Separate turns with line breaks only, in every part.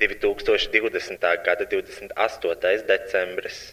2020. gada 28. decembris.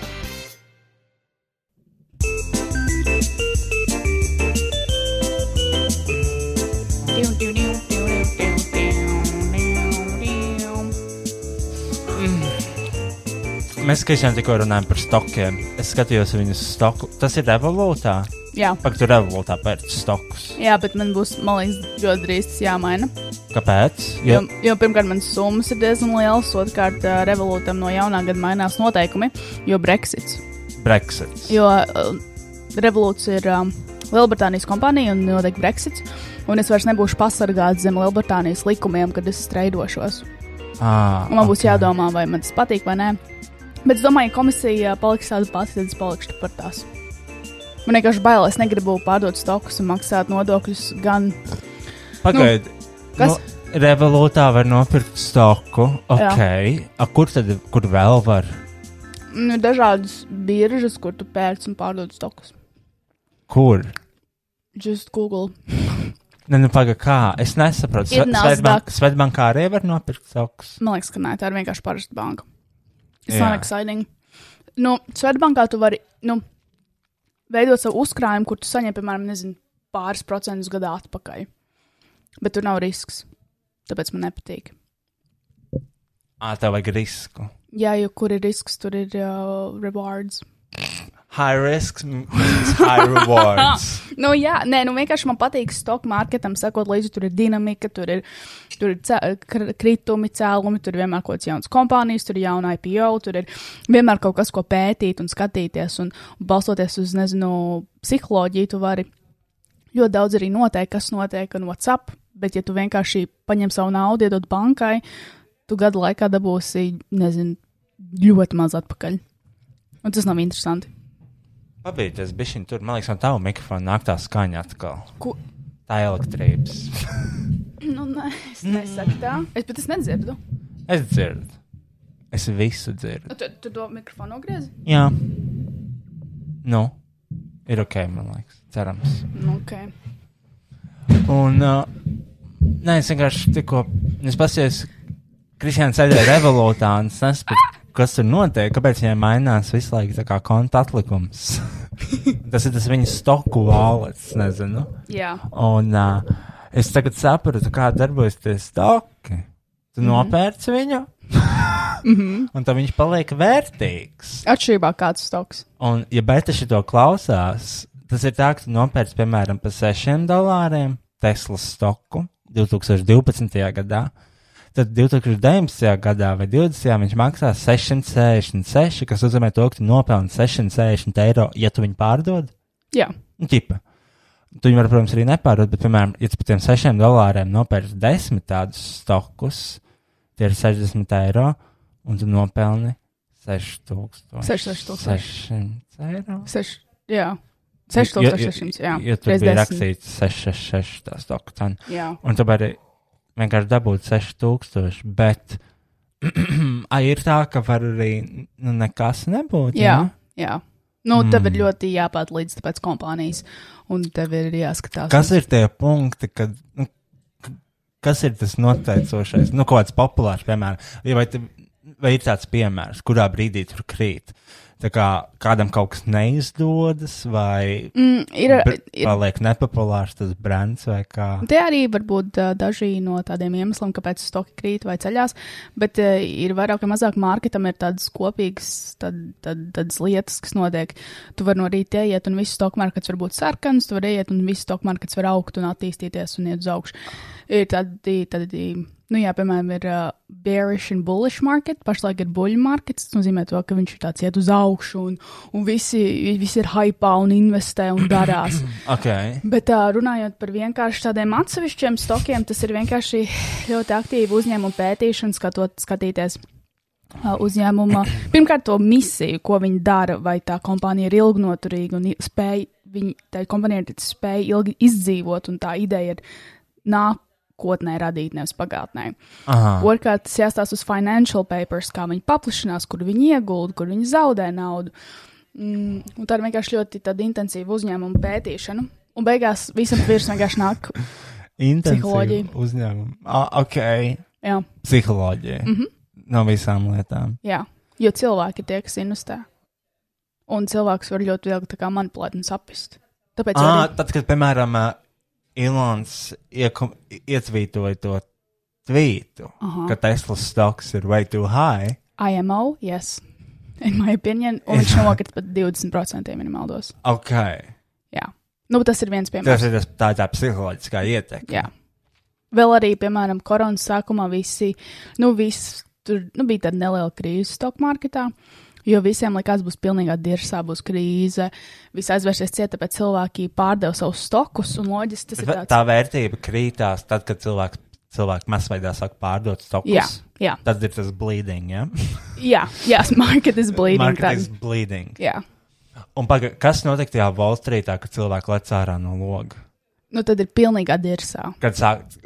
Mēs tiešām tikko runājam par stokiem. Es skatījos viņu stoku. Tas ir revolūtā.
Jā.
Pak, tur revolūtā pērts stokus.
Jā, bet man būs, man liekas, ļoti drīz tas jāmaina.
Kāpēc?
Jo, jo pirmkārt, manas summas ir diezgan lielas, otrkārt, ā, revolūtam no jaunā gada mainās noteikumi, jo Brexits.
Brexits.
Jo uh, revolūcija ir um, Lielbritānijas kompānija un notiek Brexits. Un es vairs nebūšu pasargāts zem Lielbritānijas likumiem, kad es streidošos.
Ah,
Un man būs jādomā, vai man tas patīk vai nē. Bet es domāju, ka komisija paliks tāda pati, tad es palikšu par tās. Man vienkārši bail, es negribu pārdot stokus un maksāt nodokļus. Gan
Pagaid.
kas?
Nu, revolūtā var nopirkt stoku. Okay. A, kur tad, kur vēl var?
nu, ir dažādas biržas, kur tu pērc un pārdod stokus.
Kur?
Just Google.
Nē, nu pagaid, kā? Es nesaprotu.
Ir
Sve- Svetbank-
Nasdaq.
Svetbankā arī var nopirkt stokus.
Man liekas, ka nē, tā ir vienkārši parasta banka. Tas
Jā.
nav exciting. Nu, Svetbankā tu vari nu, veidot savu uzkrājumu, kur tu saņem, piemēram, nezinu, pāris procentus gadā atpakaļ. Bet tur nav risks. Tāpēc man nepatīk.
Ā, tev vajag risku.
Jā, jo kur ir risks, tur ir uh, rewards.
High risk means high rewards.
Nu, jā, nē, nu vienkārši man patīk stock marketam, sakot, līdzi tur ir dinamika, tur ir, tur ir cē, kr- kritumi, cēlumi, tur ir vienmēr kaut kāds jauns kompānijas, tur ir jauna IPO, tur ir vienmēr kaut kas, ko pētīt un skatīties, un balstoties uz, nezinu, psiholoģiju, tu vari ļoti daudz arī noteikt, kas notiek un what's up, bet ja tu vienkārši paņem savu naudu, iedod bankai, tu gadu laikā dabūsi, nezinu, ļoti maz atpakaļ. Un tas nav interesanti.
Pabeigties, bija šī tur. Man liekas, no tava mikrofona nāk tā skaņa atkal.
Ko?
Tā ir elektrības.
Nu, nē, es nesaku tā. Es pat es nedzirdu.
Es dzirdu. Es visu dzirdu.
Nu, tu, tu to mikrofonu nogriezi?
Jā. Nu, ir ok, man liekas. Cerams.
Nu, ok.
Un, uh, nē, es vienkārši tikko, es pasies, Kristiāns sēdēja revolūtā un es nesapratu, kas tur notiek, kāpēc viņai mainās visu laiku tā kā konta atlikums. tas ir tas viņas stoku valets, nezinu.
Jā.
Un uh, es tagad sapratu, kā darbojas tie stoki. Tu mm -hmm. nopērci viņu? mm -hmm. un tad viņš paliek vērtīgs.
Atšķirībā kāds stoks.
Un, ja Bēta šito klausās, tas ir tā, ka tu nopērci piemēram par 6 dolāriem Teslas stoku 2012. gadā. Tad 2019. gadā vai 2020. viņš maksā 666, kas nozīmē to, ka tu nopelni 660 eiro, ja tu viņu pārdod.
Jā,
Nu, Tipa. Tu viņu, var, protams, arī nepārdod, bet, piemēram, ja tu par tiem 6 dolāriem nopērci 10 tādus stokus, tie ir 60 eiro, un tu nopelni 6000. 600 eiro.
seši. Jā.
Ja-
6600, jā.
Ja, ja tur
Reiz
bija
desmit.
rakstīts 666, tā stoka cena.
Jā.
Un tu vari vienkārši dabūt 6000, bet ai, ir tā, ka var arī nu, nekas nebūt.
Jā,
ne?
jā. Nu, tev
Mm.
ir ļoti jāpēt līdz pēc kompānijas, un tev ir jāskatās.
Kas ir tie punkti, kad, nu, k- kas ir tas noteicošais? Nu, kaut kāds populārs, piemēram, Ja vai, te, vai ir tāds piemērs, kurā brīdī tur krīt? Tā kā kādam kaut kas neizdodas, vai
Mm, ir,
br-
ir
paliek nepopulārs tas brands, vai kā.
Tie arī var būt ā, daži no tādiem iemesliem, kāpēc stoki krīt vai ceļās, bet ā, ir vairāk vai mazāk mārketam ir tādas kopīgas tad, tad, tādas lietas, kas notiek. Tu vari no rīta iet, un viss stoku markets var būt sarkans, tu vari iet, un viss stoku markets var augt un attīstīties un iet uz augšu. Ir tādi, tādi nu jā, piemēram, ir uh, bearish un bullish market, pašlaik ir buļļu markets, tas nozīmē to, ka viņš ir tāds iet uz augšu, un, un visi, visi ir hypā un investē un darās.
Okay.
Bet tā, runājot par vienkārši tādiem atsevišķiem stokiem, tas ir vienkārši ļoti aktīvi uzņēmuma pētīšana, skatot, skatīties. ā, Uzņēmuma pirmkārt to misiju, ko viņi dara, vai tā kompānija ir ilgnoturīga un i- spēj, viņi, tā kompānija ir spēja ilgi izdzīvot, un tā ideja ir nākotnē radīt, nevis pagātnē.
Aha.
Otrkārt, tas jāstāsta uz financial papers, kā viņi paplašinās, kur viņi ieguld, kur viņi zaudē naudu. Mm, un tā ir vienkārši ļoti tāda intensīva uzņēmuma pētīšana. Un beigās visam virs vienkārši nāk.
Intensīva
Psiholoģija.
uzņēmuma. Ah, ok.
Jā,
Psiholoģija.
Mhm.
Mm -hmm. No visām lietām.
jā. Jo cilvēki ir tie, kas investē. Un cilvēks var ļoti viegli tā kā manipulēt un sapist. Tāpēc
Ah,
arī,
tad, kad, piemēram, ā, Ilons iekom- ietvītoja to tvītu,
Aha.
ka Teslas stoks ir way too high,
IMO, yes, in my opinion, un viņš nokrita pat 20% minimālos.
ok.
Jā, nu tas ir viens piemērs.
Tas ir tas tā, tā psiholoģiskā ietekme.
Jā. Vēl arī, piemēram, koronas sākumā visi, nu, viss tur nu, bija tāda neliela krīze stock marketā. Jo visiem likās, būs pilnīga dirsā, būs krīze, viss aizvērsies cieta, tāpēc cilvēki pārdeva savus stokus un loģiski tas ir
V-
tāds.
Tā vērtība krītās tad, kad cilvēks, cilvēks masveidā sāk pārdot stokus.
Jā, jā,
Tad ir tas bleeding, ja?
jā, jā, market is bleeding.
Market
Tad,
is bleeding.
jā,
Un paga, kas notiek tajā Wall Streetā, kad cilvēki lec ārā no loga?
nu tad ir pilnīga dirsā.
Kad sāk,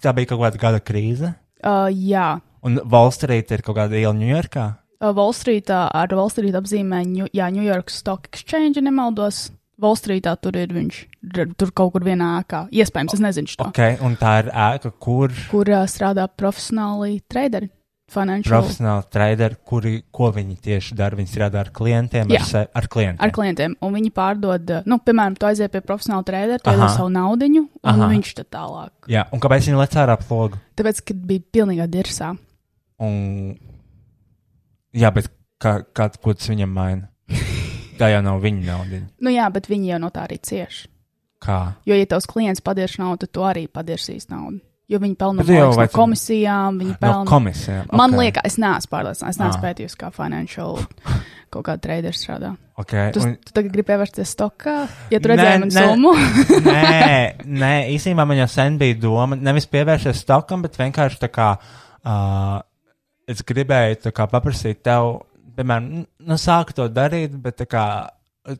tā bija kaut kāda gada krīze,
Uh, jā,
un Wall Street ir kaut kāda iela Ņujorkā.
Uh, Wall Streetā ar Wall Street apzīmē, Ņu- ja New York Stock Exchange ja nemaldos. Wall Streetā tur ir viņš, r- tur kaut kur vienā ēkā. Iespējams, es nezinu šo.
Okay, un tā ir ēka, kur
kur uh, strādā profesionāli traderi. Financial
profesionāli traderi, kuri, ko viņi tieši dara, viņi strādā ar klientiem,
Jā.
ar, se, ar klientiem.
ar klientiem. Un viņi pārdod, uh, nu, piemēram, tu aizies pie profesionāla tradera, tu iedod
Aha.
savu naudu, un
Aha.
Aha. viņš tad tālāk.
Jā, un kāpēc viņi lec ārā plogu?
Tāpēc, kad bija pilnīga dirsā,
Un... Jā, bet kā, kā, ko tas viņam maina? Tā jau nav viņa nauda.
nu jā, bet viņi jau no tā arī cieš.
Kā?
Jo, ja tavs klients padiež naudu, tad tu arī padiersīs naudu. Jo viņi pelna
Bet tu jau
no
vai-
komisijām, viņi
No
pelna.
komisijām.
Man
ok,
liekas, es neesmu pārliecināts. Es neesmu
Ah.
pētījis, kā financial kaut kāda traderis strādā.
Okay.
Tu,
Un...
tu tagad gribi pievērsties stokā, ja tu
Nē,
redzēji manu
nē.
summu.
nē, nē, īstenībā man jau sen bija doma nevis pievērsties stokam, bet vienkārši tā kā uh, es gribēju tā kā paprasīt tev, piemēram, n- nu, sāku to darīt, bet tā kā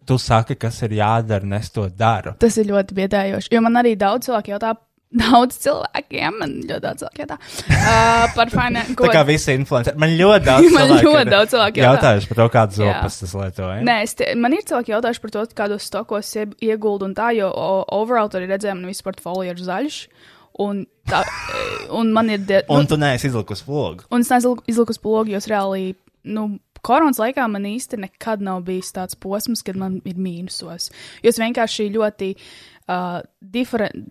tu saki, kas ir jādara, un es to daru.
Tas ir ļoti biedējoši. Jo man arī daudz cilvēku jautā, daudz cilvēkiem, man ļoti daudz cilvēku jautā uh, par
Tā kā
finansēm.
visi influenceri. Man ļoti daudz
Man
cilvēku
ļoti
ir
daudz cilvēku jautā.
jautājuši par to, kādas
Jā.
opas tas lietoja.
Nē, es tie, man ir cilvēki jautājuši par to, kādos stokos ie- ieguld un tā, jo o, overall tur ir redzējumi, man viss portfolio ir zaļš. Un, tā, e, un man ir. Die,
Un tu neesi izlikusi vlogu.
Un es neesmu izlikusi pogu, jo es reāli, nu, koronas laikā man īsti nekad nav bijis tāds posms, kad man ir mīnusos. Jo es vienkārši ļoti uh, diferen,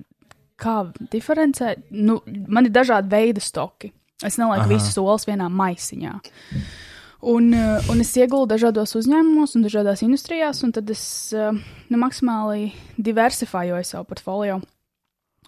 kā diferencē, nu, man ir dažādi veidi stoki. Es nelieku visus olas vienā maisiņā. Un, eh, un es ieguldu dažādos uzņēmumos un dažādās industrijās, un tad es eh, nu, maksimāli diversificēju savu portfolio.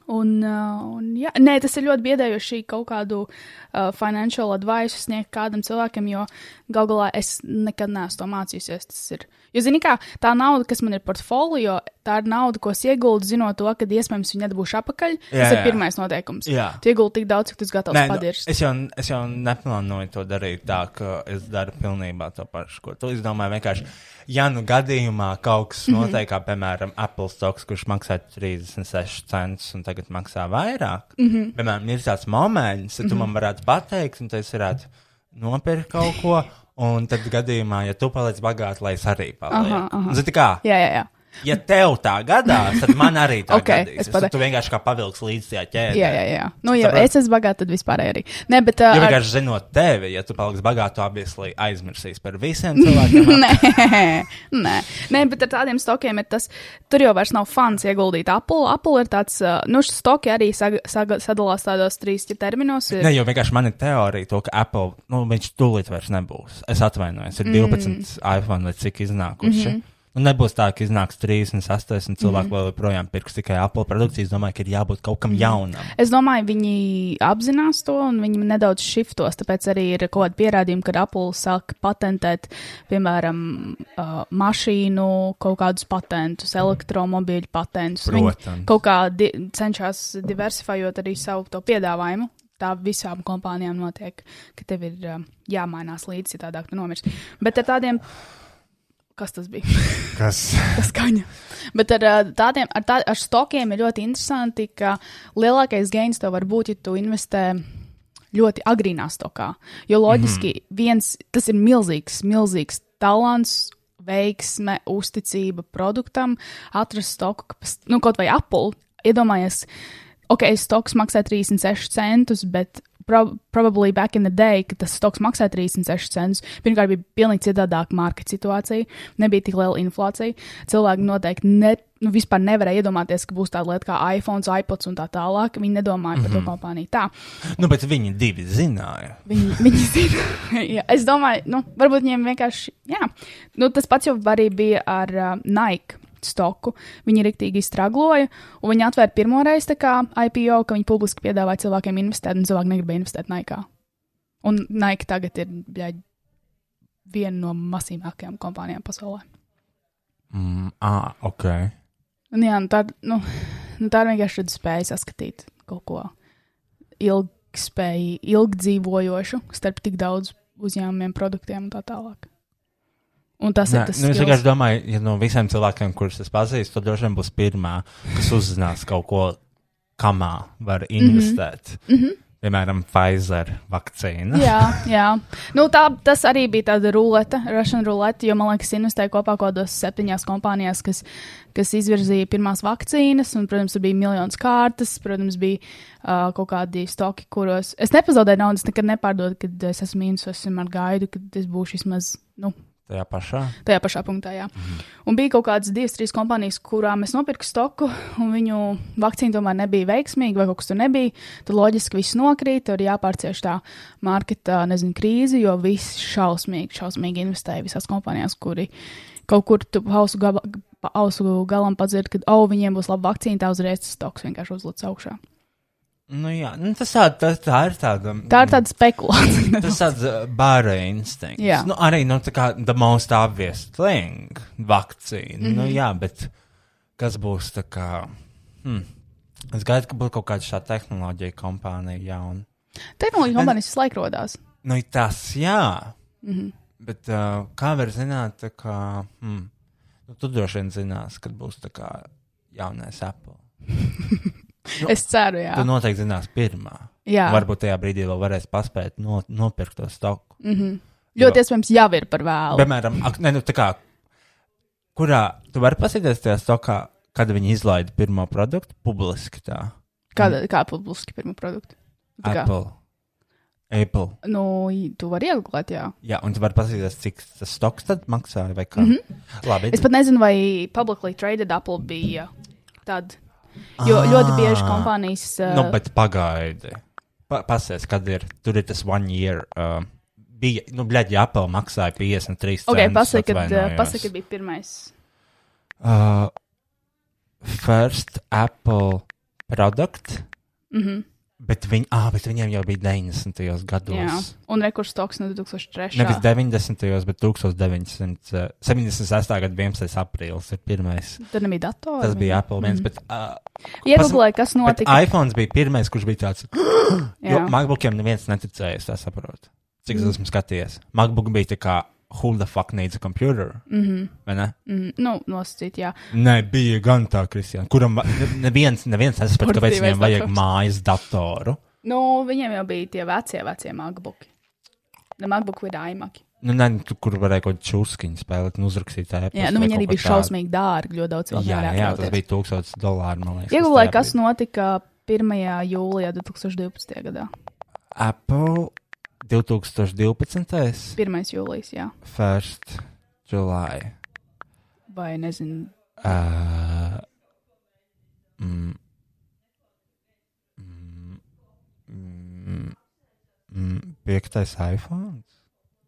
Un, eh, un, jā, nē, tas ir ļoti biedējoši kaut kādu uh, finansiālu advisu sniegt kādam cilvēkam, jo galu galā es nekad neesmu to mācījusies. Tas ir. Jo, zini, kā tā nauda, kas man ir portfolio, tā ir nauda, ko es ieguldu, zinot to, ka iespējams viņa nebūs apakaļ. Jā,
Jā,
tas ir
jā.
pirmais noteikums.
Jā.
Tu ieguldi tik daudz, cik tu esi gatavs
nu,
padirst.
es, jau, es jau neplānoju to darīt tā, ka es daru pilnībā to pašu, ko tu izdomāji. Vienkārši, ja nu gadījumā kaut kas
Mhm.
notiek, kā piemēram Apple stoks, kurš maksā 36 centus un tagad maksā vairāk, mm
Mhm.
-hmm. piemēram, ir tāds moments, kad tu man varētu pateikt, un es varētu nopirkt kaut ko. Un tad gadījumā, ja tu paliec bagāts, lai es arī
Aha, aha.
palieku. Zini, kā?
Jā, jā, jā.
Ja tev tā gadās, tad man arī tā
Ok,
gadīs.
es
Es
pade-
tu vienkārši kā pavilks līdzi tajā ķēdē.
Jā, jā, jā. Nu, ja
Sapratu.
es esmu bagāta, tad vispār arī. Nē, bet. Uh,
Ja
ar...
vienkārši zinot tevi, ja tu paliksi bagāts, obviously aizmirsīs par visiem cilvēkiem.
Nē, nē. nē, bet ar tādiem stokiem ir tas, tur jau vairs nav fans ieguldīt Apple. Apple ir tāds, uh, nu, šis stoki arī saga, saga, sadalās tādos trīs ja terminos. Ir,
Nē, jo vienkārši man ir teorija, to, ka Apple, nu, viņš tūlīt vairs nebūs. Es atvainojos,
Mm.
ir 12 iPhone vai cik iznākuši.
Mhm.
Mm -hmm. Nu, nebūs tā, ka iznāks 38 cilvēki, mm -hmm. vēl joprojām pirks tikai Apple produkciju. Es domāju, ka ir jābūt
Mhm.
kaut kam jaunam.
Es domāju, viņi apzinās to un viņi nedaudz šiftos. Tāpēc arī ir kaut kāda pierādījuma, ka Apple sāk patentēt, piemēram, uh, mašīnu, kaut kādus patentus, elektromobīļu patentus.
Protams.
Viņi kaut kā di cenšas diversificēt arī savu to piedāvājumu. Tā visām kompānijām notiek, ka tev ir uh, jāmainās līdzi, citādāk tu nomirsti. Bet ar tādiem. Kas tas bija?
Kas?
Tas skaņa. Bet ar ā, tādiem ar tā, ar stokiem ir ļoti interesanti, ka lielākais gains tev var būt, ja tu investē ļoti agrīnā stokā. Jo loģiski mm -hmm. viens, tas ir milzīgs, milzīgs talants. Veiksme, uzticība produktam, atrast stoku, kas, nu, kaut vai Apple. Iedomājies, ok, stoks maksā 36 centus, bet pro probably back in the day, kad tas stoks maksāja 36 centus, pirmkārt bija pilnīgi citādāka marka situācija, nebija tik liela inflācija. Cilvēki noteikti ne, nu, vispār nevarēja iedomāties, ka būs tāda lieta kā iPhone, iPods un tā tālāk. Viņi nedomāja mm -hmm. par to kompāniju. Tā,
Nu, bet viņi divi zināja.
viņi, viņi zina. jā, es domāju, nu, varbūt viņiem vienkārši, jā, nu, tas pats jau arī bija ar uh, Nike. Stoku. Viņi rīktīgi stragloja, un viņi atvēra pirmo reizi tā kā IPO, ka viņi publiski piedāvāja cilvēkiem investēt, un cilvēki negribēja investēt Naikā. Un Naika tagad ir bļaļ, viena no masīvākajām kompānijām pasaulē.
Mm, ah, ok.
Un, jā, nu, tā, nu, nu, tā ir vienkārši tāda spēja saskatīt kaut ko ilgspēju, ilgdzīvojošu starp tik daudz uzņēmumiem, produktiem un tā tālāk. Un tas
Nē,
ir tas,
nu, es
skills.
vienkārši domāju, ja no visiem cilvēkiem, kurus es pazīstu, tad droši vien būs pirmā, kas uzzinās kaut ko, kamā var
Mhm.
investēt. Mm -hmm. Piemēram, Pfizer vakcīna.
jā, jā. Nu, tā, tas arī bija tāda rulete, Russian rulete, jo man liekas, investēja kopā kaut kādos septiņās kompānijās, kas, kas izvirzīja pirmās vakcīnas, un, protams, tur bija miljonus kārtas, protams, bija uh, kaut kādi stoki, kuros es nepazaudēju naudu, es nekad nepārdodu, kad es esmu mīnus, es vienmēr gaidu, kad es būšu vismaz, nu,
Tajā pašā.
tajā pašā punktā. Jā. Un bija kaut kādas divas, trīs kompānijas, kurām es nopirku stoku, un viņu vakcīna tomēr nebija veiksmīga, vai kaut kas tur nebija. Tad loģiski viss nokrīt, tur jāpārcieš tā marketa nezinu, krīze, jo viss šausmīgi, šausmīgi investēja visās kompānijās, kuri kaut kur tu ausu, gaba, pa ausu galam padzird, ka oh, viņiem būs laba vakcīna, tā uzreiz tas stoks vienkārši uzlūks augšā.
Nu, jā, nu, tas tā, tā, tā ir tāda.
Tā ir tāda spekulācija.
Tas tāds uh, bāra instinkts.
Jā.
Nu, arī nu, tā kā the most obvious thing - vakcīna. Mm -hmm.
Mhm.
Nu, jā, bet kas būs tā kā. Hmm. Es gaidu, ka būs kaut kāda šāda tehnoloģija kompānija jauna.
Tehnoloģija kompānijas visu laiku rodās.
Nu, tas jā.
Mhm.
Mm -hmm. Bet uh, kā var zināt, tā kā. Hmm, nu, tu droši vien zinās, kad būs tā kā jaunais Apple.
Es ceru, jā.
Tu nu noteikti zinās pirmā.
jā.
Varbūt tajā brīdī vēl varēs paspēt no, nopirkt to stoku. Mm.
Mhm. Ļoti iespējams, jau ir par vēlu.
Piemēram, ak, ne, nu, tā kā, kurā tu vari pasīties tajā stokā, kad viņi izlaida pirmo produktu publiski tā.
Kāda, kā publiski pirmo produktu? Tā kā,
Mm. Apple. Apple.
nu, i- tu vari iegūt, jā.
Jā, un tu vari pasīties, cik tas stoks tad maksāja vai kā. Mm -hmm. Labi.
Mhm. Es pat nezinu, vai publicly traded Apple
Ah.
bija tad. Jo ļoti bieži kompānijas. eh,
Nu, bet Nu, pagaidi. Pa, pasies, kad ir, tur ir tas one year. Uh, bija, nu, bļaģi, ja Apple maksāja 53 centus.
Ok, pasakiet, kad,
atvainojos.
ā, pasaki, kad bija pirmais.
Uh, first Apple product,
Mm -hmm.
bet, viņ, ah, bet viņiem jau bija 90. gados.
Jā, un rekurs toks no 2003.
Nevis 90. bet 1976. gada 11. aprīlis ir pirmais.
Tad nebija datora.
Tas bija Apple viens, mm. bet, uh,
Iegūlē, kas
bet
notika.
iPhone bija pirmais, kurš bija tāds. Jo
Jā. Mm.
MacBookiem neviens neticēja, es tā saprotu. Cik es esmu skatījies. MacBook bija tā kā, who the fuck needs a computer? Mm -hmm. Vai ne?
Mm, nu, nosacīt, jā.
Nē, bija gan tā, Kristija, kuram ne- neviens, neviens nesaprata, kāpēc
Portīvais
viņam vajag
dators.
mājas datoru.
Nu, viņiem jau bija tie vecie, vecie MacBooki. Ne MacBook, bet iMac.
Nu, nē, tu, kur varēja kaut kādu čūskiņu spēlēt, un uzrakstīt tādu.
Jā, nu, viņi arī bija šausmīgi dārgi. Ļoti daudz
Jā,
cilvēku
jā,
nevarēja
jā, tas
atļauties.
bija 1000 dolāri. man liekas,
Iegulēji,
tajā
kas
brīdī.
notika 1. jūlijā 2012. gadā?
Apple 2012.
1. jūlijas, jā,
1. July.
vai nezinu.
Uh, mm, mm, mm, mm, piektais iPhone.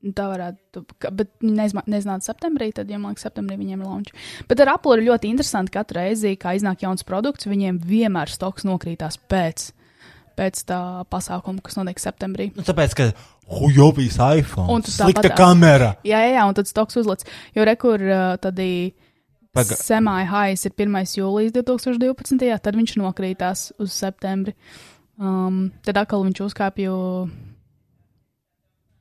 nu, Tā varētu būt, bet viņi nezma- nezināja septembrī, tad, ja man liekas, septembrī viņiem ir launch. Bet ar Apple ir ļoti interesanti, ka katru reizi, kad iznāk jauns produkts, viņiem vienmēr stoks nokrītās pēc, pēc tā pasākuma, kas notiek septembrī.
Nu, tāpēc, ka hujovīs iPhone.
Un tu
slikta
tāpat-
kamera.
Jā, jā, jā, un tad stoks uzlicis. Jo rekur tādī
Paga-
semāja-hais ir 1. jūlijas 2012. tad viņš nokrītās uz septembri. Um, tad atkal viņš uzkāpa jau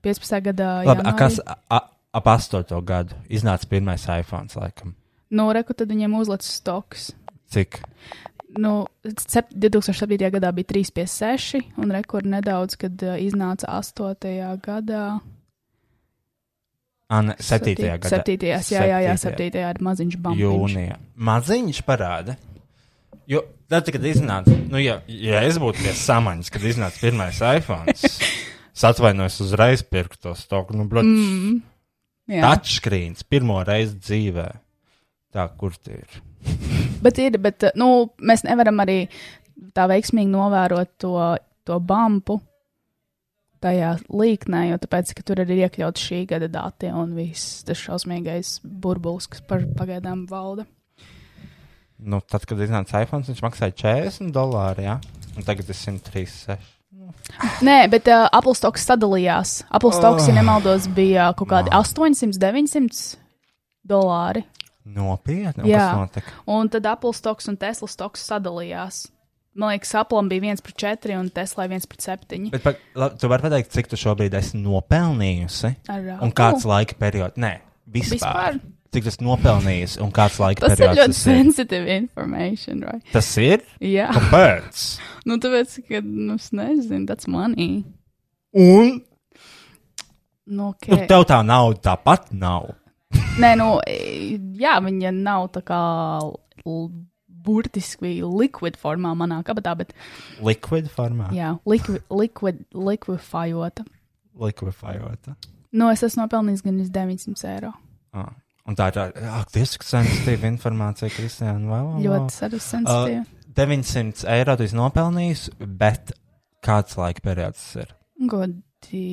15. gadā.
Labi, a,
janvārī.
kas a, a, ap astoto gadu iznāca pirmais iPhone, laikam.
Nu, reku tad viņiem uzlicis stoks.
Cik?
Nu, sep- 2007. gadā bija 3,56, un rekords nedaudz, kad uh, iznāca 8. gadā.
An, septītajā gadā.
7. Jā, jā, jā,
Septītajā.
7. ir maziņš bambiņš.
Jūnijā. Maziņš parāda. Jo tad, kad iznāca, nu, ja, ja es būtu pie samaņas, kad iznāca pirmais iPhone, es atvainojos uzreiz pirkt to stoku. Nu, blot, mm.
Jā.
Touchscreens pirmo reizi dzīvē. Tā, kur tie ir?
Bet, ir, bet uh, nu, mēs nevaram arī tā veiksmīgi novērot to, to bumbu tajā līknē, jo tāpēc, ka tur arī ir iekļauts šī gada dati un viss tas šausmīgais burbulis, kas par, pagaidām valda.
Nu, tad, kad iznāca iPhone, viņš maksāja 40 dolāru, ja? un tagad ir 136.
Nē, bet uh, Apple stoks sadalījās. Apple stoks, oh. ja nemaldos, bija kaut kādi 800, 900 dolāri.
Nopietni, un
Jā.
kas notika?
Un tad Apple stoks un Tesla stoks sadalījās. Man liekas, Apple bija 1 pret 4 un Tesla 1 pret 7.
Bet, pa, labi, tu vari pateikt, cik tu šobrīd esi nopelnījusi?
Ar uh,
Un
Apple?
kāds laika periods? Nē, vispār.
nu. Vispār?
vispār. Cik tas nopelnījis un kāds laika
Tas ir
periods
ļoti
tas ir?
sensitive information, right?
Tas ir?
Jā,
Kāpēc?
nu tāpēc, ka, nu, es nezinu, tas manī.
Un
Nu, okay.
nu, tev tā nauda tāpat nav.
Nē, nu, e, jā, viņa nav tā kā l- burtiski liquid formā manā kabatā, bet,
Liquid formā.
jā, liquid, liquid, liquefajota.
Liquefajota.
Nu, es esmu nopelnījis gan 900 eiro.
Ah. Un tā ir tā, ak, diezgan sensitīva informācija, Kristija.
Ļoti saru sensitīvi. Uh,
900 eiro tu esi nopelnījis, bet kāds laika periods tas ir?
Godi,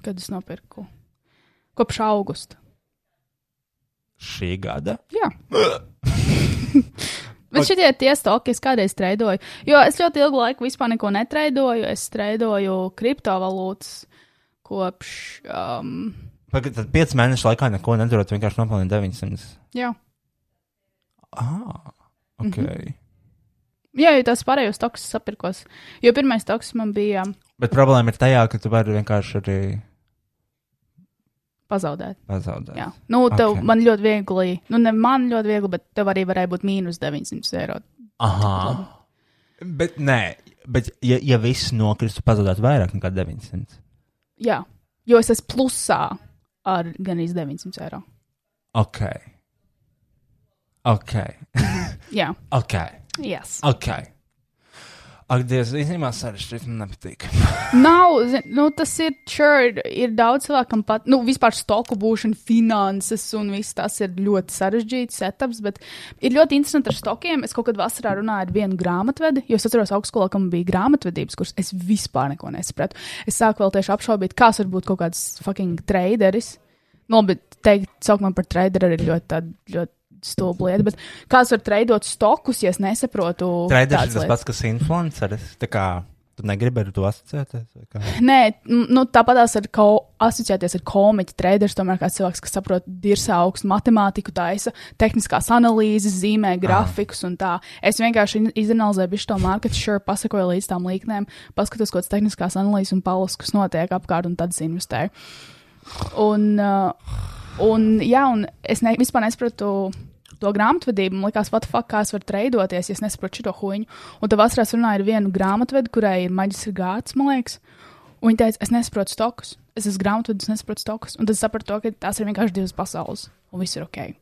kad es nopirku. Kopš augusta.
Šī gada.
Jā. Bet šitie tie stoki, es kādreiz treidoju. Jo es ļoti ilgu laiku vispār neko netreidoju. Es treidoju kriptovalūtas kopš. Um,
Pagaidiet, tad 5 mēnešu laikā neko nedarot, vienkārši nopelnīt 900.
jā.
Ah, ok. Mm
Mhm.
-hmm.
jā, jo tas pārējos stoks es sapirkos. Jo pirmais stoks man bija
Bet problēma ir tajā, ka tu vari vienkārši arī
pazaudēt.
pazaudēt.
Jā, nu, tev
Ok.
okay. man ļoti viegli, nu, ne man ļoti viegli, bet tev arī varēja būt mīnus 900 eiro.
Aha. Bet nē, bet ja, ja viss nokristu, pazaudētu vairāk nekā 900.
Jā, jo es esmu plusā ar gan iz 900 eiro.
Ok. Ok.
Jā,
Ok.
yes.
Ok. Ak, Dievs, īstenībā sarežģīti man nepatīk.
Nav, zin, nu, tas ir, sure, ir daudz cilvēkam pat, nu, vispār stoku būšana, finanses un viss tas ir ļoti sarežģīts setups, bet ir ļoti interesanti ar stokiem. Es kaut kad vasarā runāju ar vienu grāmatvedi, jo es atceros augstskolā, kam bija grāmatvedības kurs, es vispār neko nesapratu. Es sāku vēl tieši apšaubīt, kas var būt kaut kāds fucking traderis. Nu, bet teikt, saukt man par traderu arī ļoti, tāda- ļoti stulba lieta, bet kāds var traidot stokus, ja es nesaprotu?
Traiders
tādas
ir tas
lietas?
pats, kas influenceris. Tā kā tu negribi ar to asociēties. vai kā?
Nē, m, nu, tāpatās ar ko asociēties ar komiķu traders, tomēr kā cilvēks, kas saprot dirsa augstu matemātiku, taisa tehniskās analīzes, zīmē grafikus un tā. Es vienkārši in- izanalizēju visu to marketu, sure, pasakoju līdz tām līknēm, paskatos kaut kādas tehniskās analīzes un palasu, kas notiek apkārt un tad es investēju. Un, uh, un, jā, un es ne, vispār nesapratu to grāmatvedību. Man liekas, what the fuck, kā es varu treidoties, ja es nesaprotu šo huņu. Un tad vasarā es runāju ar vienu grāmatvedi, kurai ir maģisks gārds, man liekas. Un viņa teica, es nesaprotu stokus. Es esmu grāmatvedis, es nesaprotu stokus. Un tad es sapratu, to, ka tās ir vienkārši divas pasaules. Un viss ir ok.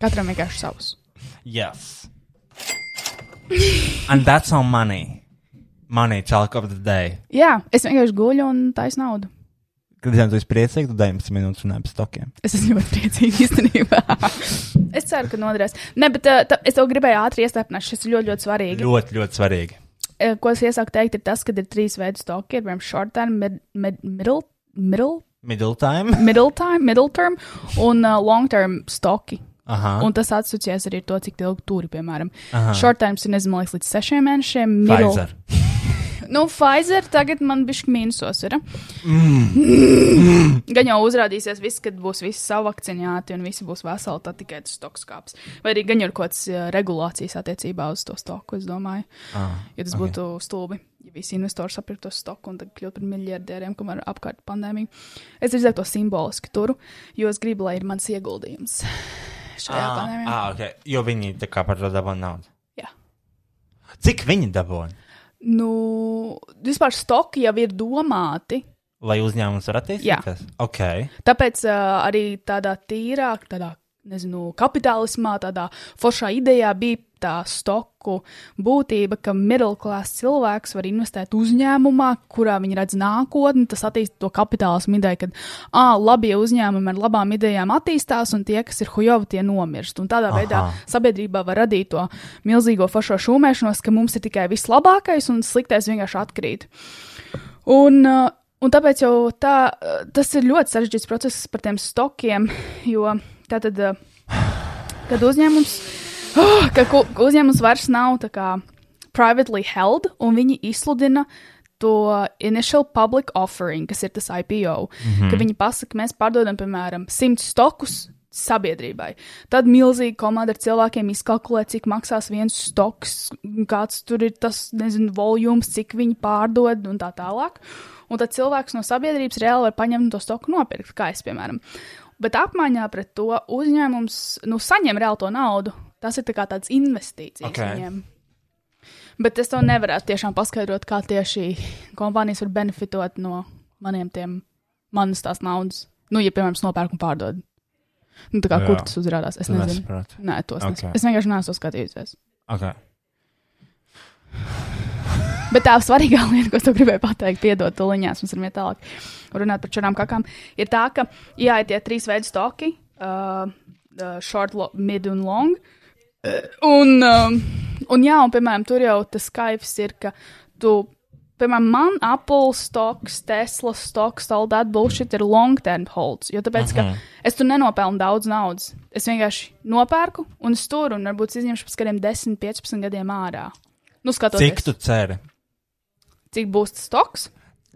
Katram vienkārši savs.
Yes. And that's on money. Money, talk of the day.
Jā, es vienkārši guļu un taisu naudu.
Kad zinām, tu esi priecīgs, tad 19 minūtes runāji par stokiem.
Es esmu ļoti priecīga īstenībā. es ceru, ka noderēs. Nē, bet uh, tā, es to gribēju ātri iestāpināt. Šis ir ļoti, ļoti svarīgi.
Ļoti, ļoti svarīgi.
eh, ko es iesaku teikt, ir tas, ka ir trīs veidi stoki. Ir piemēram, short term, mid, mid, middle, middle,
Middle time.
middle time, middle term un uh, long term stoki.
Aha.
Un tas asociēs arī ar to, cik ilgi tur ir, piemēram, Aha. short term, ir nezinu, man liekas, līdz sešiem mēnešiem. middle-
Pfizer.
Nu, Pfizer tagad man bišķi mīnusos ir. Mm.
Mm.
Gan jau uzrādīsies viss, kad būs visi savakcinēti un visi būs veseli, tad tikai tas stoks kāps. Vai arī gan jau ir kaut kāds eh, regulācijas attiecībā uz to stoku, es domāju.
Ah,
Jo tas okay. būtu stulbi, ja visi investori sapriktu to stoku un tad kļūtu par miljardieriem, kamēr apkārt pandēmija. Es drīzāk to simboliski turu, jo es gribu, lai ir mans ieguldījums šajā ah,
Ah,
pandēmijā.
ah, ok. Jo viņi tā kā par to dabūja naudu.
Jā.
Cik viņi dabūja?
Nu, vispār stoki jau ir domāti.
Lai uzņēmums varētu
Jā.
attīstīties? Ok.
Tāpēc uh, arī tādā tīrāk, tādā, nezinu, kapitālismā, tādā foršā idejā bija tā stoku būtība, ka middle class cilvēks var investēt uzņēmumā, kurā viņi redz nākotni. Tas attīstīs to kapitālismu ideju, ka ā, labie uzņēmumi ar labām idejām attīstās, un tie, kas ir hujovi, tie nomirst. Un tādā Aha. veidā
Aha.
sabiedrībā var radīt to milzīgo foršo šūmēšanos, ka mums ir tikai vislabākais un sliktais vienkārši atkrīt. Un, uh, un tāpēc jau tā, uh, tas ir ļoti sarežģīts process par tiem stokiem, jo tā tad, uh, kad uzņēmums, oh, ka ku- ka uzņēmums vairs nav tā kā privately held, un viņi izsludina to initial public offering, kas ir tas IPO, mm -hmm. ka viņi pasaka, mēs pārdodam, piemēram, 100 stokus sabiedrībai. Tad milzīga komanda ar cilvēkiem izkalkulē, cik maksās viens stoks, kāds tur ir tas, nezinu, voljums, cik viņi pārdod un tā tālāk. Un tad cilvēks no sabiedrības reāli var paņemt un to stoku nopirkt, kā es, piemēram. Bet apmaiņā pret to uzņēmums, nu, saņem reāli to naudu. Tas ir tā kā tāds investīcijas
Okay.
okay. viņiem. Bet es to nevaru tiešām paskaidrot, kā tieši kompānijas var benefitot no maniem tiem, manas tās naudas. Nu, ja, piemēram, es nopērku un pārdodu. Nu, tā kā
Jā.
kur tas uzrādās, es
Tu
nezinu.
nesaproti.
Nē, tos okay.
Ok.
nesaprotu. Es vienkārši neesmu to skatījusies.
Ok.
Bet tā svarīgā lieta, ko es tev gribēju pateikt, piedod, tuliņās mums ir miet tālāk runāt par šādām kakām, ir tā, ka, jā, ir tie trīs veidi stoki, uh, uh, short, lo, mid un long. Un, um, un jā, un, piemēram, tur jau tas kaifs ir, ka tu, piemēram, man Apple stocks, Tesla stocks, all that bullshit ir long term holds, jo tāpēc, ka es tur nenopelnu daudz naudas. Es vienkārši nopērku un es tur, un varbūt izņemšu pēc kādiem 10, 15 gadiem ārā. Nu, skatoties.
Cik tu ceri?
cik būs tas stoks.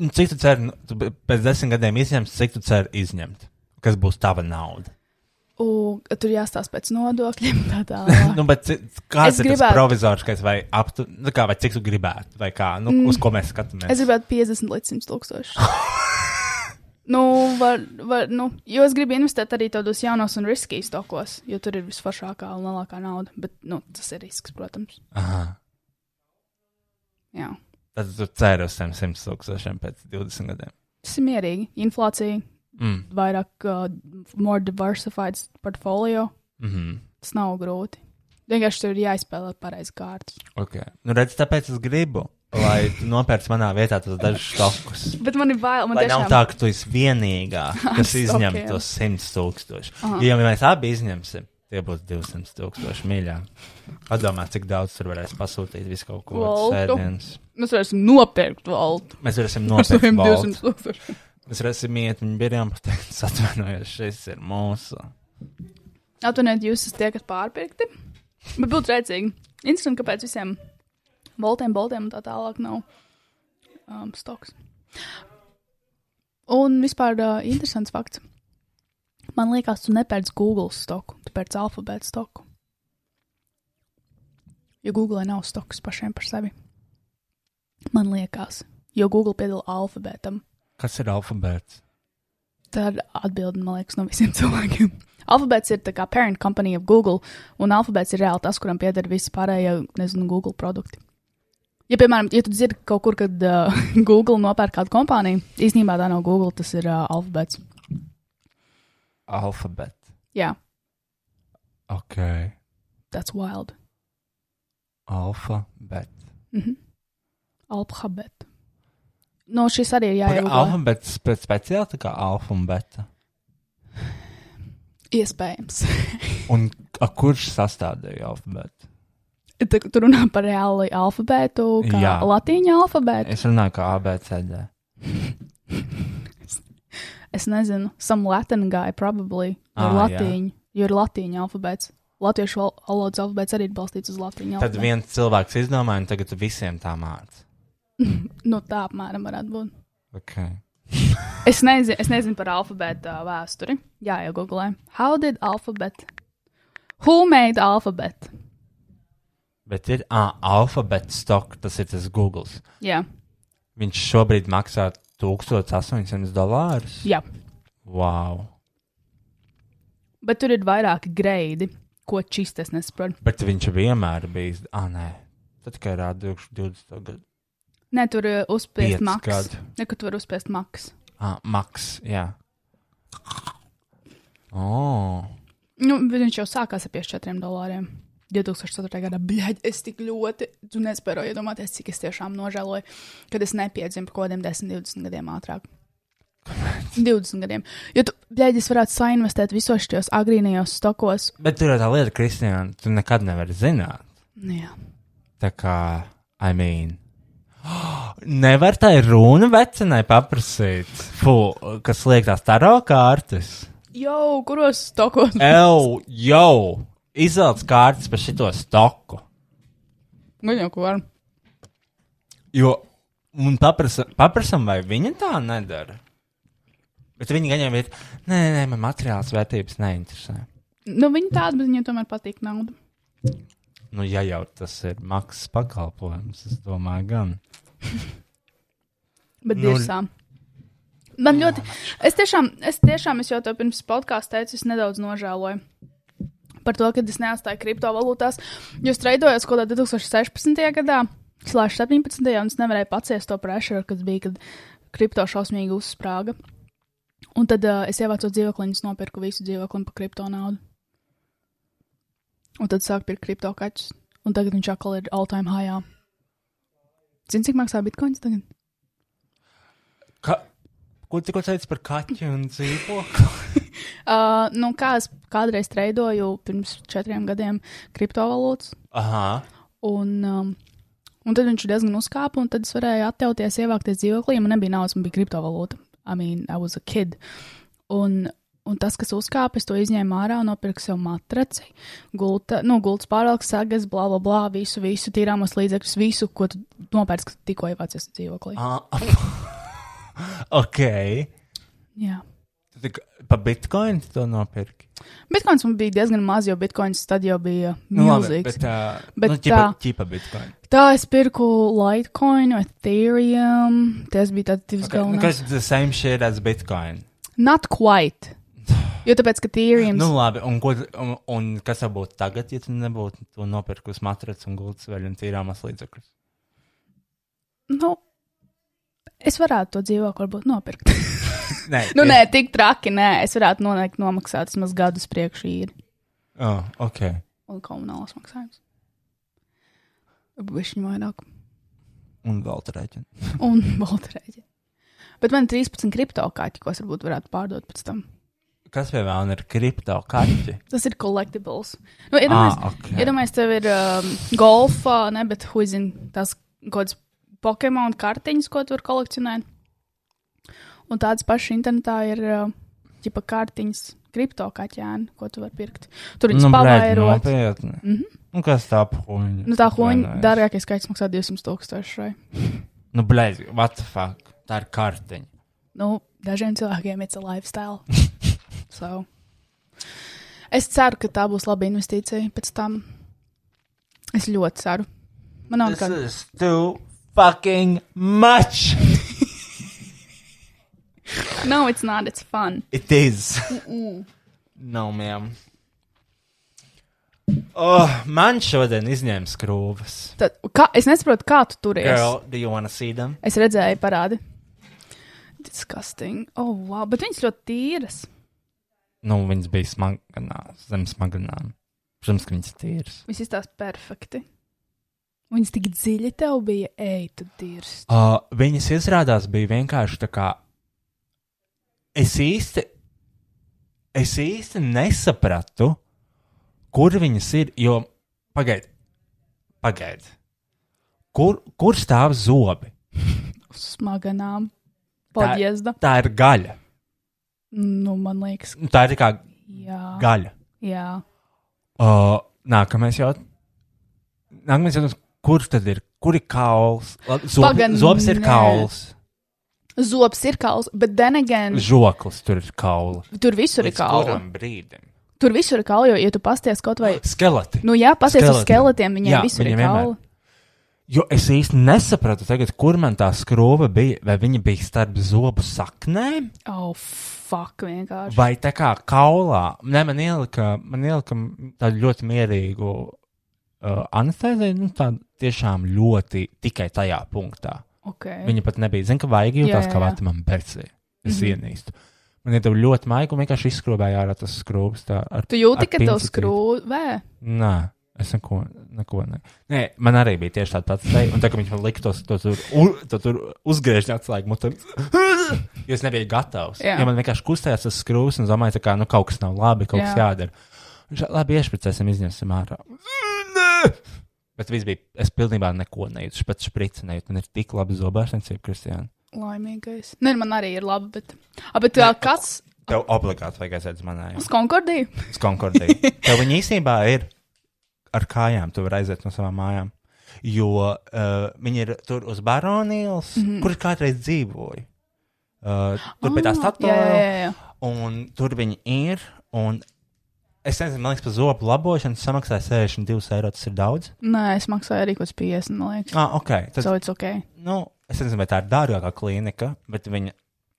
Nu, Cik tu ceri, nu, tu b- pēc desmit gadiem izņemt, cik tu ceri izņemt? Kas būs tava nauda?
U, tur jāstāsta pēc nodokļiem. Tā tālāk.
Nu, bet ci- kāds
Es
ir gribētu. tas
gribētu-
provizoriskais vai aptu, nu, kā, vai cik tu gribētu, vai kā, nu, mm. uz ko mēs skatāmies?
es gribētu 50 līdz 100 tūkstošu. Nu, var, var, nu, jo es gribu investēt arī tādos jaunos un riskīgos stokos, jo tur ir visforšākā un lielākā nauda. Bet nu, tas ir risks, protams.
Aha.
Jā.
Tad tu ceri uz tiem 100 tūkstošiem pēc 20 gadiem.
Tas ir mierīgi. Inflācija,
Mm.
vairāk, uh, more diversified portfolio.
Mm -hmm.
Tas nav grūti. Vienkārši tur ir jāizspēlē pareizi kārtas.
okay. Nu, redz, tāpēc es gribu. lai tu nopērci manā vietā tos dažus stokus.
Bet man ir bail, man
Lai
tiešām
nav tā, ka tu esi vienīgā, kas
Ar
izņem
stokiem.
tos 100 tūkstošus. Ja jau mēs abi izņemsim, tie būs 200 tūkstoši mīļā. Padomā, cik daudz tur varēs pasūtīt visu kaut ko
Voltu.
sēdienas.
Mēs varēsim nopirkt valdu
Mēs varēsim
ar
nopirkt
saviem 200
voltu.
tūkstošiem.
Mēs varēsim iet viņu birjām pateikt, "Es atvainojos, šis ir mūsu.
Atvainojiet, jūs esat tie, kas pārpirkti. Bet būtu rēcīgi. Interesanti, kāpēc visiem voltiem, boltiem un tā tālāk nav um, stoks. Un vispār uh, interesants fakts. Man liekas, tu nepērci Google stoku, tu pērci alfabēta stoku. Jo Google nav stoks pašiem par sevi. Man liekas, jo Google piedala alfabētam.
Kas ir alfabēts?
Tā ir atbilde, man liekas, no visiem cilvēkiem. Alfabēts ir tā kā parent company of Google, un alfabēts ir reāli tas, kuram pieder visi pārējie, nezinu, Google produkti. Ja, piemēram, ja tu dzirdi kaut kur, kad uh, Google nopērk kādu kompāniju, īstenībā tā nav Google, tas ir uh, alfabēts.
Alfabēts.
Jā,
Ok.
that's wild.
Alfabēts.
Alfabēts. Mhm. No šis arī ir jāiegūst.
Alfabēts pēc speciāli tā kā alfabēta.
Iespējams.
Un a, kurš sastādīja alfabētu?
Tā, tu runā par reāli alfabētu, kā
Jā.
latīņu alfabētu.
Es runāju kā ABCD.
Es nezinu, some Latin guy probably. Ah,
Ah,
latīņu, jo ir latīņu alfabēts. Latviešu val- valodas alfabēts arī ir balstīts uz latīņu.
Tad
alfabētu.
viens cilvēks izdomāja, un tagad visiem tā māca.
Nu, tā apmēram varētu būt.
Okay.
Es nezinu, es nezinu par alfabēta uh, vēsturi. Jā, jau googlē. How did alphabet? Who made alphabet?
Bet ir ah, alfabēta stock, tas ir tas Google.
Jā,
Viņš šobrīd maksā 1800 dolārus.
jā.
Wow!
Bet tur ir vairāki greidi, ko čist es nesaprotu.
Bet viņš vienmēr bijis. Ah, nē, tad tikai rāda 2020. gadu.
Nē, tur ir uzspiest
Piec
maks.
gadu.
Nē, ka tu vari uzspiest maks.
Ah, Maks, jā. Oh.
Nu, bet viņš jau sākās ar 54 dolāriem. 2004. gada bļaģ, es tik ļoti tu nespēju iedomāties, cik es tiešām nožēloju, kad es nepiedzimu par kaut kādiem 10, 20 gadiem ātrāk. 20 gadiem. Jo tu, bļaģ, es varētu sainvestēt visos šajos agrīnajos stokos.
Bet tur ir tā lieta, Kristija, tu nekad nevari zināt.
Nu, jā.
Tā kā, I mean. Nevar tā ir runa vecinai paprasīt, Fu, kas liek tās taro kārtas.
Jo, kuros stokos?
Ew, jau, izvelc kārtas par šito stoku.
Gan Nu, jau, ko var.
Jo, un paprasa, paprasam, vai viņa tā nedara. Bet viņi gan jau ir, nē, nē, nē, man materiāls vērtības neinteresē.
Nu, viņi tādi, bet viņiem tomēr patīk nauda.
Nu, ja jau tas ir maksas pakalpojums, es domāju, gan.
Bet
Nu,
dirsā. Man ļoti, es tiešām, es tiešām, es jau to pirms podkāstā teicu, es nedaudz nožēloju par to, ka es neatstāju kriptovalūtās. Jo streidojos kaut kādā 2016. gadā, slēdz 17. un es nevarēju paciest to pressuru, kas bija, kad kripto šausmīgi uzsprāga. Un tad uh, es ievācu dzīvokliņus, nopirku visu dzīvokli par kripto naudu. Un tad sāku pirkt kripto kaķus. Un tagad viņš atkal ir all time high. Zini, cik maksā bitkoins tagad?
Ka... Ko tikko teici par kaķu un dzīvokli?
Uh, nu, kā es kādreiz treidoju pirms četriem gadiem kriptovalūtas,
Aha.
un, um, un tad viņš diezgan uzkāpa, un tad es varēju atļauties ievākties dzīvoklī, ja man nebija naudas, man bija kriptovalūta. I mean, I was a kid. Un, un tas, kas uzkāpa, es to izņēmu ārā, nopirku sev matraci, gulta, nu, gultas pārvalks, sagas, bla, bla, bla, visu, visu, tīrāmos līdzekļus, visu, ko tu nopērci, kad tikko ievācies dzīvoklī.
Ah, ok.
Jā.
Tu tik pa bitkoinu tu to nopirki.
Bitcoins man bija diezgan maz, jo bitcoins tad jau bija
labi,
milzīgs.
bet, uh,
Bet
bet nu, ķipa,
tā.
ķipa bitkoinu.
Tā es pirku Litecoin, Ethereum. Tas bija tāds divs
Okay. Nu,
galvenais.
kas the same shit as bitcoin?
Not quite. Jo tāpēc, ka Ethereum.
Nu
Nu.
labi, un, ko, tu- un, un kas tev būtu tagad, ja tu nebūtu to nopirkus matrac un gultas vēl un tīrāmas līdzekļus?
Nu, es varētu to dzīvokli varbūt nopirkt.
Nē,
nu, nē, tik traki, nē. Es varētu nonākt nomaksāt vismaz gadus priekšā īri
Oh, ok.
un komunālas maksājumus. Višķi vairāk.
Un vēl tur rēķina.
un baltrēķi. Bet man ir 13 kriptokaķi, ko es varbūt varētu pārdot pēc tam.
Kas pie vēl ir kripto kaķi?
Tas ir collectibles. Nu, iedomājies,
Ah, ok.
iedomājies, tev ir um, golfa, ne, bet huizin tās kaut kādas Pokemon kartiņas, ko tu vari kolekcionēt. Un tādas pašas internetā ir ģipa kartiņas, kriptokaķēni, ko tu vari pirkt. Tur viņi spavairot.
Nu, nopietni. Mm -hmm. Nu, kas tā puņa?
Mhm. Nu, tā hoņa dārgākais skaits maksā 200 tūkstoši. vai?
Nu, blēdi, what the fuck? Tā ir kartiņa.
nu, dažiem cilvēkiem ir lifestyle. so. Es ceru, ka tā būs laba investīcija pēc tam. Es ļoti ceru. Man nav
This
nekāda.
is too fucking much.
No, it's not, it's fun.
It is. no, ma'am. Oh, man šodien izņēma skrūves.
Tad, kā, es nesaprotu, kā tu turies.
Girl, do you want to see them?
Es redzēju, parādi. Disgusting. Oh, wow. Bet viņas ļoti tīras.
Nu, viņas bija smaganā, zem smaganām. Protams, ka viņas tīras.
Viņas izstās perfekti. Viņas tik dziļi tev bija. Ei, tu dirsti.
Uh, viņas izrādās bija vienkārši tā kā. Es īsti, es īsti nesapratu, kur viņas ir. Jo, pagaidi, pagaidi. Kur, kur stāv zobi?
Uz smaganām.
Tā-
Podjezda.
Tā ir gaļa.
Nu, man liekas,
Nu, Tā ir tā kā
jā.
gaļa.
jā.
Uh, nākamais jautājums. Nākamais jautājums. Kur tad ir? Kur ir kauls? Labi, Zobi,
Pagan-
zobs ir
nē.
kauls.
Zobs ir kauls, bet then again,
Žoklis tur ir kaula.
tur visur ir
Līdz
kaula.
kuram brīdim?
Tur visur ir kaula, jo, ja tu pasties kaut vai.
Skeleti.
Nu, jā, pasties uz
Skeleti.
skeletiem, viņiem jā,
Jā,
visur
viņiem
ir kaula.
vienmēr. Jo es īsti nesapratu, tagad, kur man tā skrova bija. Vai viņa bija starp zobu saknēm,
Oh, fuck, vienkārši.
vai tā kā kaulā? Nē, man ielika, man ielika tādu ļoti mierīgu uh, anesteziju, nu, tādu tiešām ļoti tikai tajā punktā.
Okay.
Viņa pat nebija, zina, ka vajag
Jā,
jūtās,
jā, Mhm.
kā
jā.
vēta man bercē. Es mm -hmm. ienīstu. Man ir tev ļoti maiga, un vienkārši izskrobēja ārā tas skrūvis. tā ar-
Tu jūti,
ar
ka tev
pincetīt.
skrūvē.
Nē, es neko, neko ne. Nē, man arī bija tieši tāds pats te, un tā, ka viņš man lika tos, tos tur, u, to tur uzgriežņu atslēgu mutē. Jo es nebiju gatavs.
Jā.
Jā. Ja man vienkārši kustējās tas skrūvis un domāju, tā kā, nu, kaut kas nav labi, kaut Jā.
Jā.
kas jādara. Viņš tā, labi iešpricēsim, izņemsim ārā. Nē! Bet viss bija, es pilnībā neko nejūtu, pat šprici nejūtu. Man ir tik labi zobārstniecība, Kristija.
Laimīgais. Nē, man arī ir labi, bet. A, bet Nē, kāds
Tev obligāti vajag aiziet uz manēju,
uz Konkordiju?
uz Konkordiju. Tev viņa īstenībā ir ar kājām, tu vari aiziet no savām mājām. Jo uh, viņi ir tur uz Baronijas, mm -hmm. kur kādreiz dzīvoja. Uh, tur bija tā
Mhm. Ah, jā, jā,
statīva,
jā, jā.
un tur viņi ir. un Es nezinu, man liekas, par zobu labošanu samaksāja 62 eiro. Tas ir daudz.
Nē, es maksāju arī kaut kāds 50, man liekas.
Ah, ok. Tad,
So it's ok.
nu, es nezinu, vai tā ir dārgākā klinika, bet viņa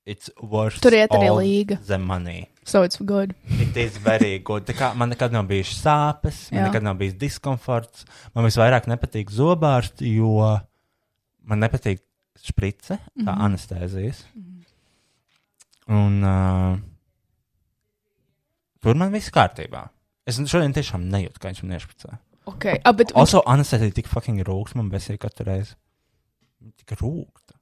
it's worth
Tur iet arī
all
līga.
The money.
So it's good.
It is very good. Tā kā Man nekad nav bijušas sāpes, man
Jā.
nekad nav bijis diskomforts. Man visvairāk nepatīk zobārsti, jo man nepatīk sprice, tā mm
Mhm.
-hmm. anestēzijas. Mm -hmm. Un uh, tur man viss kārtībā. Es šodien tiešām nejūtu, kā viņš man iešpricē.
Ok. A, Ah, bet,
Also, anestēzija tik fucking rūks, man besīja katru reizi. Tik rūkta.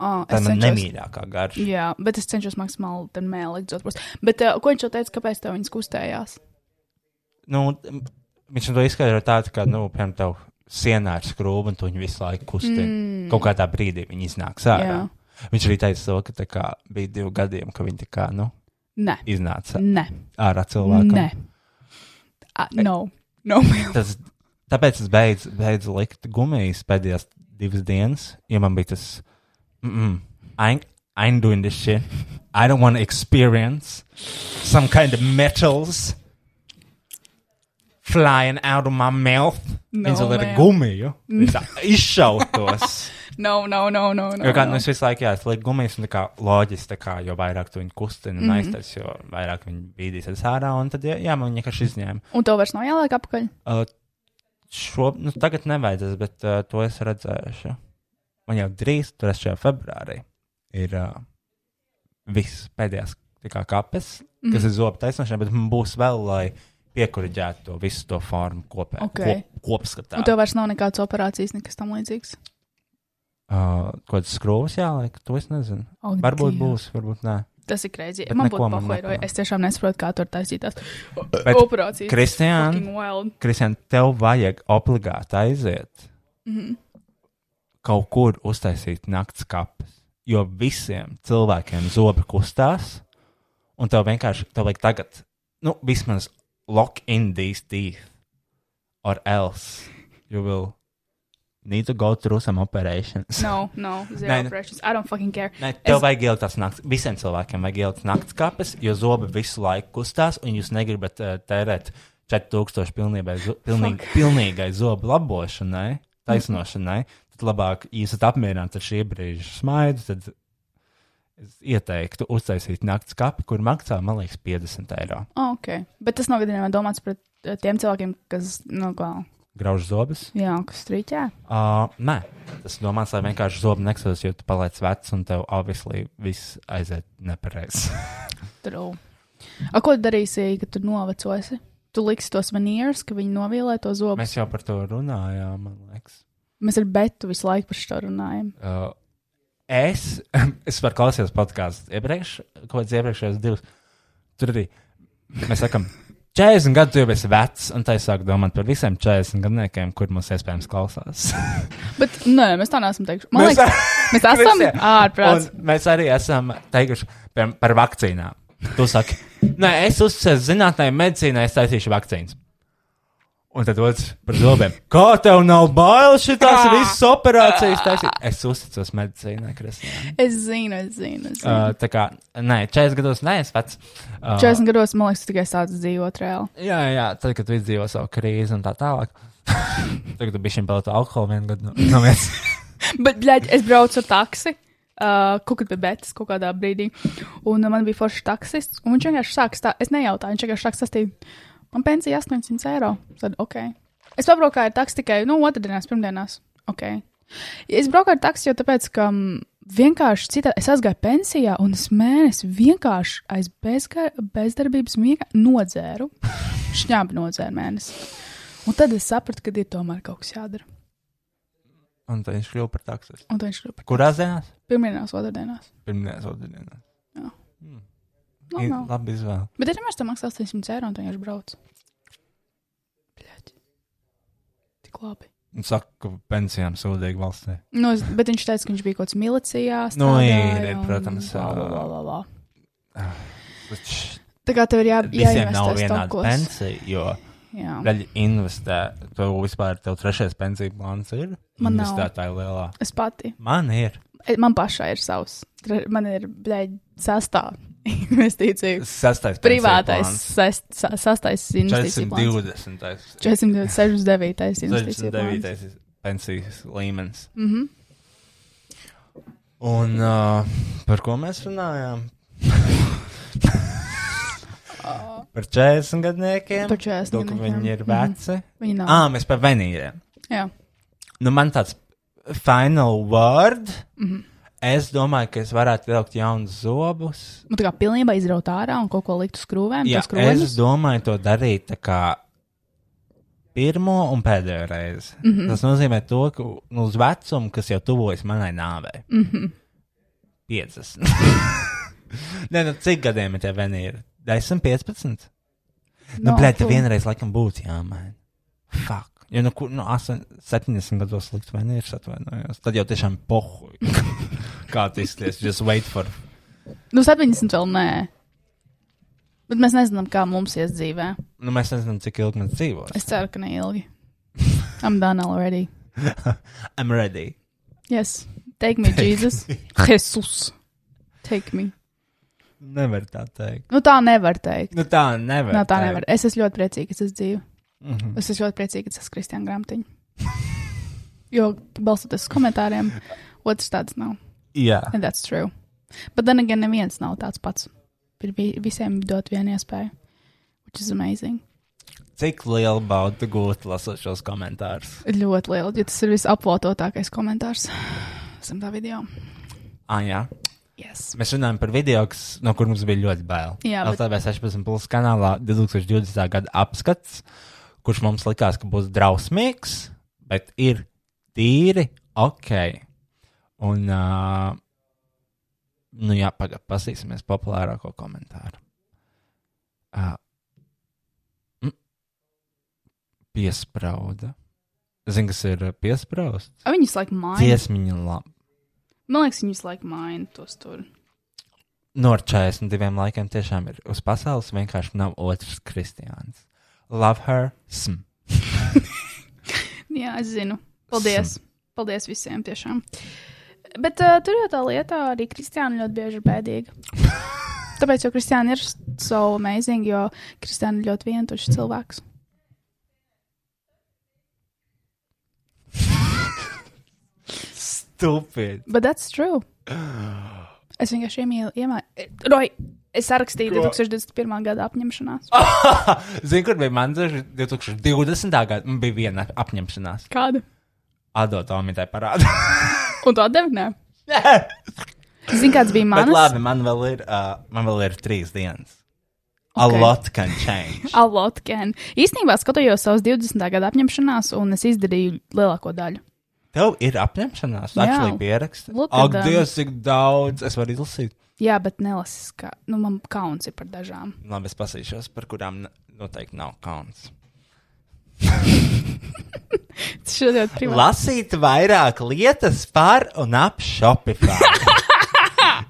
ah, es
Tā nu ir man
cenšos-
nemīļākā garša.
Jā, bet es cenšos maksimāli tam mēlīt. Bet uh, ko viņš jau teica, kāpēc tev viņas kustējās?
nu, viņš to izskaidroja tādu, ka, nu, piemēram, tev sienā ir skrūve, un tu viņu visu laiku kustini. Mm. Kaut kādā brīdī viņi iznāks ārā.
Jā.
Jā. Viņš arī teica, to, ka tā kā, bija divi gadiem, ka viņi tā kā, nu,
Nē,
iznāca
nē,
ārā cilvēkam.
nē. A, no, no.
Tas, tāpēc es beidzu, beidzu likt gumijas pēdējās divas dienas, jo man bija tas, mm, I'm, I'm doing this shit. I don't want to experience some kind of metals flying out of my mouth.
No,
Viņas vēl ir
ma'am.
gumiju. Viņas tā izšautos.
No, no, no, no, no,
Jo kā nu,
no.
es visu laiku jāsliek gumijas, un tā kā loģiski, tā kā, jo vairāk tu viņu kustini
Mhm.
un aiztais, jo vairāk viņi bīdīsies ārā, un tad, jā, jā man viņa vienkārši izņēma.
Un to vairs nav jāliek apakaļ.
Uh, šo, nu, tagad nevajadzēs, bet uh, to es redzēšu. Man jau drīz, 3. februārī, ir uh, viss pēdējais tā kā kapes, mm.
Mhm.
kas ir zobu taisnošana, bet man būs vēl, lai piekuriģētu to visu to formu kopē,
Ok.
kop, kopskatā.
Un tev vairs nav nekādas operācijas, nekas tam līdzīgs.
uh, kaut kādas skrūves jāliek, to es nezinu.
O,
varbūt
Dievs.
būs, varbūt nē.
Tas ir greizi.
Bet
Man
neko
būtu
man
pahoiroja.
nepatīk.
Es tiešām nesaprotu, kā tur taisītās o-
Bet
operācijas.
Kristiāna,
Fucking wild.
Kristian, tev vajag obligāti aiziet mm -hmm.
Mhm.
kaut kur uztaisīt naktas kapes. Jo visiem cilvēkiem zobi kustās, un tev vienkārši tev vajag tagad, nu, vismaz lock in these teeth, or else you will need to go through some operations.
No, no,
Nē,
zero
nu-
operations. I don't fucking care.
Nē,
Es-
tev es... vajag ielikt tās naktas, visiem cilvēkiem vajag ielikt naktas kapes, jo zobi visu laiku kustās, un jūs negribat uh, tērēt 4000 pilnībai zo- pilnīgi- pilnīgai zobu labošanai, taisnošanai. Tad labāk, ja esat apmierināts ar šī brīža smaidu, tad es ieteiktu uztaisīt naktas kapi, kur maksā, man liekas, 50 eiro.
Oh, ok. Bet tas nav gadījumā domāts pret eh, tiem cilvēkiem, kas, nu, kā,
Grauž zobus.
jā, kas strīķē.
Uh, nē, tas domāts, lai vienkārši zobu nekstos, jo tu paliec vecs un tev obviously viss aiziet nepareizi.
True. A, ko tu darīsi, kad tu novecosi? Tu liksi tos manieres, ka viņi novielē to zobu. Mēs,
Mēs jau par to runājām, man liekas.
Mēs ar Betu visu laiku par šo runājam.
Uh, es, es varu klausīties podkāstu iepriekš, ko es iepriekšējos divus. Tur arī mēs sakām, 40 gadu tu jau esi vecs, un tā es sāku domāt par visiem 40 gadniekiem, kur mums iespējams klausās.
Bet, nē, mēs tā neesam teikuši. Man
Mēs-
liekas, mēs esam
Visiem.
ārprāts.
Un mēs arī esam teikuši par, par vakcīnām. Tu saki, nē, es uzticos zinātnē, medicīnā, es taisīšu vakcīnas. Un tad otrs par zobiem. Kā tev nav bail šīs visas operācijas? Taisīt? Es uzticos medicīnai, Kristīna.
Es zinu, es zinu. Es zinu.
Uh, tā kā, nē, 40 gados neesmu vecs. Uh,
40 gados, man liekas, tu tikai sācis dzīvot reāli.
Jā, jā, tad, kad tu izdzīvo savu krīzi un tā tālāk. Tagad tu bišķiņ pelēto alkoholu vienu gadu. no- No viens.
Bet, bļaļ, es braucu ar taksi. Uh, kaut kad bija betas kaut kādā brīdī. Un uh, man bija foršs taksists. Un viņš vienkārši sāka stāstīt. Es nejautāju, viņš vienkārši sāka stāstīt. Man pensija 800 eiro. Tad, ok. Es pabraukāju ar taksi tikai, nu, otrdienās, pirmdienās. Ok. Es braucu ar taksi jau tāpēc, ka mm, vienkārši citā, es aizgāju pensijā un es mēnesi vienkārši aiz bezga, bezdarbības miega nodzēru. Šņābi nodzēru mēnesi. Un tad es sapratu, ka ir tomēr kaut kas jādara.
un tad viņš kļuva par taksistu.
Un tad viņš kļuva par
Kurās dienās?
pirmdienās, otrdienās.
Pirmdienās, otrdienās.
Jā.
Mm.
Nu,
Ir
nav.
Labi izvēle.
Bet ir vienmēr tā maksā 800 eiro, un tu vienkārši brauc. Bļaģi. Tik labi.
Un saka, ka pensijām sūdīgi valstī.
Nu, es, bet viņš teica, ka viņš bija kaut kāds milicijā.
Nu,
strādāja
ir, ir,
un
protams,
lā, lā,
ā.
lā, lā, lā.
Taču
Tā kā tev ir jā,
Visiem nav
jāinvestē
vienāda
stokos.
pensija, jo
Jā.
daļa investē. Tev vispār tev trešais pensiju plāns ir?
Man nav.
Investētāji lielā.
Es pati.
Man ir.
e- Man pašai ir savs. Tre- Man ir, bļaigi, sastāv investīciju.
Sastais. pensiju
Privātais,
plāns.
sest, sa- sastais investīciju. plāns.
420.
469. investīciju. plāns.
69. pensijas līmenis.
Mhm.
Un uh, par ko mēs runājām? par 40 gadniekiem.
Par 40
To, ka
gadniekiem.
Viņi ir
Mhm.
veci. Mm
Viņi
-hmm.
nav.
ah, mēs par venīriem.
Jā.
Nu, man tāds final word. Mm
Mhm.
-hmm. Es domāju, ka es varētu ielikt jaunus zobus.
Nu, tā kā pilnībā izraut ārā un kaut ko likt uz krūvēm,
Jā,
tas krūvēs.
es domāju, to darīt tā kā pirmo un pēdējo reizi. Mm
Mhm.
-hmm. Tas nozīmē, to, ka nu, uz vecumu, kas jau tuvojas manai nāvei, mm -hmm.
Mhm.
50. Nē, nu, cik gadiem ir tie venīri? 10, 15. Nu, no, blēdi, tev vienreiz laikam būtu jāmaina. Fuck. Jo, nu, kur, nu, 8, 70 gados likt venīrus atvainojos. Tad jau tiešām pohuj. Kā tas izties? Just wait for.
Nu, 70 vēl nē. Bet mēs nezinām, kā mums ies dzīvē.
Nu, mēs nezinām, cik ilgi mēs dzīvosim.
Es ceru, ka neilgi. I'm done already.
I'm ready.
Yes. Take me, Jesus. Jesus. Take me.
Nevar tā teikt.
Nu, tā nevar teikt.
Nu, tā nevar.
Nē, tā
teikt.
nevar. Es esmu ļoti priecīga, ka es dzīvoju.
Mm -hmm.
Es esmu ļoti priecīga, ka es esmu Kristiāna grāmatiņa. Jo balstoties uz komentāriem, otrs tāds nav.
Jā,
And that's true. But then again, neviens nav tāds pats. Ir vi- visiem dot vienu iespēju, which is amazing.
cik liela bauda gūt lasot šos komentārus?
Ļoti liela. Ja tas ir visaplototākais komentārs zem tā video.
Ah, jā.
Yes.
Mēs runājam par video, kas, no kur mums bija ļoti bail.
Jā, bet-
LTV 16. Plus kanālā 2020. gada apskats, kurš mums likās, ka būs drausmīgs, bet ir tīri ok. Un, uh, nu, jā, pagaidi, paskatīsimies populārāko komentāru. Uh, mm, piesprauda. Zini, kas ir uh, piesprausts?
A, Viņas laik maina.
Tiesmiņa labi.
Man liekas, viņas laik maina tos tur.
No Nu, ar 42 laikiem tiešām ir uz pasaules vienkārši nav otrs Kristiāns. Love her. Sm.
Jā, es zinu. Paldies. Paldies visiem tiešām. Bet uh, tur jau tā lieta, arī Kristiāna ļoti bieži ir bēdīga. Tāpēc jau Kristiāna ir so amazing, jo Kristiāna ir ļoti vientuļš cilvēks.
Stupid.
But that's true. Es vienkārši iemīlu, iemīlu. Roj, es rakstīju 2021. gada apņemšanās.
Zini, kur bija man tieši 2020. gada? Man bija viena apņemšanās.
Kādu?
Atdot Tomitai parādu.
Un to devinē.
Nē.
Zini, kāds bija
Bet
mans?
labi, man vēl ir, uh, man vēl ir trīs dienas. Okay. A
Ok.
lot can change.
A lot, Ken. Īstenībā skatījos savus 20. gada apņemšanās, un es izdarīju lielāko daļu.
Tev ir apņemšanās,
Jā.
actually pieraksta.
Look at
Ak,
them.
Dievs, cik daudz es varu izlasīt.
Jā, bet nelasis, ka nu, man kauns ir par dažām.
Labi, es pasīšos, par kurām ne- noteikti nav kauns.
Tas šodien ir privāti.
Lasīt vairāk lietas par un ap Shopify.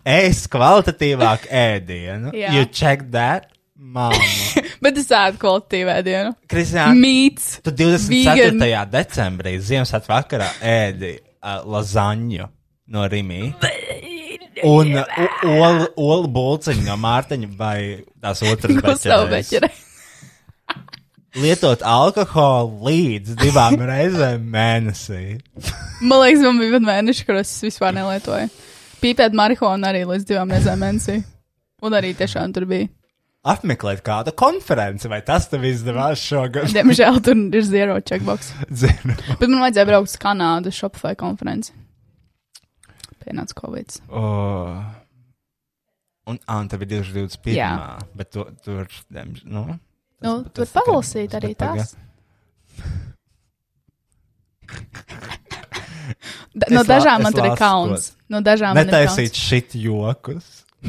Ēst kvalitatīvāku ēdienu.
Jā.
You check that? Māma.
Bet es ēdu kvalitīvā dienu.
Kristija,
Mīts.
tu 24.
Vegan.
decembrī, Ziemassvētku vakarā, ēdi uh, lazaņu no Rimī. Un uh, u- olu- olu būciņu no Mārtiņa vai tās otras
Gustavu
beķerēs.
beķerē.
Lietot alkoholu līdz divām reizēm mēnesī.
Man liekas, man bija pat mēneši, kur es vispār nelietoju. Pīpēt marihuānu arī līdz divām reizēm mēnesī. Un arī tiešām tur bija.
Apmeklēt kādu konferenci, vai tas tev izdevās šogad?
Diemžēl tur ir zero checkbox.
Zinu.
Bet man vajadzēja braukt uz Kanādu Shopify konferenci. Pienāca Covid.
Oh. Un Anta bija 2021.
Jā.
Jā. Bet tu, tur, diemž- nu, tas-
Nu,
tas
tur
tikai-
palasīt
tas
arī
tikai-
tās. Da, no
Es la-
dažām
es
man tur ir
lasu
kauns. No dažām man ir
Netaisīt
kauns.
šit jokus.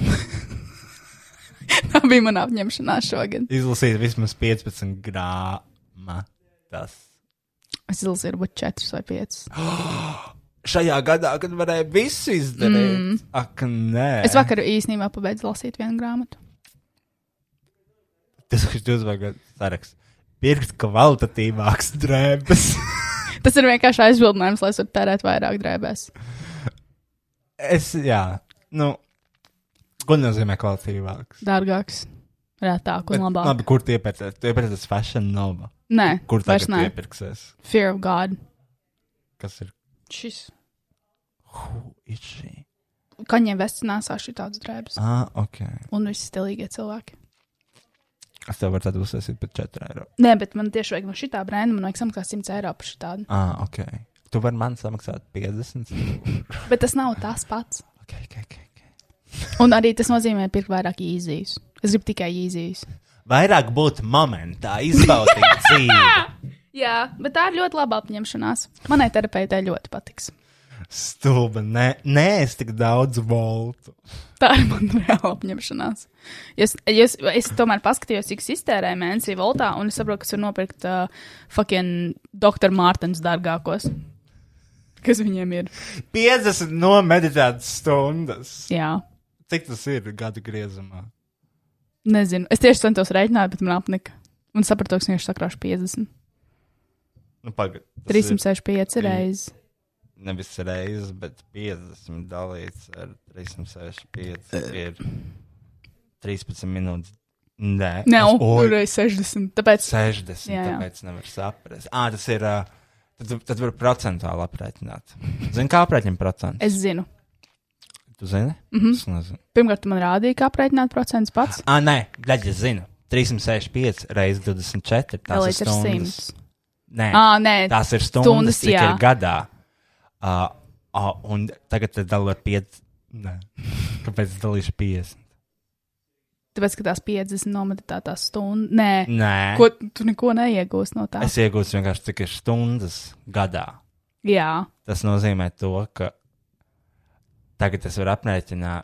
Tā bija mana apņemšanās šogad.
Izlasīt vismaz 15 grāmatas.
Es izlasīju varbūt četrus vai piecus.
šajā gadā, kad varēja visu izdarīt. Mm. Ak, nē,
Es vakar īstenībā pabeidzu lasīt vienu grāmatu.
tas ir tas pats saraksts. Pirkt kvalitatīvākas drēbes.
Tas ir vienkārši aizbildinājums, lai es varētu tērēt vairāk drēbēs.
es, jā, nu, ko nozīmē kvalitatīvāks?
Dārgāks, rētāk un labāk.
labi, kur tie pērties? Tie pērties Fashion Nova.
Nē,
Kur
vairs
tagad
nē.
iepirksies?
Fear of God.
Kas ir?
Šis.
Who is she?
Kaņiem vestinās ar šitādus drēbes.
Ah, ok.
Un visi stilīgie cilvēki.
Es tev varu tādu uzsākt par 4 eiro.
Nē, bet man tieši vajag no šitā brenda, man vajag samaksāt 100 eiro par šitādu.
Ah, ok. Tu vari man samaksāt 50.
Bet tas nav tas pats.
ok, ok, ok. ok.
Un arī tas nozīmē pirkt vairāk īzijas. Es gribu tikai īzijas.
Vairāk būt momentā, izbaudīt dzīvi.
Jā, bet tā ir ļoti laba apņemšanās. Manai terapeitei ļoti patiks.
Stulba, nē, nē, es tik daudz voltu.
Tā ir mana reāla apņemšanās. Es, es, es tomēr paskatījos, cik es iztērēju mēnesī voltā, un es saprotu, kas var nopirkt uh, fucking doktora Mārtens dārgākos. Kas viņiem ir?
50 no meditācijas stundas.
Jā,
Cik tas ir gada griezumā?
nezinu. Es tieši centos rēķināt, bet man apnika. Un sapratu, ka es vienkārši sakrāšu 50.
Nu, pagaidi. tas ir
365 reizes.
Nevis reizes, bet 50 dalīts ar 365 ir 13 minūtes. Nē,
Nē,
es- oi,
tur ir 60. Tāpēc
60.
Jā,
Jā,
jā.
jā. Tāpēc nevar saprast. Ah, tas ir. ā, Tad, tad var procentuāli aprēķināt. Zini, kā aprēķina procentu?
es zinu. Mhm.
Tu zini? Mm -hmm. Es nezinu.
Pirmkārt, tu man rādīja, kā aprēķināt procentus pats.
Ah, nē, daļa zina. 365 reizes 24.
Jā,
Tas ir
līdz ar
stundas.
100.
Nē,
Ā, nē,
tās ir stundas,
stundas,
stundas cik
jā.
ir gadā. Uh, uh, un tagad tad dalu ar 5. Nē, kāpēc es dalīšu 50?
tāpēc, ka tās 50 nometā tās stundas. Nē,
Nē,
ko tu neko neiegūsi no tā.
es iegūstu vienkārši cik ir stundas gadā.
Jā,
Tas nozīmē to, ka Tagad es varu aprēķināt.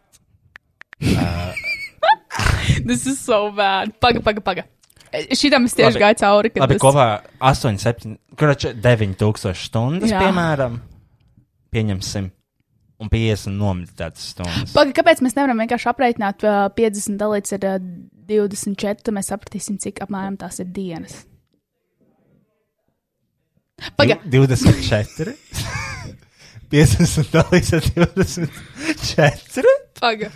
This is so bad. Paga, paga, paga. E, Šitam es tieši
Labi.
gāju cauri. kad
Labi,
tas-
kopā 8, 7, kurš 9000 stundas,
Jā.
Jā. piemēram, pieņemsim, un 50 nomeditētas stundas.
Paga, kāpēc mēs nevaram vienkārši aprēķināt ā, 50 dalīts ar ā, 24, tad mēs sapratīsim, cik apmēram tās ir dienas. Paga,
Div- 24. 50 dalīts ar 24.
paga.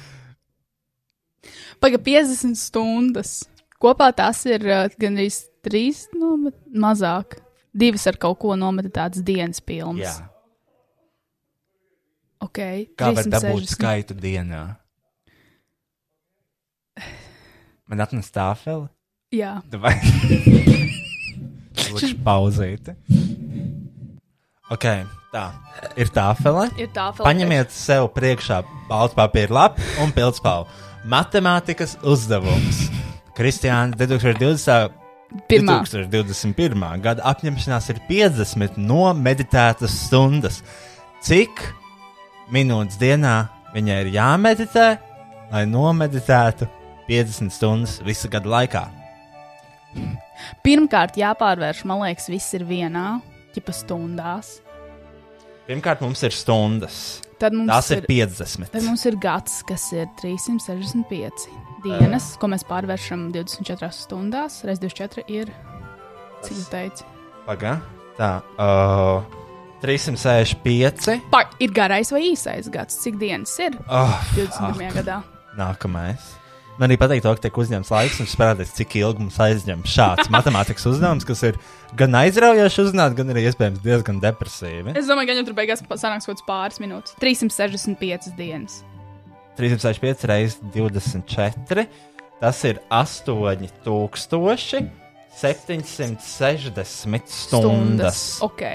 Paga, 50 stundas. Kopā tās ir ā, gandrīz 3, no mazāk. Divas ar kaut ko nometētas dienas pilnas.
Jā.
Okay,
Kā var dabūt
360.
skaitu dienā? Man atnesa tāfeli.
Jā,
Vai arī pauzīt? Ok, tā ir tāfele.
ir tā vēl.
Paņemiet sev priekšā baltu papīra lapu un pildspalvu. Matemātikas uzdevums. Kristiāna 2020.
pirmā.
2021. gada apņemšanās ir 50 no meditētas stundas. Cik minūtes dienā viņai ir jāmeditē, lai nomeditētu 50 stundas visa gada laikā?
Pirmkārt, jāpārvērš, man liekas, viss ir vienā, tipā stundās.
Pirmkārt, mums ir stundas.
Tad mums
Tās ir
ir, tad
50.
mums ir gads, kas ir 365 dienas, ko mēs pārvēršam 24 stundās. Reiz 24 ir, cik jūs teicāt,
Pagaidām, tā. Uh, 365.
ir garais vai īsais gads, cik dienas ir
Oh,
21. gadā.
Nākamais. Man arī patīk, to, ka tiek uzņemts laiks un parādīts, cik ilgi mums aizņem šāds matemātikas uzdevums, kas ir gan aizraujoši uzzināt, gan arī iespējams diezgan depresīvi.
Es domāju, ka viņam tur beigās pa- sanāks kaut kāds pāris minūtes. 365 dienas.
365 reizes 24. Tas ir 8760 stundas. stundas.
Ok,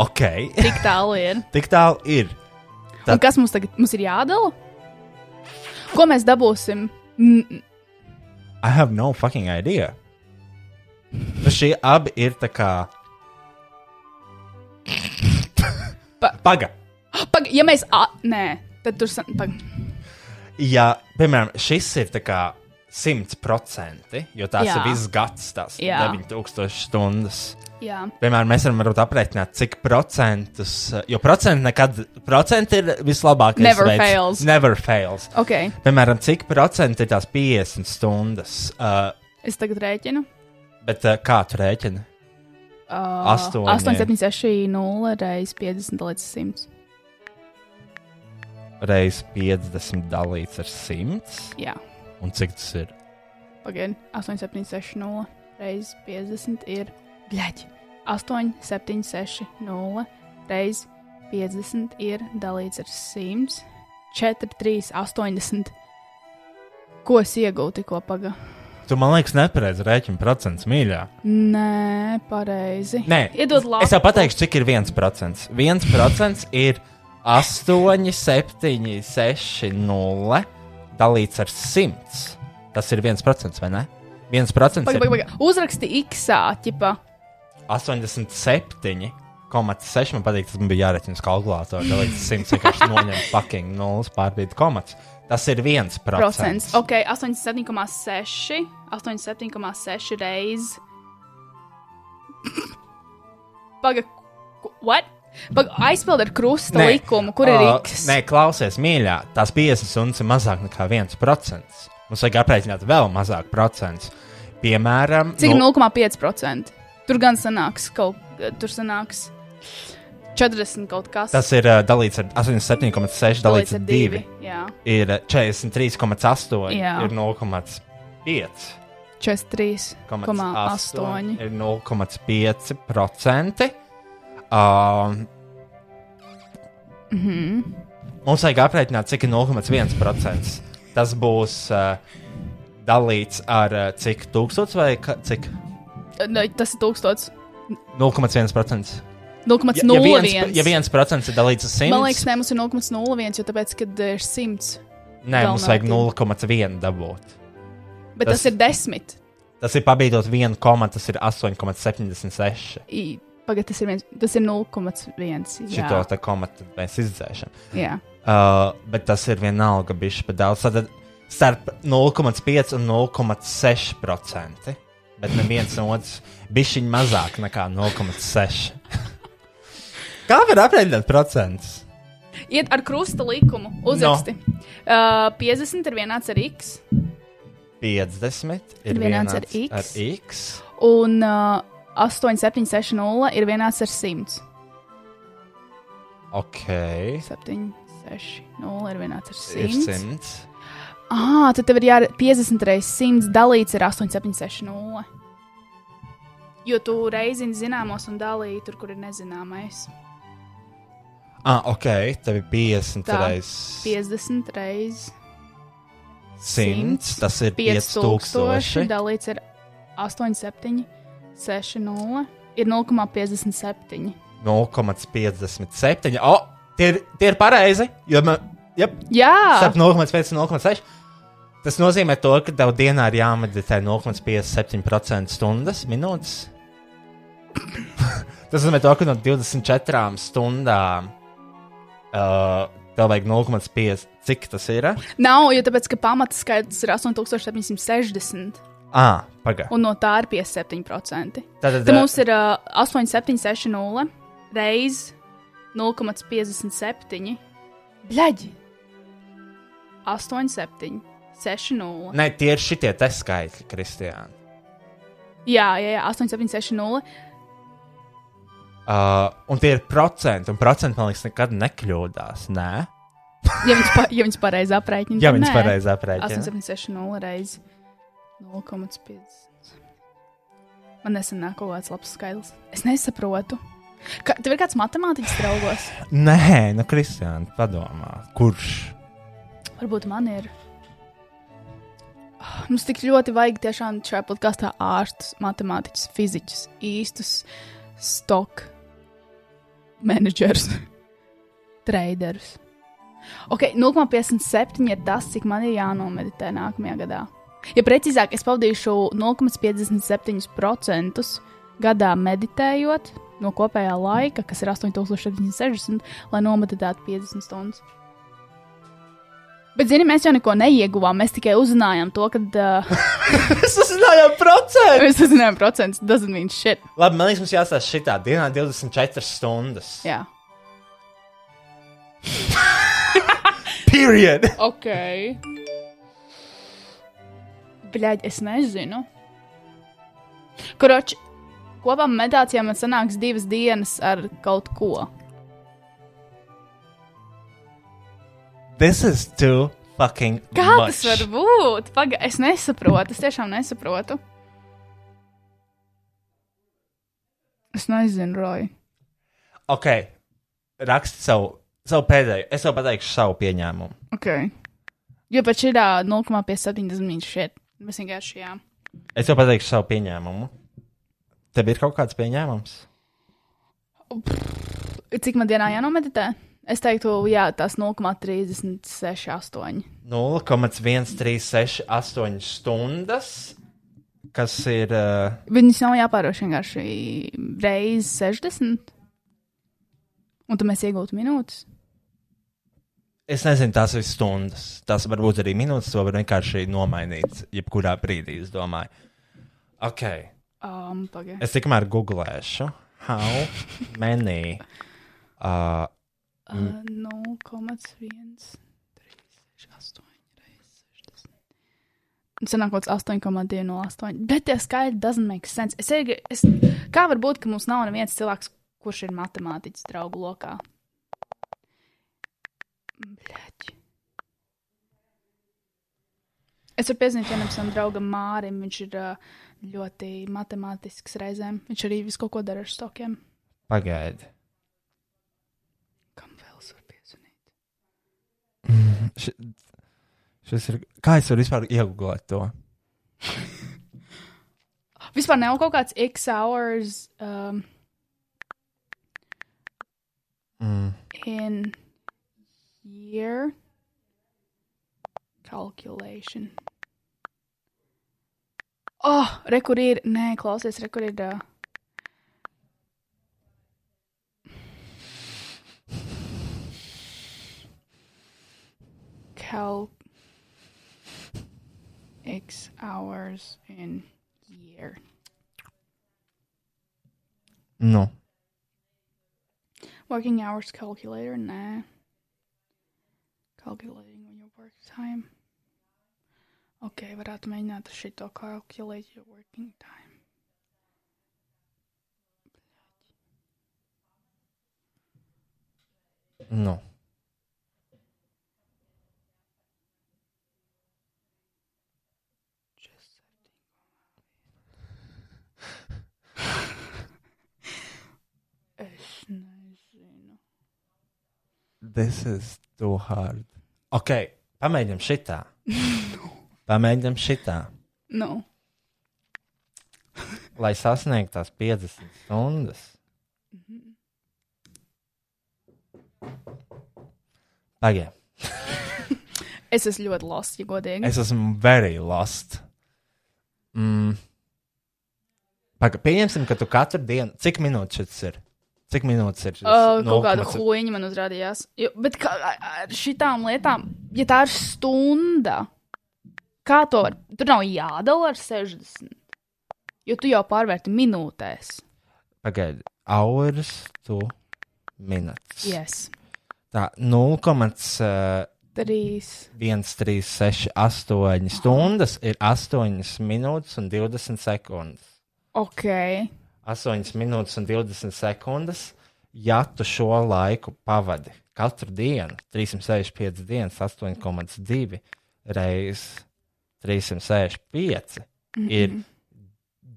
Ok,
tik tālu ir.
tik tālu ir.
Un
Tad-
kas mums tagad mums ir jādala? Ko mēs dabūsim? Mm,
I have no fucking idea. Nu, Šie abi ir tā kā.
Pa-
Paga.
Pag, ja mēs. A, nē, tad tur. san- Pag,
Ja, piemēram, šis ir tā kā 100%, jo tās
Jā.
ir visas gads, tās
Jā.
9000 stundas.
jā,
Piemēram, mēs varam varbūt aprēķināt, cik procentus, jo procenti nekad, procenti ir vislabākais.
Never
veids.
fails.
Never fails.
ok.
Piemēram, cik procenti ir tās 50 stundas, uh,
Es tagad rēķinu.
bet uh, kā tu rēķini?
Uh,
Astoņi.
876, 0 reizes 50 līdz 100.
Reiz 50 dalīts ar 100,
Jā,
un cik tas ir?
pagaidi. 876, 0 reizes 50 ir. Bļaģi! 876, 0 reizes 50 ir dalīts ar 100. 4, 3, 80. Ko es iegūtu tikko pagaidā?
Tu man liekas, nepareizi rēķini procents mīļā.
Nē, pareizi.
Nē,
Iedod lapu.
Es jau pateikšu, cik ir 1%. 1% ir 8, 7, 6, 0 dalīts ar 100. Tas ir 1%, vai ne? 1%
Paga, paga,
ir
paga. Uzraksti X-ā, tipā.
87. 6, man patīk, tas man bija jārēķina uz kalkulātora. Tā līdz 100 vienkārši noņem fucking 0 pārbīdi komats. Tas ir 1%.
Procents. Ok, 87,6. 87,6 reizes. Paga, ku- what? Paga, aizpild ar krusta
Nē,
likumu, kur ir
ā,
X.
Nē, klausies, mīļā, tās 50 stundas ir mazāk nekā 1%. Mums vajag aprēķināt vēl mazāk procentus. Piemēram, nu,
Cik ir 0,5%? Tur gan sanāks kaut, tur sanāks 40 kaut kas.
tas ir uh, dalīts ar 87,6, dalīts ar 2.
Jā,
Ir uh, 43,8,
Jā.
ir 0,5.
43,8.
ir 0,5%. Um,
Mhm.
Mums vajag aprēķināt, cik ir 0,1%. Tas būs uh, dalīts ar uh, cik tūkstots vai ka, cik
Nē, Tas ir 1000.
0,1%. Ja, ja,
0,01.
viens, ja 1% ir dalīts ar 100,
Man liekas, ne, mums ir 0,01, jo tāpēc, kad ir 100,
nē,
vēl
mums
nav
vajag
tik.
0,1 dabūt.
bet tas, tas
Tas-
ir 10.
Tas ir pabeidzot 1, tas ir 8,76.
I- Pagaidiet, tas ir, viens, tas ir 0,1. Jā,
Šito te komatu mēs izdzēšam.
jā.
Uh, bet tas ir vienalga bijis pat daudz. Tad starp 0,5 un 0,6%. Bet neviens no otras bija mazāk nekā 0,6. Kā var aprēķināt procentus?
Iet ar krusta likumu. Uzraksti. No. Uh, 50 ir vienāds ar x,
50 ir
Ir vienāds ar X.
Ar X.
un uh, 8760 ir vienāds ar 100.
Ok.
760 ir vienāds ar
Ir
100.
100.
Ah, tad tev ir jā, 50 reizes 100 dalīts ar 8760. Jo tu reizini zināmos un dalīji tur, kur ir nezināmais.
Ah, ok. Tev ir 50
Tā,
reizes
50 reizes
100. Tas ir
5000
5000.
dalīts ar 8760 ir 0,57.
0,57. Oh, tie, ir- tie ir pareizi. Jo man, jep,
Jā,
starp 0,5 un 0,6. Tas nozīmē, to, ka tev dienā ir jāmeditē 0,57% stundas minūtes. Tas nozīmē, to, ka no 24 stundām uh, tev vajag 0,5. Cik tas ir? eh?
nav, jo tāpēc, ka pamata skaits ir 8760,
Ah, pagaidi.
un no tā ir 57%.
Tad,
Tad mums ir uh, 8760 reizes 0,57. Bļaģi! 87, 60.
Nē, tie ir šitie te skaitļi, Kristija.
Jā, jā, jā 8760.
Uh, un tie ir procenti, un procenti, man liekas, nekad nekļūdās. Nē,
Ja viņš, pa, ja viņš pareizi aprēķina,
ja
tad
viņas
Nu, nē.
pareizi aprēķina.
8,76 reizes 0,5. Man nesen nāk kaut kāds labs skaidrs. Es nesaprotu. Ka, tev ir kāds matemātiķis draugos?
Nē, nu, Kristija, padomā, kurš
Varbūt man ir. Ah, Mums tik ļoti vajag tiešām šajā podkāstā ārstus, matemātiķus, fiziķus, īstus stoku menedžerus, traderus. Ok, 0,57 ir tas, cik man ir jānomeditē nākamajā gadā. Ja precīzāk, es pavadīšu 0,57% gadā meditējot no kopējā laika, kas ir 8760, lai nomeditētu 50 stundas. Bet, zinām, mēs jau neko neieguvām. Mēs tikai uzzinājām to, ka uh,
Mēs uzzinājām procentu.
mēs uzzinājām procentus. Tas nozīmē shit.
Labi, man liekas, mums jāstāsta šitā dienā 24 stundas.
Jā,
Period.
ok. Bļaigi, es nezinu. Kroč, kopā meditācijā man sanāks divas dienas ar kaut ko.
This is too fucking
Kā
much.
tas var būt? Paga, es nesaprotu, es tiešām nesaprotu. Es nezinu, Roja.
Ok, raksti savu, savu pēdējo. Es jau pateikšu savu pieņēmumu.
Okay. Jo pat šī ir 0,57 mīļš šeit. Mēs vienkārši jā.
Es jau pateikšu savu pieņēmumu. Tev ir kaut kāds pieņēmums?
Cik man dienā jānomeditē? Es teiktu, jā, tas 0,368.
0,1368 stundas, kas ir. Uh,
Viņus nav jāpāroš vienkārši reizes 60. Un tad mēs iegūtu minūtes.
Es nezinu, tās ir stundas. Tās varbūt arī minūtes, to var vienkārši nomainīt. Jebkurā brīdī, es domāju. Ok,
Um, paga.
es tikmēr googlēšu. How many? Uh,
Uh, 0,138 reizes 60. Un Sanāk, kaut kas 8,208. Bet tie skaidri doesn't make sense. Es, ir, es, kā var būt, ka mums nav neviens cilvēks, kurš ir matemātiķis draugu lokā? Bļaģi. Es varu piezīmēt vienam savam draugam Mārim. Viņš ir ā, ļoti matemātisks reizēm. Viņš arī visu kaut ko dara ar stokiem.
pagaidi.
Kam vēl es varu piezīmēt?
Š, šis ir. Kā es varu vispār iegooglēt to?
Vispār nav kaut kāds X hours um,
Mm.
in year calculation. Oh, rekur ir. Nē, klausies, rekur ir. Uh, help X hours in year.
Nu,
Working hours calculator? Nah. Calculating when your work time. Ok, varētu mēģināt ar šito calculate your working time.
nu.
Just es nezinu.
This is too hard. Ok, pamēģinam šitā. Pamēģinam šitā.
Nu,
Lai sasniegtu tās 50 stundas,
Mm-hmm.
pagaidi.
es esmu ļoti lost, ja godīgi.
Es esmu very lost. Mm. Paga, pieņemsim, ka tu katru dienu, cik minūtes šis ir? Cik minūtes ir šis?
Uh, kaut kāda
0,7?
huīņa man uzrādījās. Jo, bet kā, ar šitām lietām, ja tā ir stunda, kā to var? Tur nav jādala ar 60. Jo tu jau pārvērti minūtēs.
Pagaidi, hours to minutes.
Yes.
Tā 0,1368
Trīs.
stundas ir 8 minūtes un 20 sekundes.
Ok.
8 minūtes un 20 sekundes, ja tu šo laiku pavadi katru dienu, 365 dienas, 8,2 reizes 365 mm -hmm. ir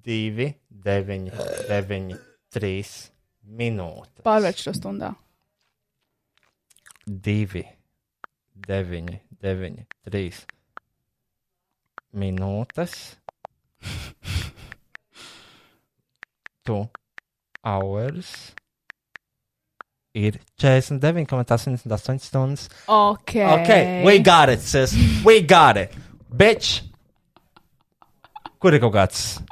2, 9, 9, 3 minūtes.
Pārvērš to stundā.
2, 9, 9, 3 minūtes. Tu hours ir 49,88 stundas.
Ok.
Ok, we got it, sis. We got it. Bitch! Kur ir kaut kāds?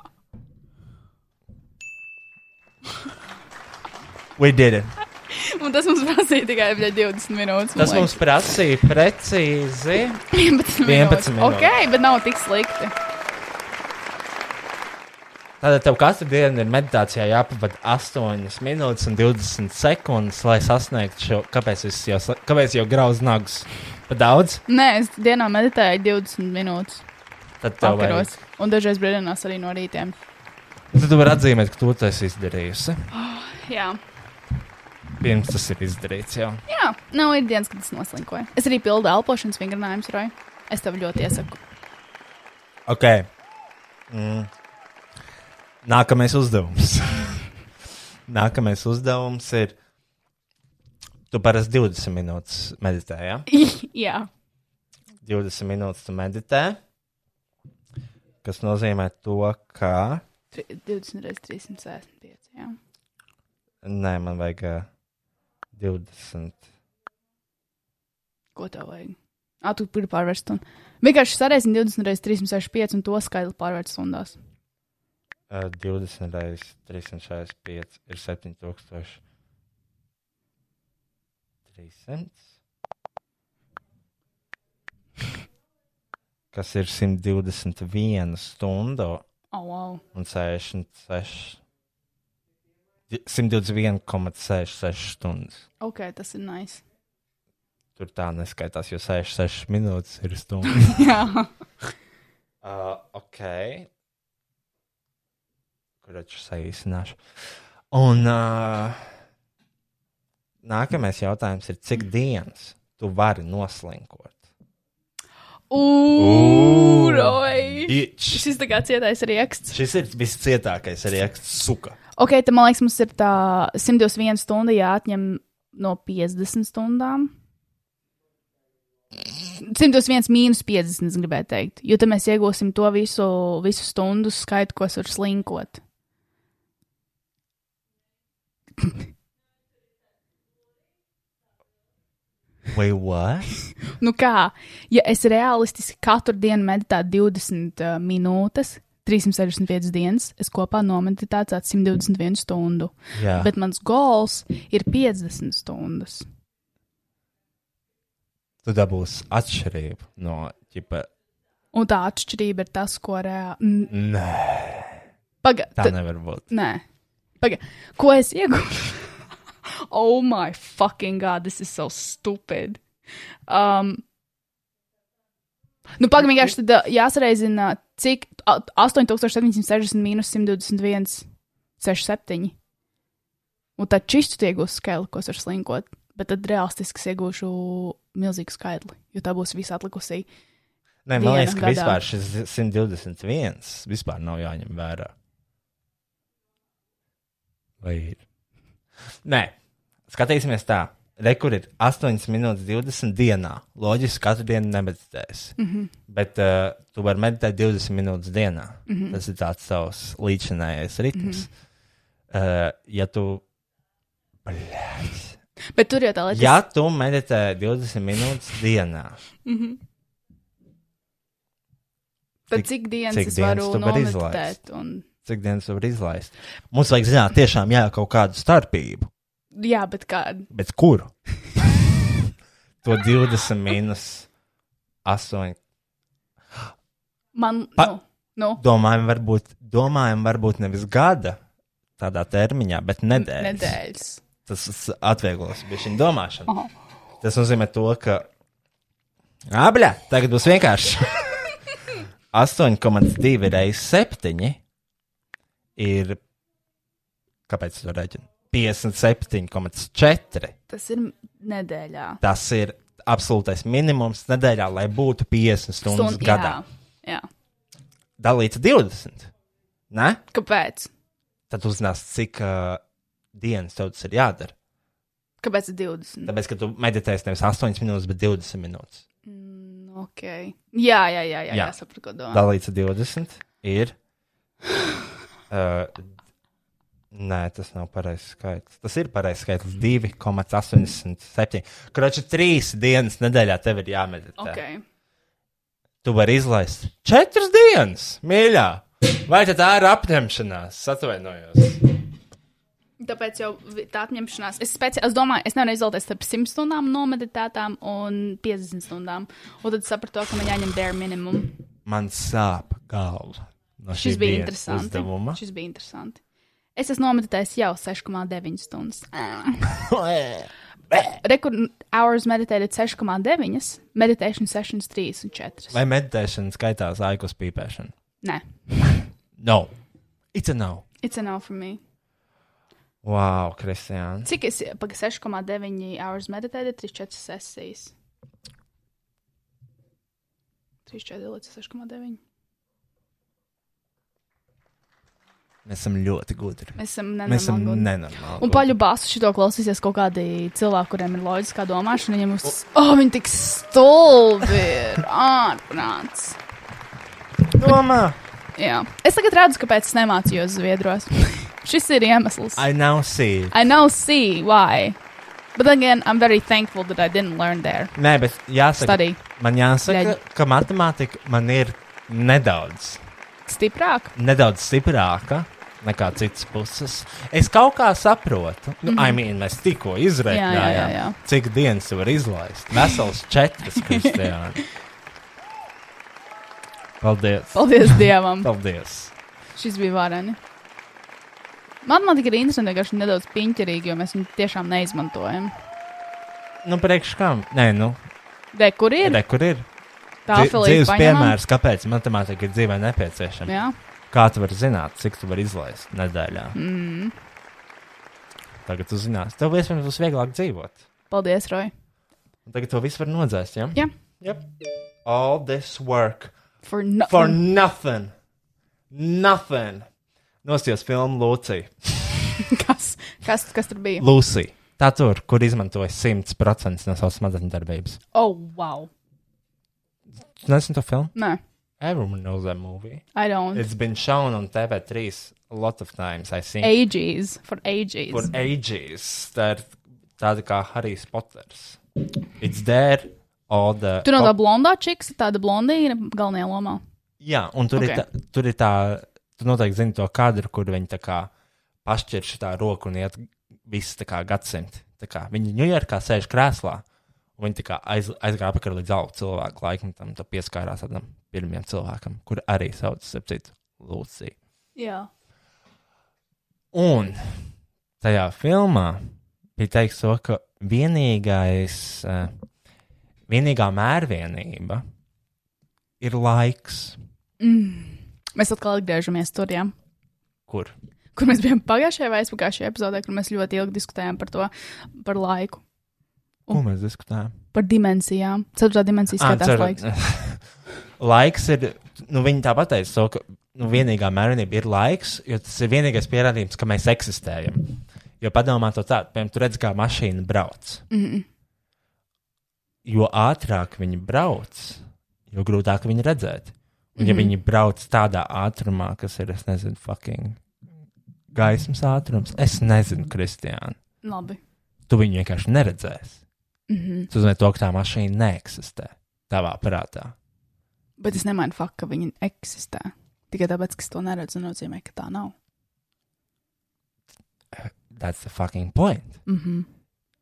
We did it.
Un tas mums prasīja tikai bļa, 20 minūtes.
Tas mums prasīja precīzi
11
11
minūtes.
minūtes.
Ok, bet nav tik slikti.
Tātad tev katru dienu ir meditācijā jāpavada 8 minūtes un 20 sekundes, lai sasniegtu šo. Kāpēc es jau, sa- kāpēc jau grauzu nagus? Pa daudz?
Nē, es dienā meditēju 20 minūtes.
Tad tev vajag.
Vakaros. Un dažreiz brīvdienās arī no rītiem.
Nu, Tad tu vari atzīmēt, ka to tu esi izdarījusi.
Jā.
Pirms tas ir izdarīts jau.
Jā, nav ir dienas, kad es noslinkoju. Es arī pildu elpošanas vingrinājumus, Roja. Es tev ļoti iesaku.
Ok. Mm. Nākamais uzdevums. Nākamais uzdevums ir. Tu parasti 20 minūtes meditē, jā? Ja?
Jā,
20 minūtes tu meditē. Tas nozīmē to, ka.
Tri- 20 reizes 365. Jā.
Nē, man vajag ā, 20.
Ko tev vajag? Ah, tu gribi pārvērst stundu. Vienkārši sarēsim 20 reizes 365 un to skaidru pārvērst stundās.
ā, 20 reizes 365 ir 7000. 300. Kas ir 121 stundu
Oh, wow.
un 66. di- 121,66 stundas.
Ok, tas ir nice.
Tur tā neskaitās, jo 66 minūtes ir stunda.
Jā.
uh, ok. Kur taču saīsināšu? Un uh, nākamais jautājums ir, cik dienas tu vari noslinkot?
Ugh, Roja!
Bitch!
Šis tā kā cietais rieksts.
Šis ir viscietākais rieksts, suka.
Ok, tad man liekas, mums ir tā 121 stunda jāatņem no 50 stundām. 101 mīnus 50, es gribēju teikt. Jo tad mēs iegūsim to visu, visu stundu skaitu, ko es varu slinkot.
Vai what?
Nu kā, ja es realistiski katru dienu meditēju 20 uh, minūtes, 365 dienas, es kopā nomeditēju tādu 121 stundu.
Jā, Bet...
Bet mans goals ir 50 stundas.
tu dabūsi atšķirību no ķipa.
Un tā atšķirība ir tas, ko reāli.
Nē, tā
Pagaidiet,
nevar būt.
nē, pagaidiet, ko es iegūstu? oh, my fucking god, this is so stupid. Um, nu, pagaidiet, vienkārši tad uh, jāsareizina, cik a- 8760 mīnus 121, 67. Un tad čistu iegūstu skaitli, ko es varu slinkot. Bet tad realistiski es iegūšu milzīgu skaitli, jo tā būs visa atlikusī.
Nē, man
Viena
liekas, ka
gadā.
vispār šis 121 vispār nav jāņem vērā. Vai ir? Nē, skatīsimies tā. Rekur ir 8 minūtes 20 dienā. Loģiski, ka katru dienu nemeditēs. Mm -hmm. Bet uh, tu vari meditēt 20 minūtes dienā. Mm -hmm. Tas ir tāds savs līdzinājais ritms. Mm -hmm. uh, ja tu. Blēs.
Bet tur jau tā līnija.
Ja tu meditē 20 minūtes dienā,
Mhm. Tad
Cik-
cik dienas
cik
cik es
dienas
varu
tu vari
nomeditēt? Un...
cik dienas var izlaist. Mums vajag zināt, tiešām jā, kaut kādu starpību.
Jā, bet kā.
Bet kuru? to 20 minus 8.
Man.
Pa-
Pa... Nu, nu,
Domājam, varbūt, domājam, varbūt nevis gada tādā termiņā, bet nedēļas.
nedēļas.
Tas s- atvieglos viņa domāšanu.
Aha.
Tas nozīmē to, ka. Abļā, tagad būs vienkārši. 8,2 reizes 7 ir. Kāpēc tas var rēķināt? 57,4.
Tas ir nedēļā.
Tas ir absolūtais minimums nedēļā, lai būtu 50 stundas Stund, gadā.
Jā, jā.
Dalīts 20. Ne?
Kāpēc?
Tad uzzinās, cik uh, dienas tev tas ir jādara.
Kāpēc ir 20?
Tāpēc, ka tu meditēsi nevis 8 minūtes, bet 20 minūtes.
Mm, ok. Jā, jā, jā, jā, jā.
Jā.
sapratu, ko domā.
dalīts ar 20 ir. Uh, nē, tas nav pareizs skaitlis. Tas ir pareizs skaitlis. 2,87. Kroči, trīs dienas nedēļā tev ir jāmeditē.
Okay.
Tu vari izlaist četras dienas, mīļā. Vai tad tā ir apņemšanās? Atvainojos.
Tāpēc jau vi- tā atņemšanās. Es, speci... es domāju, es nevaru izvēlēties starp 100 stundām nomeditētām un 50 stundām. Un tad sapratu, to, ka man jāņem bare minimum.
Man sāp galva. No šī
Šis bija
dienas
interesants.
Uzdevuma.
Šis bija interesants. Es esmu nometējis jau 6,9 stundas. Record hours meditēta 6,9, meditation sessions 3 un 4.
Vai meditēšana skaitās aikus pīpēšana?
Nē,
No. It's a no.
it's enough for me.
Wow, Kristiāna.
Cik es paga 6,9 hours meditēta 3, 4 sesijas? 3, 4 līdz 6,9.
Mēs esam ļoti gudri.
Mēs esam
Mēs esam
nenormāli. gudri.
nenormāli.
Un paļu bāzu šito klausīsies kaut kādi cilvēki, kuriem ir loģiskā domāšana. Viņam uz... oh, viņi tik stulbi ir ārprāts.
domā.
Jā. Es tagad redzu, kāpēc es nemācījos Zviedros. Šis ir iemesls. I,
I now see.
I now see why. But then again, I'm very thankful that I didn't learn there.
Nē, bet jāsaka,
Study.
man jāsaka,
Leģi.
ka matemātika man ir nedaudz,
Stiprāk.
nedaudz stiprāka nekā citas puses. Es kaut kā saprotu, nu, mm -hmm. I mean, mēs
Jā,
tikko
jā, jā,
izrēķinājām,
jā.
cik dienas var izlaist. Vesels četras, Kristiāna. Paldies!
Paldies Dievam.
Paldies.
Šis bija vareni. Man man tik ir interesanti, vienkārši nedaudz piņķerīgi, jo mēs viņu tiešām neizmantojam.
Nu, priekš kam? Nē, nu,
De, kur ir?
re, kur ir?
Tā
Dzi-
filija
dzīves piemērs, kāpēc matemātika ir dzīvē nepieciešama.
Jā,
Kā tu vari zināt, cik tu vari izlaist nedēļā? Mm. Tagad tu zinās, tev iespējams būs vieglāk dzīvot.
paldies, Roy.
Un tagad to viss var nodzēst. Ja?
Jā,
Yep. All this work
for no.
for nothing. Nothing. Nostājos filmu Lūcija.
Kas, kas, kas tur bija?
Lūcija. Tā tur, kur izmantoja 100% no savas smadzeņu darbības.
Oh, wow.
Tu nesen to filmu?
Nē,
Everyone knows that movie.
I don't.
It's been shown on TV3 a lot of times, I think.
Ages, for ages.
for ages. Tā ir tāda kā Harijs Poters. It's there, all the.
Tur nav tā
Pop-
blondā čiks, tāda blondīna galvenajā lomā.
Jā, un tur, okay. ir
Okay.
tā, tur ir tā, tu noteikti zini to kadru, kur viņi tā kā pašķirš tā roku un iet visi tā kā gadsimti. Tā kā viņi Ņujorkā sēž krēslā Un Viņi tā kā aiz, aizgāja apakaļ līdz augstu cilvēku laikmetam, tad pieskārās tam pirmajam cilvēkam, kur arī sauc ap citu Lūciju.
Jā.
Un tajā filmā bija teikts, to, ka vienīgais, eh, vienīgā mērvienība ir laiks,
Mm. Mēs atkal atgriežamies tur, jā.
kur
kur mēs bijām pagājušajā vai aizpagājušajā epizodē, kur mēs ļoti ilgi diskutējām par to, par laiku,
ko mēs diskutējām.
par dimensijām. Ceturtā dimensija skatās
Ā,
laiks.
laiks ir, nu, viņi tā pateica, to, ka nu, vienīgā mērenība ir laiks, jo tas ir vienīgais pierādījums, ka mēs eksistējam. Jo padomā to tādu, piemēram, tu redz, kā mašīna brauc. Mm -mm. Jo ātrāk viņi brauc, jo grūtāk viņi redzēt. Un,
Mhm.
ja mm -hmm. viņi brauc tādā ātrumā, kas ir, es nezinu, fucking gaismas ātrums, es nezinu, Kristiāna,
Labi. Mm-hmm.
tu viņu vienkārši neredzēsi. Mm -hmm. Tu zini, to, ka tā mašīna neeksistē tavā prātā.
Bet es nemainu faktu, ka viņi eksistē. Tikai tāpēc, ka es to neredzu, nozīmē, ka tā nav.
That's the fucking point. Mm -hmm.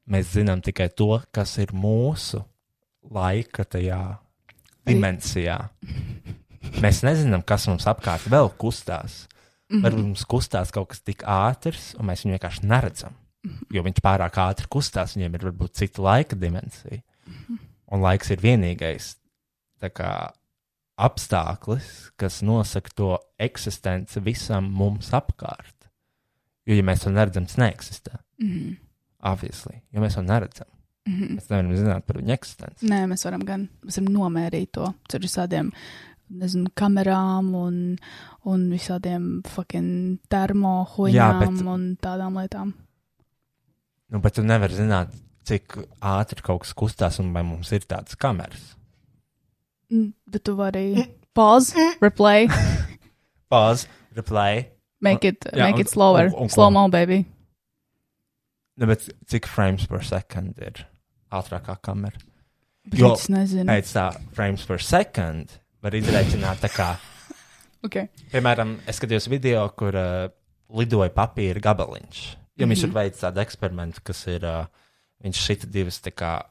Mēs zinām tikai to, kas ir mūsu laika tajā dimensijā. Mēs nezinām, kas mums apkārt vēl kustās.
Mhm.
Mm -hmm. Varbūt mums kustās kaut kas tik ātrs, un mēs viņu vienkārši neredzam. Jo viņš pārāk ātri kustās, viņiem ir varbūt cita laika dimensija. Un laiks ir vienīgais tā kā, apstākļis, kas nosaka to eksistenci visam mums apkārt. Jo, ja mēs to neredzam, tas neeksistē. Mm.
Mhm.
Obviously, jo mēs to neredzam. Mm. Mēs nevaram zināt par viņu eksistenci.
Nē, mēs varam gan mēs varam nomērīt to ar visādiem nezinu, kamerām un, un visādiem fucking
Jā,
termohoņām
bet-
un tādām lietām.
Nu, bet tu nevari zināt, cik ātri kaut kas kustās un vai mums ir tādas kameras.
Mm, Bet tu vari pause, replay,
Pause, replay.
make it,
Jā,
make
un-
it slower.
un- un-
Slow mo, baby.
Nu, bet cik frames per second ir ātrākā kamera?
Bet
Jo-
es nezinu.
Pēc tā frames per second var izreikināt tā kā.
Okay.
Piemēram, es skatījos video, kur uh, lidoja papīra gabaliņš. Jo viņš mm -hmm. ir veids tādu eksperimentu, kas ir. Uh, viņš šita divas, tā kā.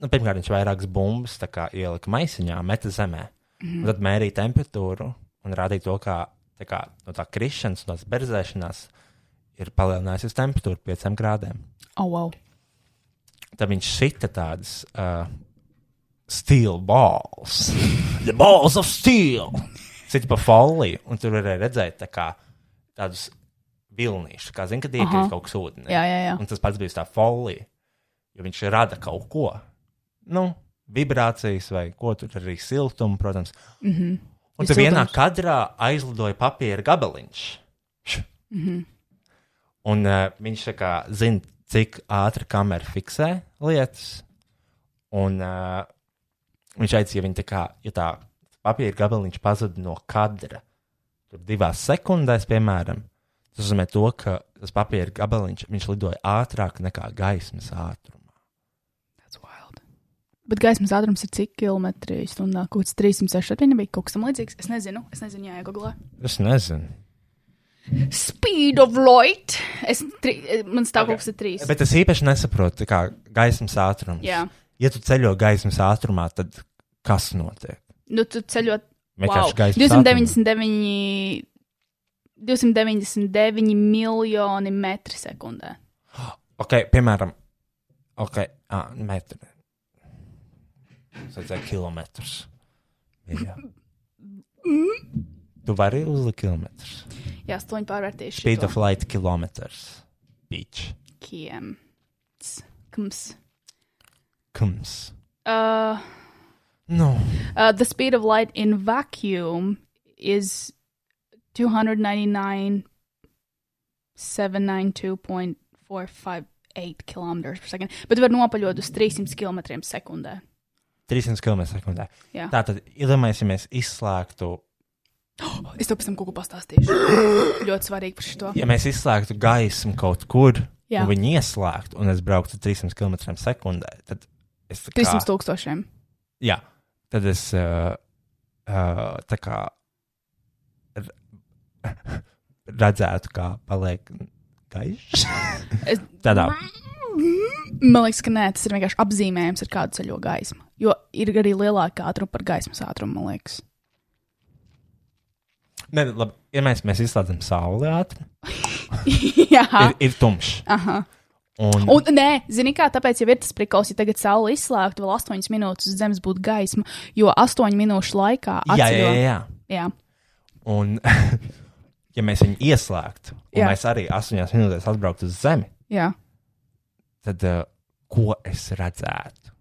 Nu, pirmkārt, viņš vairākas bumbas tā kā ielika maisiņā, meta zemē. Mm -hmm. Tad mērīja temperatūru un rādīja to, kā, tā kā no tā krišanas, no tās berzēšanās ir palielinājusies temperatūra 5 grādiem
Oh, wow.
tad viņš šita tādas uh, stila balss. The balls of steel! Citi pa foliju, un tur varēja redzēt tā kā, tādus vilnīšus, kā zina, kad iekrīt kaut kas ūdenī.
Jā, jā, jā.
Un tas pats bija uz tā folija, jo viņš rada kaut ko. Nu, vibrācijas vai ko tur arī siltumu, protams. Mm
Mhm.
-hmm. Un tur vienā
Siltums.
kadrā aizlidoja papīra gabaliņš.
Mhm.
Un uh, viņš tā kā zina, cik ātri kamera fiksē lietas. Un uh, viņš aicina, ja viņa tā kā, ja tā papīra gabaliņš pazuda no kadra, tur divās sekundēs, piemēram, tas nozīmē to, ka tas papīra gabaliņš viņš lidoja ātrāk nekā gaismas ātrumā.
That's wild. Bet gaismas ātrums ir cik kilometri stundā? Kaut kas 367 bija kaut kas tam līdzīgs. Es nezinu, es nezinu, jāiegoglē.
Es nezinu.
Speed of light. Es, tri, man stāv okay. kaut kas ir trīs.
Bet es īpaši nesaprotu, tā kā gaismas ātrums.
Jā.
Ja tu ceļo gaismas ātrumā, tad kas notiek?
Nu, tu ceļot. Wow.
Vienkārši gaismas ātrums.
299, 299 miljoni metri sekundē.
Ok, piemēram, ok, ah, metri. Es redzēju, kilometrus. Jā. Tu vari uzlikt kilometrus.
Jā, stoņi pārvērtīšu.
Speed of light kilometers. Beach.
Kiem. Kums.
Kums.
Uh,
Nu,
Uh, the speed of light in vacuum is 299,792.458 kilometers per second, bet var nopaļot uz 300 km sekundē.
300 km sekundē.
Jā.
Tā tad, iedomājieties, izslēgtu,
Es tev pēc tam kaut ko pastāstīšu. Ļoti svarīgi par šo.
ja mēs izslēgtu gaismu kaut kur,
Jā.
un viņi ieslēgtu, un es brauktu 300 km sekundē, tad es tā kā-
300 tūkstošiem.
Jā, tad es uh, uh, tā kā r- redzētu, kā paliek gaišs.
Es...
Tādā
Man liekas, ka nē, tas ir vienkārši apzīmējums, ar kādu ceļo gaismu. Jo ir arī lielāka ātruma par gaismas ātrumu, man liekas.
Nē, labi, ja mēs, mēs izslēdzam sauli ātri,
Jā,
ir, ir tumšs. Un,
un nē, zini, kā tāpēc jau ir tas prikals, ja tagad saule izslēgtu, vēl 8 minūtes uz zemes būtu gaisma, jo 8 minūšu laikā
jā, jā, jā,
atceļo.
jā.
jā.
Un, ja mēs viņu ieslēgtu, un
Jā.
jā. mēs arī astoņās minūtēs atbrauktu uz Zemi,
jā.
tad uh, ko es redzētu?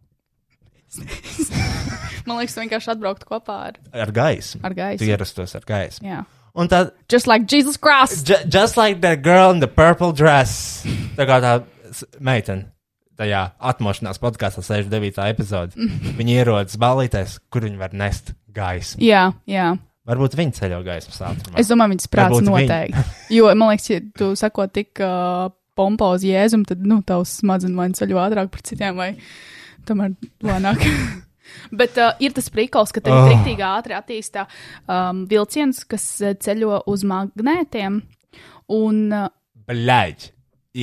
Man liekas, tu vienkārši atbraukt kopā ar,
Ar gaismu.
ar
Tu
gaismu.
ierastos ar gaismu.
Jā.
Un tad,
Just like Jesus Christ!
ju- just like that girl in the purple dress, tā kā tā s- meitene. Tajā atmošanās podkāstā 69. epizodē. Viņa ierodas balīties, kur viņa var nest gaismu.
Jā, jā.
Varbūt viņa ceļo gaismas ātrumā.
Es domāju, viņas prāts
Varbūt viņi.
noteikti. Jo man liekas, ja tu sako tik uh, pompozi jēzum, tad nu, tavs smadzenes vai nu ceļo ātrāk par citiem, vai tomēr lēnāk. Bet uh, ir tas prikals, ka
Ah.
tagad oh. rīktīgi ātri attīstās um, vilciens, kas eh, ceļo uz magnētiem. Un, uh,
Bļaigi.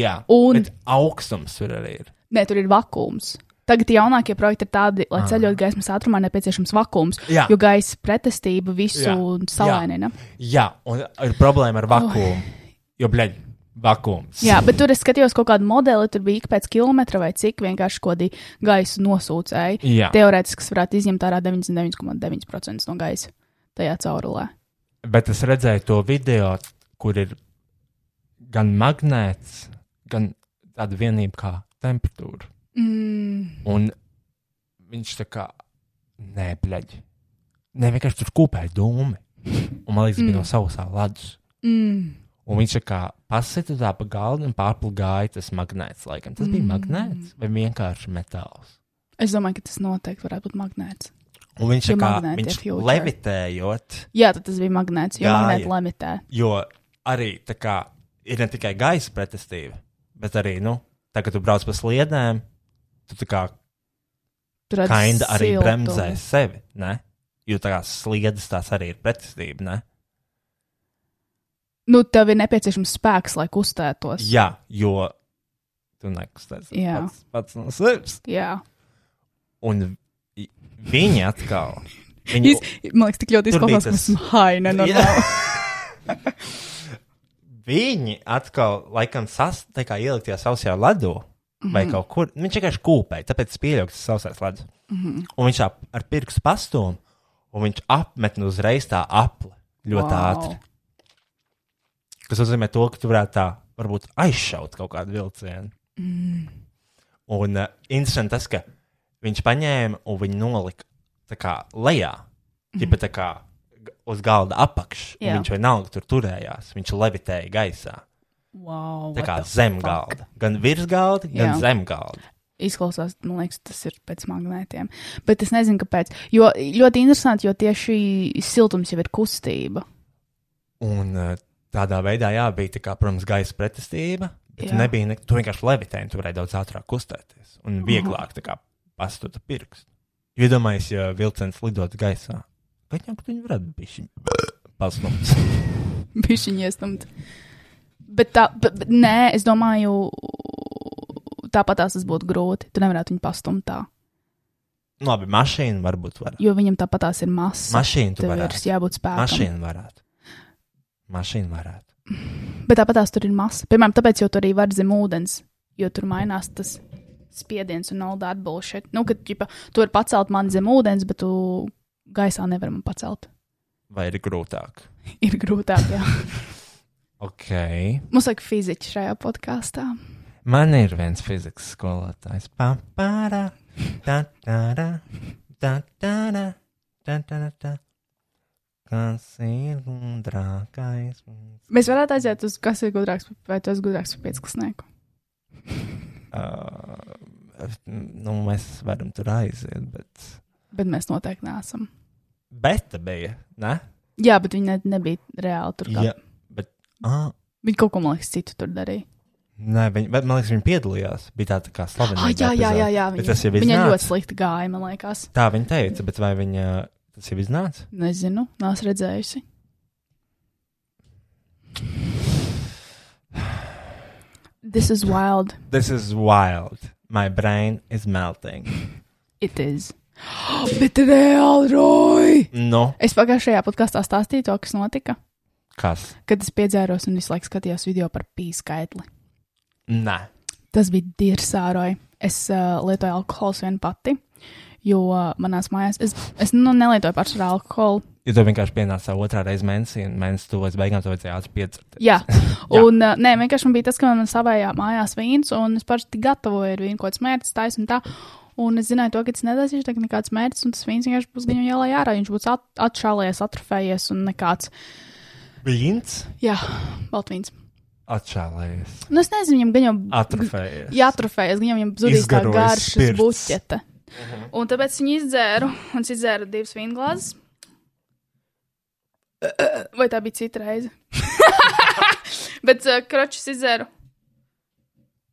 Jā,
Un-
Bet augstums tur arī ir.
nē, tur ir vakums. Tagad jaunākie projekti ir tādi, lai ceļot gaismas ātrumā, nepieciešams vakums,
Ah. Jā.
jo gaisa pretestība visu
Jā.
salainina.
Jā, un ir problēma ar vakumu. Oh. Jo, blēģi, vakums.
Jā, bet tur es skatījos kaut kādu modeli, tur bija ik pēc kilometra vai cik vienkārši kodī gaisa nosūcēji.
Jā.
Teorētiski tas varētu izņemt ārā 99,9% no gaisa tajā caurulē.
Bet es redzēju to video, kur ir gan magnēts, gan tāda vienība kā temperatūra.
Mm.
Un viņš tā kā nē, blēģi. Nē, vienkārši tur kūpēja dūmi. Un man liekas, mm. bija no savas ledus.
Mm.
Un viņš tā kā pasita tā pa galdu un pārplugāja tas magnēts. Laikam. Tas mm. bija magnēts vai vienkārši metāls.
Es domāju, ka tas noteikti varētu būt magnēts.
Un viņš
Tie
tā kā
magnēti
viņš
ir future.
levitējot.
Jā, tad tas bija magnēts, jo
Jā,
magnēta
jā.
lamitē.
Jo arī tā kā ir ne tikai gaisa pretestība, bet arī, nu, tā kā tu brauc pa sliedēm, tu tā kā
Tur
kainda arī bremzē sevi, ne? Jo tā kā sliedas tās arī ir pretestība, ne?
Nu, tev ir nepieciešams spēks, lai kustētos.
Jā, jo tu nekustēs
Jā.
pats, pats no sevis.
Jā.
Un vi- viņi atkal. Viņi,
Jūs, man liekas, tik ļoti
Tur bija
izklausās, ka
tas-
esmu haina. nu, normāli.
Viņi atkal, laikam, sas, tā kā ielikt tajā sausajā ledu vai mm -hmm. kaut kur. Viņš vienkārši kūpēja, tāpēc es pieļauju, ka tas ir sausais ledus. Mm
Mm-hmm.
-hmm. Un viņš tā ar pirkstu pastūmu, un viņš apmetna uzreiz tā apli ļoti wow. ātri. Kas nozīmē to, ka tu varētu tā varbūt aizšaut kaut kādu vilcienu. Mm. Un uh, interesanti tas, ka viņš paņēma un viņa nolika tā kā lejā, tipā tā kā g- uz galda apakšā.
Jā.
Viņš vienalga tur turējās, viņš levitēja gaisā.
Wow,
Tā
what
kā
the
zem
fuck?
galda. Gan virs galda, gan
Jā.
zem galda.
Izklausās, man liekas, tas ir pēc magnētiem. Bet es nezinu, kāpēc. Jo ļoti interesanti, jo tieši siltums jau ir kustība.
Un uh, tādā veidā, jā, bija, tā kā, protams, gaisa pretestība. Bet
Jā.
tu nebija, ne, tu vienkārši levitēji, un tu varēji daudz ātrāk kustēties un vieglāk tā kā, pastut pirkstu. Jo Iedomājies, ja vilciens lidot gaisā, tad jau tur varētu būt pasmūgs.
Bišķiņa iestumta. Bet, tā, bet, bet nē, es domāju, tāpat tās tas būtu grūti. Tu nevarētu viņu pastumt tā.
Labi, mašīna varbūt var.
Jo viņam tāpat tās ir masa.
Mašīna tu
Tev ir
varētu.
jābūt spēkam.
Mašīna varētu. Mašīna varētu.
Bet tāpat tās tur ir masa. Piemēram, tāpēc jau tur arī var zem ūdens, jo tur mainās tas spiediens un all that bullshit. Nu, kad ģipa, tu vari pacelt mani zem ūdens, bet tu gaisā nevari man pacelt.
Vai ir grūtāk?
Ir grūtāk, jā.
Ok.
Mums vajag fiziķi šajā podkāstā.
Man ir viens fizikas skolotājs. Papara, tā, tā, tā, tā, tā, tā, tā, tā, tā. Kas ir gudrākais?
Mēs varētu aiziet uz, kas ir gudrāks, vai tu esi gudrāks par pieciklasnieku.
Uh, nu, mēs varam tur aiziet, bet.
Bet mēs noteikti neesam.
Beta bija, ne?
Jā, bet viņi ne, nebija reāli tur. kā-
Jā, bet. Ah,
Viņi kaut ko, man liekas, citu tur darīja.
nē, viņa, bet, man liekas, viņa piedalījās. Bija tā, tā kā slavena.
Ah, jā, jā, jā, jā.
Bet tas jau
Viņai
iznāca?
ļoti slikti gāja, man liekas.
Tā viņa teica, bet vai viņa tas jau iznāca?
Nezinu, neesmu redzējusi. This is wild.
This is wild. My brain is melting.
It is. Bet reāli, Roy!
Nu,
Es pagājušajā podkāstā stāstīju to, kas notika,
kas?
kad es piedzēros un visu laiku skatījos video par pīļu skaitli.
Nē,
Tas bija dirsāroji. Es uh, lietoju alkoholu vien pati, jo manās mājās es, es nu, nelietoju pašu alkoholu.
jo tu vienkārši pienāci otrā reizē mēnesī, un mēnesis tuvojas beigām, tu vajadzēja ātri piecelt.
Jā,
Jā.
un uh, nē, vienkārši man bija tas, ka man savējā mājās vīns, un es parasti gatavoju ar vīnu kaut kāds mērķis, taisa un tā. Un es zināju, to, ka tas nedaisīšu tagad nekāds mērķis, un tas vīns vienkārši būs gan jau jālai ārā. Viņš būs at atšālējies, atrofējies un nekāds.
Vīns
Jā, baltvīns.
atšālējies,
Nu, es nezinu, viņam gan jau
atrofējies.
Jā, atrofējies, viņam jau zudīs tā
Izgarojas
garša
spirts.
buķete. Un tāpēc viņi izdzēra, un es izdzēru divas vīnglāzes. Vai tā bija cita reize? Bet uh, kročus izdzēru.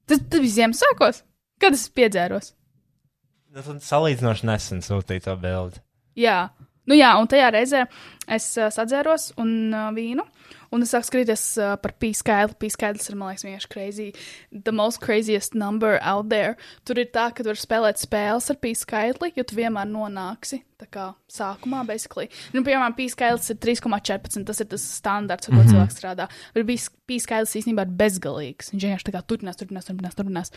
Tas, tas bija Ziemassvētkos, kad es piedzēros.
Tas ir salīdzinoši nesen sūtīts to bildi.
Jā. Nu jā, un tajā reizē es uh, sadzēros un uh, vīnu, un es sāku skrietis uh, par pīskaidru. Pīskaidrs ir, man liekas, vienkārši crazy. The most craziest number out there. Tur ir tā, ka tu vari spēlēt spēles ar pīskaidru, jo tu vienmēr nonāksi tā kā sākumā, basically. Nu, piemēram, pīskaidrs ir 3,14. Tas ir tas standarts, ar ko mm -hmm. cilvēks strādā. Bet pīskaidrs īstenībā ir bezgalīgs. Viņš vienkārši tā kā turpinās, turpinās, turpinās. turpinās.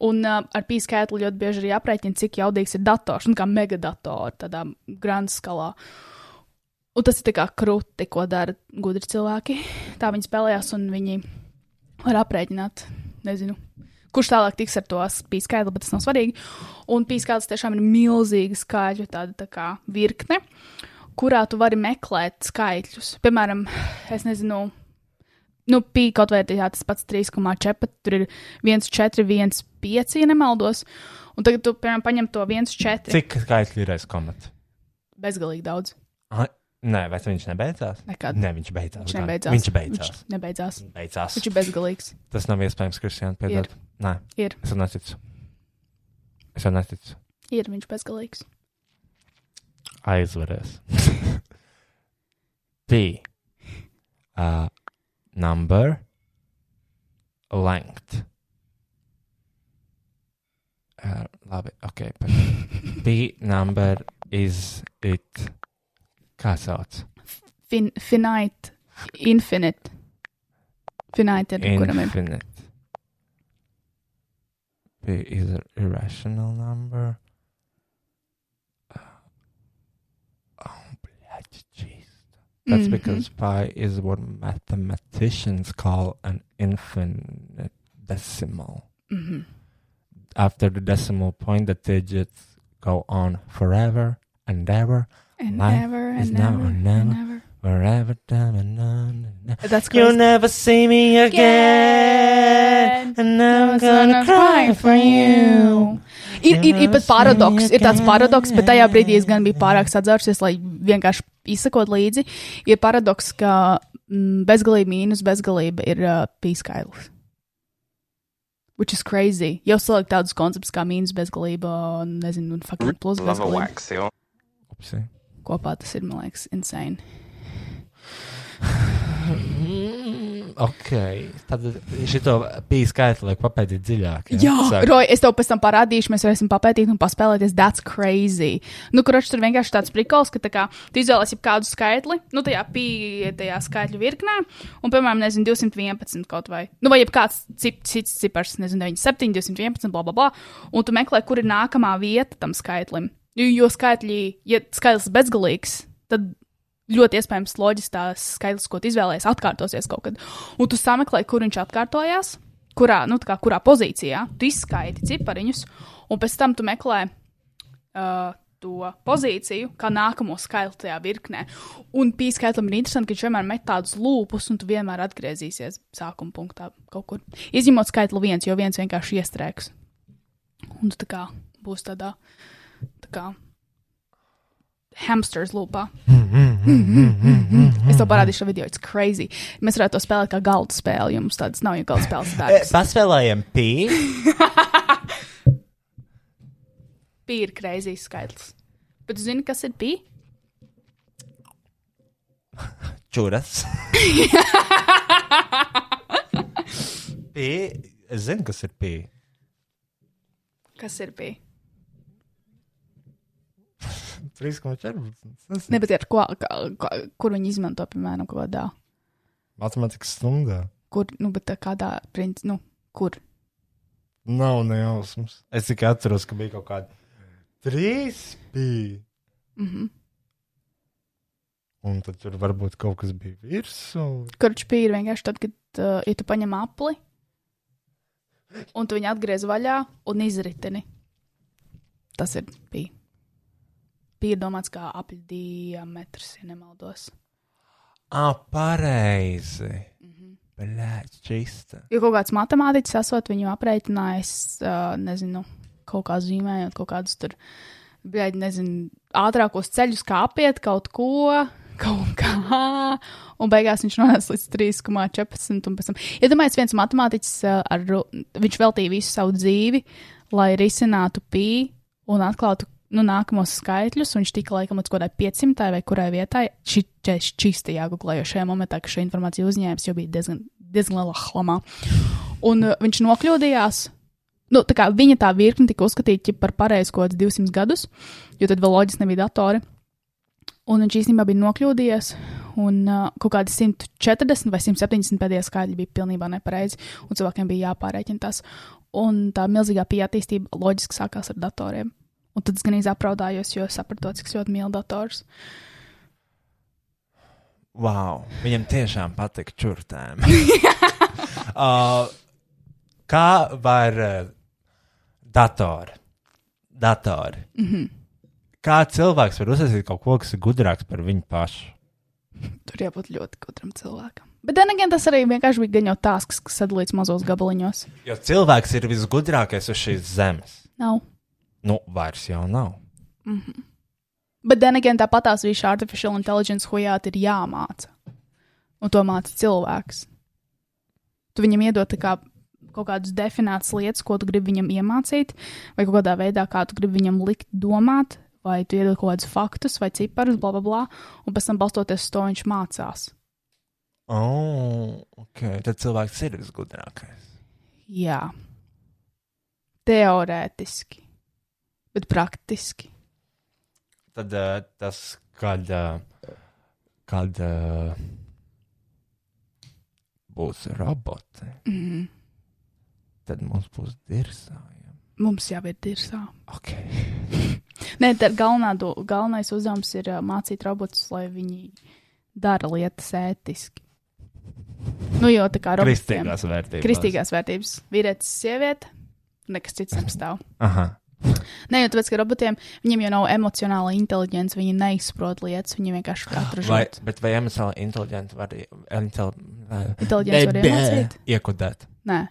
Un uh, ar pīskaitli ļoti bieži arī aprēķina, cik jaudīgs ir dators, un kā megadators, tādā grand skalā. Un tas ir tā kā krūti, ko dara gudri cilvēki. Tā viņi spēlējās, un viņi var aprēķināt, nezinu, kurš tālāk tiks ar to pīskaitli, bet tas nav svarīgi. Un pīskaitlis tiešām ir milzīga skaitļu tāda tā kā virkne, kurā tu vari meklēt skaitļus. Piemēram, es nezinu, nu, pīk kaut vai jā, tas pats 3,4, tur ir 1, 4, 1, 5, ja nemaldos. Un tagad tu, piemēram, paņem to 1, 4.
Cik skaitļi ir aizkomats?
Bezgalīgi daudz.
Nē, vai viņš nebeidzās?
Nekad.
Nē, viņš beidzās.
Viņš
gan.
nebeidzās.
Viņš beidzās.
Viņš nebeidzās.
beidzās.
Viņš ir bezgalīgs.
Tas nav iespējams, Kristian, piedod. Nē,
Ir,
es jau neticu. Es jau neticu.
ir viņš bezgalīgs.
Aizvarēs. P. Uh, number. Length. Uh, labi, ok. pagaid. P. Number is it. Kā sauc?
Fin, finite, infinite. Finite ir, kuram ir.
Infinite. P is an irrational number. Uh, Oh, блядь, jeez. That's
Mhm.
because pi is what mathematicians call an infinite decimal.
Mhm.
After the decimal point, the digits go on forever and ever,
And
Life
never,
is
and
now
never,
or
and
never.
never.
forever, time and on and on.
That's
You'll
crazy.
never see me again.
Again.
And I'm gonna cry for you.
Ir, ir, ir pat paradoks, ir tāds paradoks, bet tajā brīdī es gan biju pārāk sadzērsies, lai vienkārši izsakot līdzi. Ir paradoks, ka mm, bezgalība mīnus bezgalība ir uh, pīskaidrs. Which is crazy. Jau salikt tādus konceptus kā mīnus bezgalība, un, nezinu, un fucking plus bezgalība.
Upsi.
Kopā tas ir, man liekas, insane.
Ok, tad šito bija skaitli, lai papēdīt dziļāk.
Jā,
Sāk-
Roy, es tev pēc tam parādīšu, mēs varēsim papētīt un paspēlēties. That's crazy. Nu, kurš tur vienkārši tāds prikals, ka tā kā, tu izvēlēsies jau kādu skaitli, nu, tajā pieejamajā skaitļu virknē, un, piemēram, nezinu, 211 kaut vai. Nu, vai jebkāds cip, cits cipars, nezinu, 97, 211, bla, bla, bla. Un tu meklē, kur ir nākamā vieta tam skaitlim. Jo, jo skaitļi, ja skaitlis ir bezgalīgs, tad ļoti iespējams loģiski tās skaitlis, ko tu izvēlējies, atkārtosies kaut kad. Un tu sameklē, kur viņš atkārtojās, kurā, nu, tā kā, kurā pozīcijā tu izskaiti cipariņus, un pēc tam tu meklē uh, to pozīciju, kā nākamo skaitli tajā virknē. Un pīskaitlim ir interesanti, ka viņš vienmēr met tādus lūpus, un tu vienmēr atgriezīsies sākuma punktā kaut kur. Izņemot skaitli viens, jo viens vienkārši iestrēgs. Un tu tā kā būs tādā. Tā kā, Hamsters lūpā. Es to parādīšu šajā video. It's crazy. Mēs varētu to spēlēt kā galda spēli. Jums tādas nav jau galda spēles.
E,
Tādas
Paspēlējam pī.
bija crazy skaitlis. Bet zini, kas ir pī?
Čuras. pī. Es zinu, kas ir pī.
Kas ir bijis?
3,14.
Ne, bet ir ko, kā, kā, kur viņi izmanto, piemēram, kaut kādā.
Matemātikas stundā
Kur, nu, bet tā kādā, princ, nu, kur.
nav nejausmas. Es tikai atceros, ka bija kaut kāda 3,5.
Mhm.
Un tad tur varbūt kaut kas bija virsū.
Kurš bija vienkārši tad, kad uh, ja tu paņem apli, un tu viņu atgriez vaļā un izritini. Tas ir bija. Bija domāts, kā apli diametrs, ja nemaldos.
Ah, pareizi. Blēķis, čista.
Jo kaut kāds matemātiķis esot viņu aprēķinājis, uh, nezinu, kaut kā zīmējot kaut kādus tur, bija, nezinu, ātrākos ceļus, kā apiet kaut ko. Kaut kā, un beigās viņš nonāca līdz 3,14. un pēc tam- Iedomājieties, viens matemātiķis, uh, ar, ru- viņš veltīja visu savu dzīvi, lai risinātu pī un atklātu nu, nākamos skaitļus. un Viņš tika laikam līdz kaut kādai 500 vai kurai vietai. Šī čista jāguglē, jo šajā momentā, ka šī informācija uzņēmis jau bija diezgan, diezgan lielā hlamā. Un uh, viņš nokļūdījās. Nu, tā kā viņa tā virkne tika uzskatīta ķip par pareizu kaut kādus 200 gadus, jo tad vēl loģiski nebija datori. Un viņš īstenībā bija nokļūdījies, un uh, kaut kādi 140 vai 170 pēdējie skaitļi bija pilnībā nepareizi, un cilvēkiem bija jāpārēķina tas. Un tā milzīgā pieeja attīstība loģiski sākās ar datoriem. Un tad es gan izapraudājos, jo sapratu, cik es ļoti mīlu dators.
Wow, viņam tiešām patīk čurtēm. uh, kā var uh, datori? datori. Mm -hmm.
Mhm.
Kā cilvēks var uzsākt kaut ko, kas ir gudrāks par viņu pašu?
Tur jābūt ļoti gudram cilvēkam. Bet, Danigan, tas arī vienkārši bija gan jau tās, kas sadalīts mazos gabaliņos.
Jo cilvēks ir visgudrākais uz šīs zemes.
Nav.
Nu, vairs jau nav.
Mhm. Bet, then again, tāpat tās visu artificial intelligence hojāt ir jāmāca. Un to māca cilvēks. Tu viņam iedod tā kā, kaut kādas definētas lietas, ko tu gribi viņam iemācīt, vai kaut kādā veidā, kā tu gribi viņam likt domāt, vai tu iedod kaut kādus faktus vai ciparus, bla, bla, bla, un pēc tam balstoties uz to viņš mācās.
Oh, okay. Tad cilvēks ir visgudrākais.
Jā, teorētiski, bet praktiski.
Tad uh, tas, kad, uh, kad uh, būs roboti,
Mm.
tad mums būs dirzājumi.
Mums jau ir dirzā.
Okay.
Nē, tā galvenā, do- galvenais uzdevums ir ā, mācīt robotus, lai viņi dara lietas ētiski. Nu, jo tā kā robotiem
Kristīgās vērtības.
kristīgās vērtības, vīrietis, sieviete, nekas cits nepastāv.
Aha.
Nē, jo tāpēc, ka robotiem viņiem jau nav emocionāla inteligence, viņi neizprot lietas, viņi vienkārši katru
Vai,
žotu.
bet vai emocionāli inteliģenti var intel,
Inteligence var iemācīt?
iekodēt?
Nē,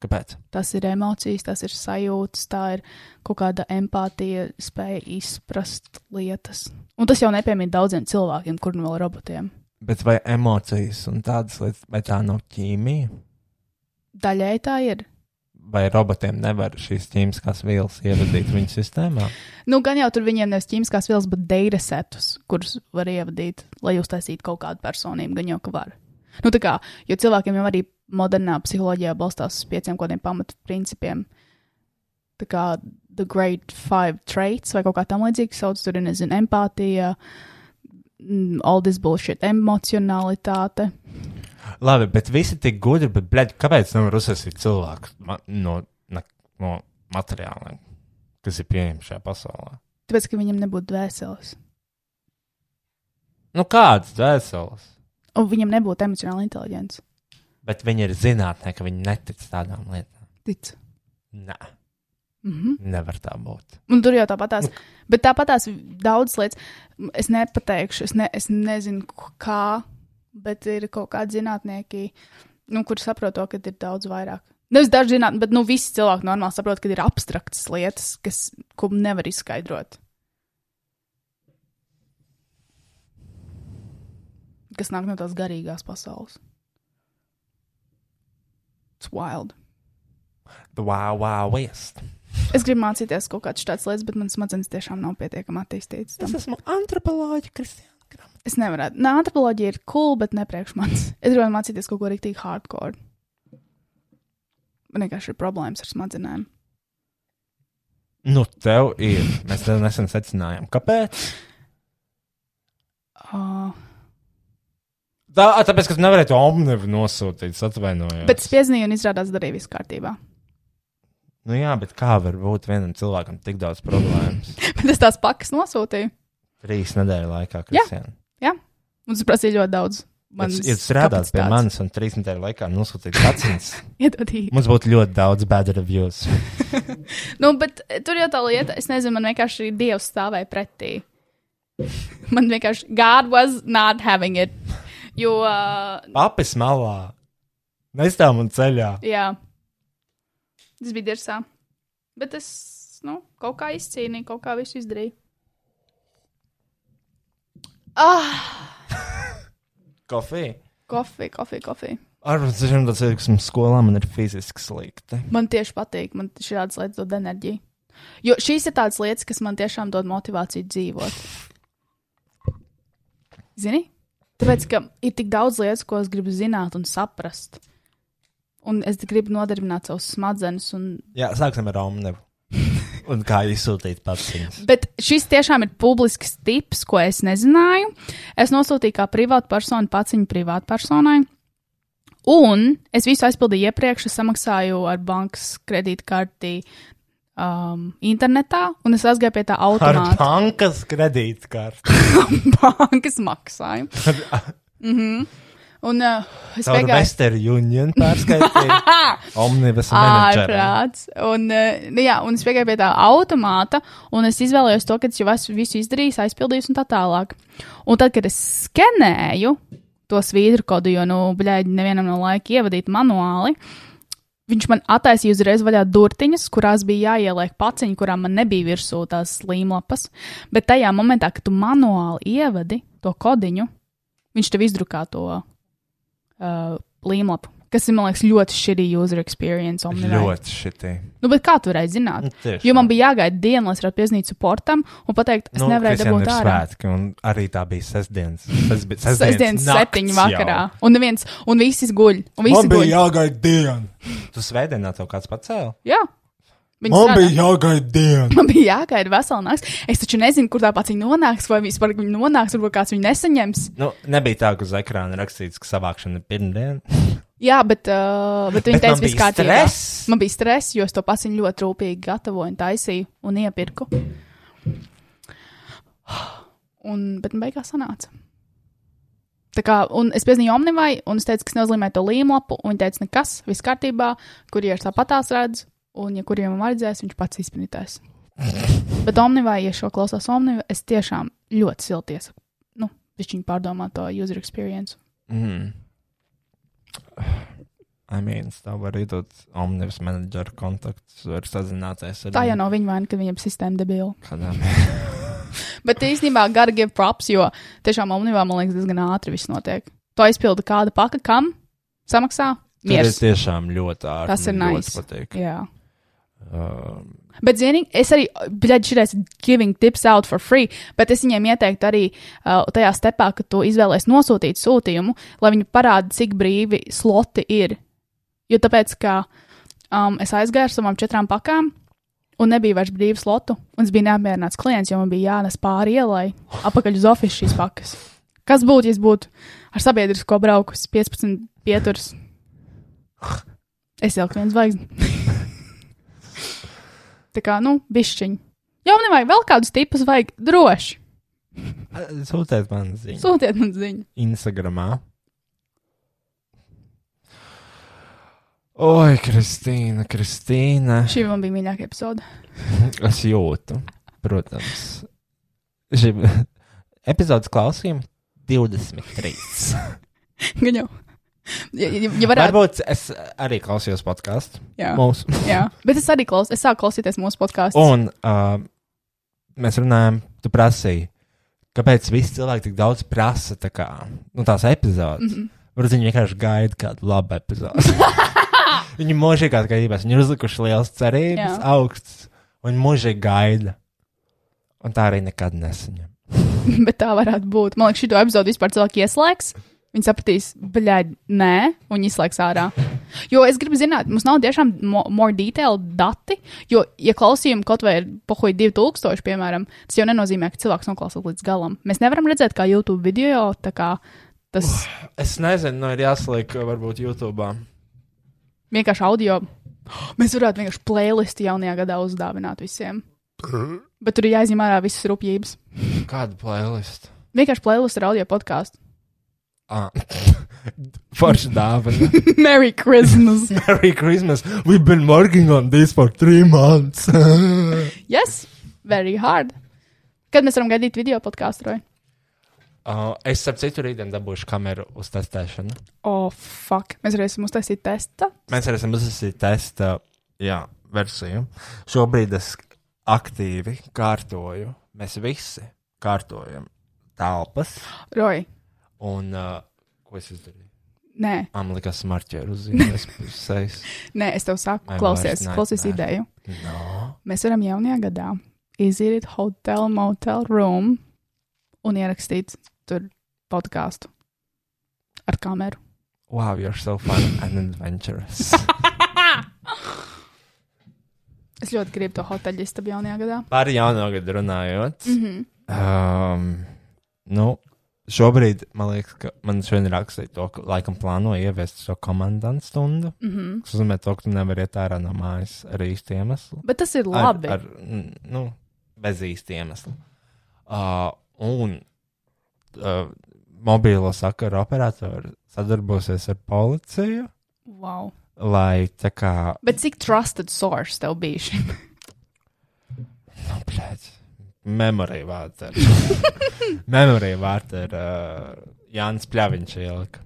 Kāpēc?
tas ir emocijas, tas ir sajūtas, tā ir kaut kāda empātija, spēja izprast lietas. Un tas jau nepiemīt daudziem cilvēkiem, kur nu vēl robotiem.
Bet vai emocijas un tādas lietas, vai tā nav ķīmija?
Daļai tā ir.
Vai robotiem nevar šīs ķīmiskās vielas ievadīt viņu sistēmā?
Nu, gan jau tur viņiem nevis ķīmiskās vielas, bet datasetus, kurus var ievadīt, lai uztaisītu kaut kādu personību, gan jau ka var. Nu, tā kā, jo cilvēkiem jau arī modernā psiholoģijā balstās uz pieciem kaut kādiem pamatprincipiem. Tā kā The Great Five Traits vai kaut kā tam līdzīga sauc, tur ir, nezinu, empātija, mm, all this bullshit, emocionalitāte.
Labi, bet visi tik gudri, bet, blēd, kāpēc nevar uzsākt cilvēku ma- no, na- no materiāliem, kas ir pieejami šajā pasaulē?
Tāpēc, ka viņam nebūtu dvēseles.
Nu, kādas dvēseles?
Un viņam nebūtu emocionāla inteligence.
Bet viņi ir zinātnē, ka viņi netic tādām lietām.
Tic.
Nē,
Mm -hmm.
nevar tā būt.
Un tur jau tāpatās, bet tāpatās daudzas lietas, es nepateikšu, es, ne, es nezinu, k- kā, bet ir kaut kādi zinātnieki, nu, kur saprot to, ka ir daudz vairāk. Nevis daži zinātnieki, bet nu, visi cilvēki normāli saprot, ka ir abstraktas lietas, kas, ko nevar izskaidrot. Kas nāk no tās garīgās pasaules. It's wild.
Wow, wow, west.
Es gribu mācīties kaut kādas tādas lietas, bet manas smadzenes tiešām nav pietiekami attīstītas. tam.
esmu antropoloģija, Kristija.
Es nevaru. Nē, antropoloģija ir cool, bet ne priekš manis. Es gribēju mācīties kaut ko rīktīgi hardcore. Man vienkārši ir problēmas ar smadzenēm.
Nu, tev ir. Mēs tev nesen secinājām, kāpēc.
Oh.
Tā, ā, tāpēc, ka tu nevarēji to
Tom nevar nosūtīt, atvainojos.
Bet spiezinīju un izrādās darīja viss kārtībā.
Nu jā, bet kā var būt vienam cilvēkam tik daudz problēmas?
Bet es tās pakas nosūtīju.
Trīs nedēļu
Jā.
laikā, Kristian.
Un tas prasīja ļoti daudz.
Mans ir strādājis pie manis un trīs nedēļu laikā nosūtīt acīs.
Iedodīgi.
Mums būtu ļoti daudz bad reviews.
Nu, bet eh, tur jau tā lieta, es nezinu, man vienkārši dievs stāvēja pretī. Man vienkārši God was not having it. Jo, uh,
Papis malā.
Nestāv man ceļā.
jā, tas bija dirsā. Bet es, nu, kaut kā izcīnīju, kaut kā visu izdarīju. Ah,
Kofija.
kofija, kofija, kofija.
Ar mums dažiem tas ir, kas mums skolā man ir fiziski slikti.
Man tieši patīk, man šādas lietas dod enerģiju. Jo šīs ir tādas lietas, kas man tiešām dod motivāciju dzīvot. Zini? Tāpēc, ka ir tik daudz lietas, ko es gribu zināt un saprast. Un es gribu nodarbināt savus smadzenes. Un...
Jā, sāksim ar Omnivu. Un kā izsūtīt paciņas.
Bet šis tiešām ir publisks tips, ko es nezināju. Es nosūtīju kā privātu personu paciņu privātu personai. Un es visu aizpildīju iepriekš, es samaksāju ar bankas kredītkarti um, internetā, un es aizgāju pie tā
Ar
automāta
Nu,
bankas kredītkarti.
bankas maksājumu. mm -hmm. Un uh, es
Caur
vienkārši
Western Union pārskaitīt. Omnivas
Ah,
menedžera.
ārprāts. Un, uh, nu jā, un es piegāju pie tā automāta, un es izvēlējos to, ka es jau esmu visu izdarījis, aizpildījis un tā tālāk. Un tad, kad es skenēju to svītru kodu, jo, nu, bļaigi, nevienam no laika ievadīt manuāli, Viņš man attaisīja uzreiz vaļā durtiņas, kurās bija jāieliek paciņi, kurām man nebija virsū tās līmlapas. Bet tajā momentā, kad tu manuāli ievadi to kodiņu, viņš tev izdrukā to uh, līmlapu. Kas ir, man liekas, ļoti šitī user experience. Omnivai.
Ļoti šitī.
Nu, bet kā tu varēji zināt?
Nu, Tieši.
Jo man bija jāgaida diena, lai es varētu piezvanīt suportam un pateikt, es nu, nevarēju
Kristian,
dabūt
ir
ārā.
Svētki, un arī tā bija sestdienas. Tas bija
Sestdienas septiņu vakarā. Un neviens, un visi guļ. Un visi
Man
guļ.
bija jāgaida diena.
Tu svētdienā to kāds pacēli?
Jā. Viņi
Man
strādā.
bija jāgaida diena.
Man bija jāgaida vesela naktis. Es taču nezinu, kur tā pati nonāks, vai vispār viņa nonāks, varbūt kāds viņu nesaņems.
Nu, nebija tā, ka uz ekrāna rakstīts, ka savākšana ir pirmdiena.
Jā, bet, uh, bet viņa
Bet man
teica, viss
bija
kārtībā.
stress.
Man bija stress, jo es to paciņu ļoti rūpīgi gatavoju, un taisīju un iepirku. Un, bet nu beigās sanāca. Tā kā, un es piezvanīju Omnivai, un es teicu, ka es nozīmēju to līmlapu, un viņa teica, nekas, viss kārtībā, kuriem tāpatās redz, un, ja kuriem man vajadzēs, viņš pats izpratīs. Bet Omnivai, ja šo klausās Omnivai, es tiešām ļoti silti iesaku, nu, pišķiņu pārdomāt to user experience.
Mm. I mean, tā var iedot omnibus menedžera kontaktus, var sazināties ar
Tā jau nav viņa vaina, ka viņam sistēma debila.
kādām.
Bet īstenībā gara give props, jo tiešām omnivā man liekas diezgan ātri viss notiek. To aizpilda kāda paka, kam samaksā?
Tur ir
Mieres.
tiešām ļoti ārā.
Tas ir nice.
Patīk.
Jā.
Um,
Bet, zinīgi, es arī, bļaģ, šitais giving tips out for free, bet es viņiem ieteiktu arī uh, tajā stepā, ka tu izvēlēsies nosūtīt sūtījumu, lai viņi parāda, cik brīvi sloti ir. Jo tāpēc, ka um, es aizgāju ar savām četrām pakām, un nebija vairs brīvu slotu, un es biju neapmierināts klients, jo man bija jānes pāri ielai, apakaļ uz ofisu šīs pakas. Kas būtu, ja es būtu ar sabiedrisko braukus 15 pieturas? Es jau kādu zvaigzni. Tā kā, nu, bišķiņi. Jau nevajag vēl kādus tipus, vajag droši.
Sūtiet man ziņu.
Sūtiet man ziņu.
Instagramā. Oi, Kristīna, Kristīna.
Šī man bija mīļākā epizode.
Es jūtu, protams. Šī epizodes klausījuma 23.
Gan jau. Ja, ja, ja varētu,
Varbūt es arī klausījos podkāstu
jā,
mūsu.
jā. Bet es arī klausos, es sāku klausīties mūsu podkāstu.
Un uh, mēs runājam, tu prasīji, kāpēc visi cilvēki tik daudz prasa tā kā, nu, tās epizodes.
Mhm.
Mm -hmm. Varbūt viņi vienkārši gaida kādu labu epizodi. viņi mūžīgi kā gaidās, viņi ir uzlikuši liels cerības,
Jā.
augsts, un viņi mūžīgi gaida. Un tā arī nekad nesaņem.
Bet tā varētu būt. Man liekas, šī epizode vispār cilvēki ieslēgs. Viņi sapratīs, bļaigi, nē, un viņi izslēgs ārā. Jo es gribu zināt, mums nav tiešām mo- more detailed dati, jo, ja klausījumi kaut vai ir pohoji 2000, piemēram, tas jau nenozīmē, ka cilvēks noklausās līdz galam. Mēs nevaram redzēt, kā YouTube video, tā kā tas
Es nezinu, no ir jāsaliek, varbūt, YouTube.
vienkārši audio. Mēs varētu vienkārši playlistu jaunajā gadā uzdāvināt visiem. Bet tur ir jāizņem ārā visas rūpības.
Kādu playlistu?
Vienkārši playlistu ar audio podkāstu.
Ah. Forši dāvana.
Merry Christmas!
Merry Christmas. We've been working on this for three months.
yes, very hard! Kad mēs varam gaidīt video podkāstu? Roy?
uh, es ap citu rītdien dabūšu kameru uz testēšanu.
Oh, fuck! Mēs varēsim uztaisīt testa.
Mēs arī esam uzsākuši testa jā, versiju. Šobrīd es aktīvi kārtoju. Mēs visi kārtojam telpas.
Roy,
Un uh, ko es izdarīju?
nē,
Amalika smarķēra uzzīmēs puses.
nē, es tev saku,
Vai
klausies,
vairs nē,
klausies
nē.
ideju.
No.
Mēs varam jaunajā gadā izīrīt hotel, motel room un ierakstīt tur podkāstu ar kameru.
Wow, you're so fun and adventurous.
Es ļoti gribu to hoteļu istabu jaunajā gadā.
Par jaunu gadu runājot.
Mm -hmm.
Um, nu, šobrīd man liekas, ka man šodien rakstīja to, ka laikam plāno ieviest šo komandantu stundu.
Mm -hmm.
Tas nozīmē, to, ka tu nevari iet ārā no mājas ar īstu iemeslu.
Bet tas ir labi.
Ar, ar, n- nu, bez īsta iemesla. Uh, un uh, mobilo sakaru operatori sadarbosies ar policiju,
Wow.
lai tā kā
Bet cik trusted source tev bija šim?
Blēdz. Memory vārter. Memory vārter. Uh, Jānis Pļaviņš ielika.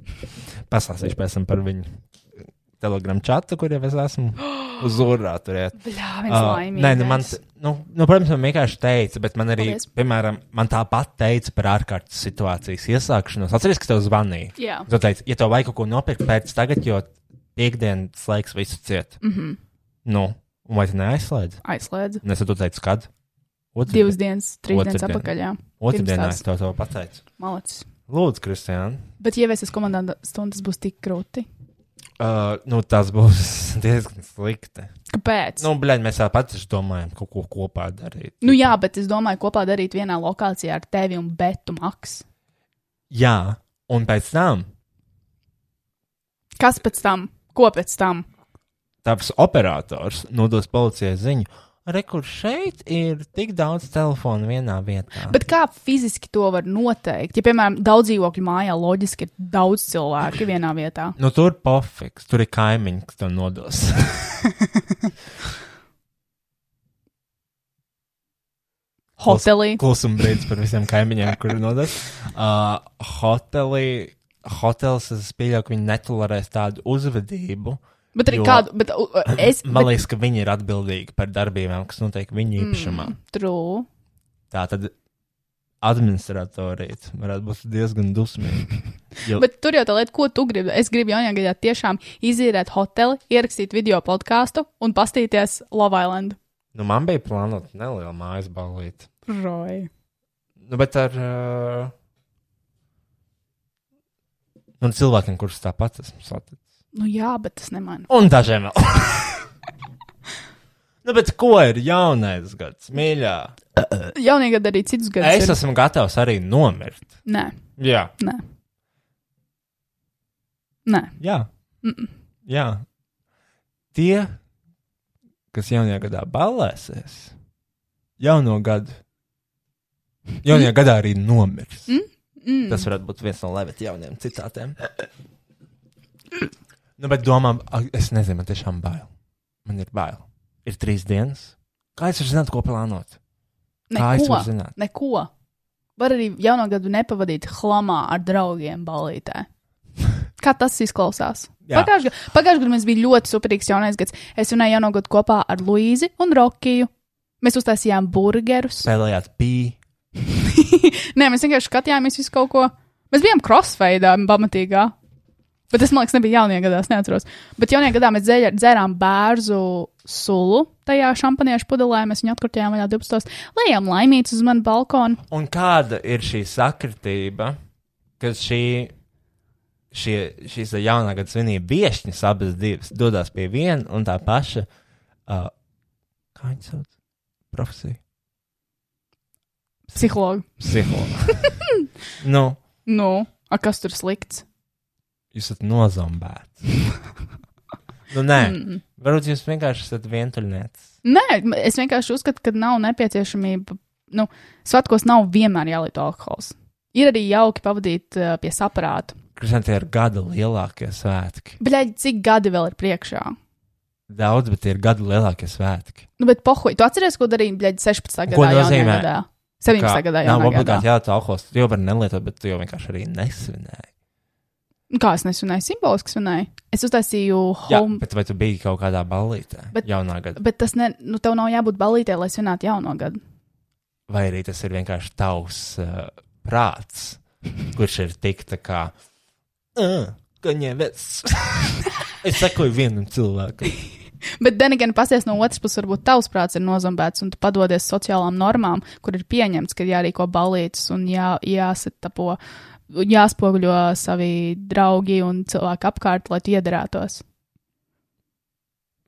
Pastāstīšu pēc tam par viņu telegram čatu, kur jau es esmu. Uz urā turiet.
Bļā, viens uh,
Ah,
laimīgs.
Nē, nu man, t- nu, nu, protams, man vienkārši teica, bet man arī,
Paldies.
piemēram, man tāpat teica par ārkārtas situācijas iesākšanos. Atceries, ka tev zvanīja.
Jā.
Viņš teica, ja tev vajag kaut ko nopirkt pēc tagad, jo piekdienas laiks visu ciet.
Mm -hmm.
Nu, un vai tu neaizslēdz?
Aizslēdz.
Nes tu teici, kad? Otru
Divas dienas, trīs
Otrdien.
dienas atpakaļ. jā.
Otradienā
Pirms
es tev to pateicu.
Malacis.
Lūdzu, Kristiāna.
Bet, ja ieviesies komandā stundas, būs tik grūti.
Uh, nu, tas būs diezgan slikti.
Kāpēc?
Nu, blēņ, mēs tāpat taču domājam, kaut ko kopā darīt.
Nu, jā, bet es domāju, kopā darīt vienā lokācijā ar tevi un Betu Maksu.
jā, un pēc tam
Kas pēc tam? Ko pēc tam?
tāds operators nodos policijai ziņu. Re, kur šeit ir tik daudz telefonu vienā vietā?
Bet kā fiziski to var noteikt? Ja, piemēram, daudz dzīvokļu mājā, loģiski ir daudz cilvēku vienā vietā.
Nu, tur pofiks, tur ir kaimiņš, kas tev nodos.
Hotelī.
Klusuma brīdis par visiem kaimiņiem, kuriem nodas. Uh, hotelī, hotels, es pieļauju, ka viņi netolerēs tādu uzvedību.
Bet arī
jo-
kādu, bet u, u, es.
Man liekas, ka viņi ir atbildīgi par darbībām, kas notiek viņu īpašumā. Mm.
True.
Tā tad administratorija varētu būt diezgan dusmīga. Jo,
Bet tur jau tā lieta, ko tu gribi. Es gribu jaunajā gadā tiešām izīrēt hoteli, ierakstīt video podkāstu un pastīties Love Island.
nu, man bija plānota neliela mājas balīta.
Roy.
Nu, bet ar uh, nu, cilvēkiem, kurus tāpat esmu saticis.
Nu jā, bet tas nemaina.
Un dažiem vēl. nu, bet ko ir jaunais gads, mīļā?
Jaunajā gadā arī citus gadus.
Es
ir.
esmu gatavs arī nomirt.
Nē,
Jā,
nē. Nē.
jā.
Mm -mm.
Jā. Tie, kas jaunajā gadā balēsies, jauno gadu, jaunajā gadā arī nomirs.
Mm. Mm.
Tas varētu būt viens no Levita jauniem citātiem. Nu, bet domām, ak, es nezinu, man tiešām bail. Man ir bail. Ir trīs dienas. Kā es varu zināt, ko plānot? Kā es varu
Neko.
zināt?
Neko. Var arī jauno gadu nepavadīt hlamā ar draugiem balītē. Kā tas izklausās?
Jā.
Pagājušajā ga- pagājušajā gadā mums bija ļoti superīgs jaunais gads. Es runāju jauno gadu kopā ar Luīzi un Rokiju. Mēs uztaisījām burgerus.
Spēlējāt pīlā.
Nē, mēs vienkārši skatījāmies visu kaut ko. Mēs bijām crossfeidā, pamatīgā. Bet tas, man liekas, nebija jaunajā gadā, es neatceros. Bet jaunajā gadā mēs dzēļa- dzērām bērnu sulu tajā šampaniešu pudelē. Mēs viņu atkurtījām vaļā 12. Lējām laimīts uz manu balkonu.
Un kāda ir šī sakritība, ka šī, šie, šīs jaunā gada svinību viesņas abas divas dodas pie viena un tā paša. Uh, kā viņas sauc? Profesija.
Psihologi.
Psihologa. nu,
Nu, a, kas tur slikts?
jūs esat nozombēts. nu, nē, mm. varbūt jūs vienkārši esat vientuļnieks.
Nē, m- es vienkārši uzskatu, ka nav nepieciešamība. Nu, svētkos nav vienmēr jālieto alkohols. Ir arī jauki pavadīt uh, pie saprāta.
Kristian, tie ir gada lielākie svētki.
Bet, cik gadi vēl ir priekšā?
Daudz, bet tie ir gada lielākie svētki.
Nu, bet, pohuj, tu atceries, ko darīji bļaļ, 16. gadā,
Ko
jaunajā
nozīmē?
gadā? 17. gadā, jaunajā
nav
gadā.
obligāti jāatstāj alkohols. Tu jau vari nelietot, bet tu jau vienkārši arī nesvinēji.
Nu, Kā es nesvinēju, simboliski svinēju. Es uztaisīju
Jā,
home,
bet vai tu biji kaut kādā ballītē?
Bet-
Bet... Jaunā gada.
bet tas ne, nu, tev nav jābūt balītē, lai svinētu jauno gadu.
Vai arī tas ir vienkārši tavs uh, prāts, kurš ir tik tā kā. "Ā, Kaņeves." es sekoju vienam cilvēkam.
Bet, Denigan, pasies no otras puses, varbūt tavs prāts ir nozombēts un tu padodies sociālām normām, kur ir pieņemts, ka ir jārīko balītas un jā, jāsatapo, jāspoguļo savi draugi un cilvēki apkārt, lai tu iedarētos.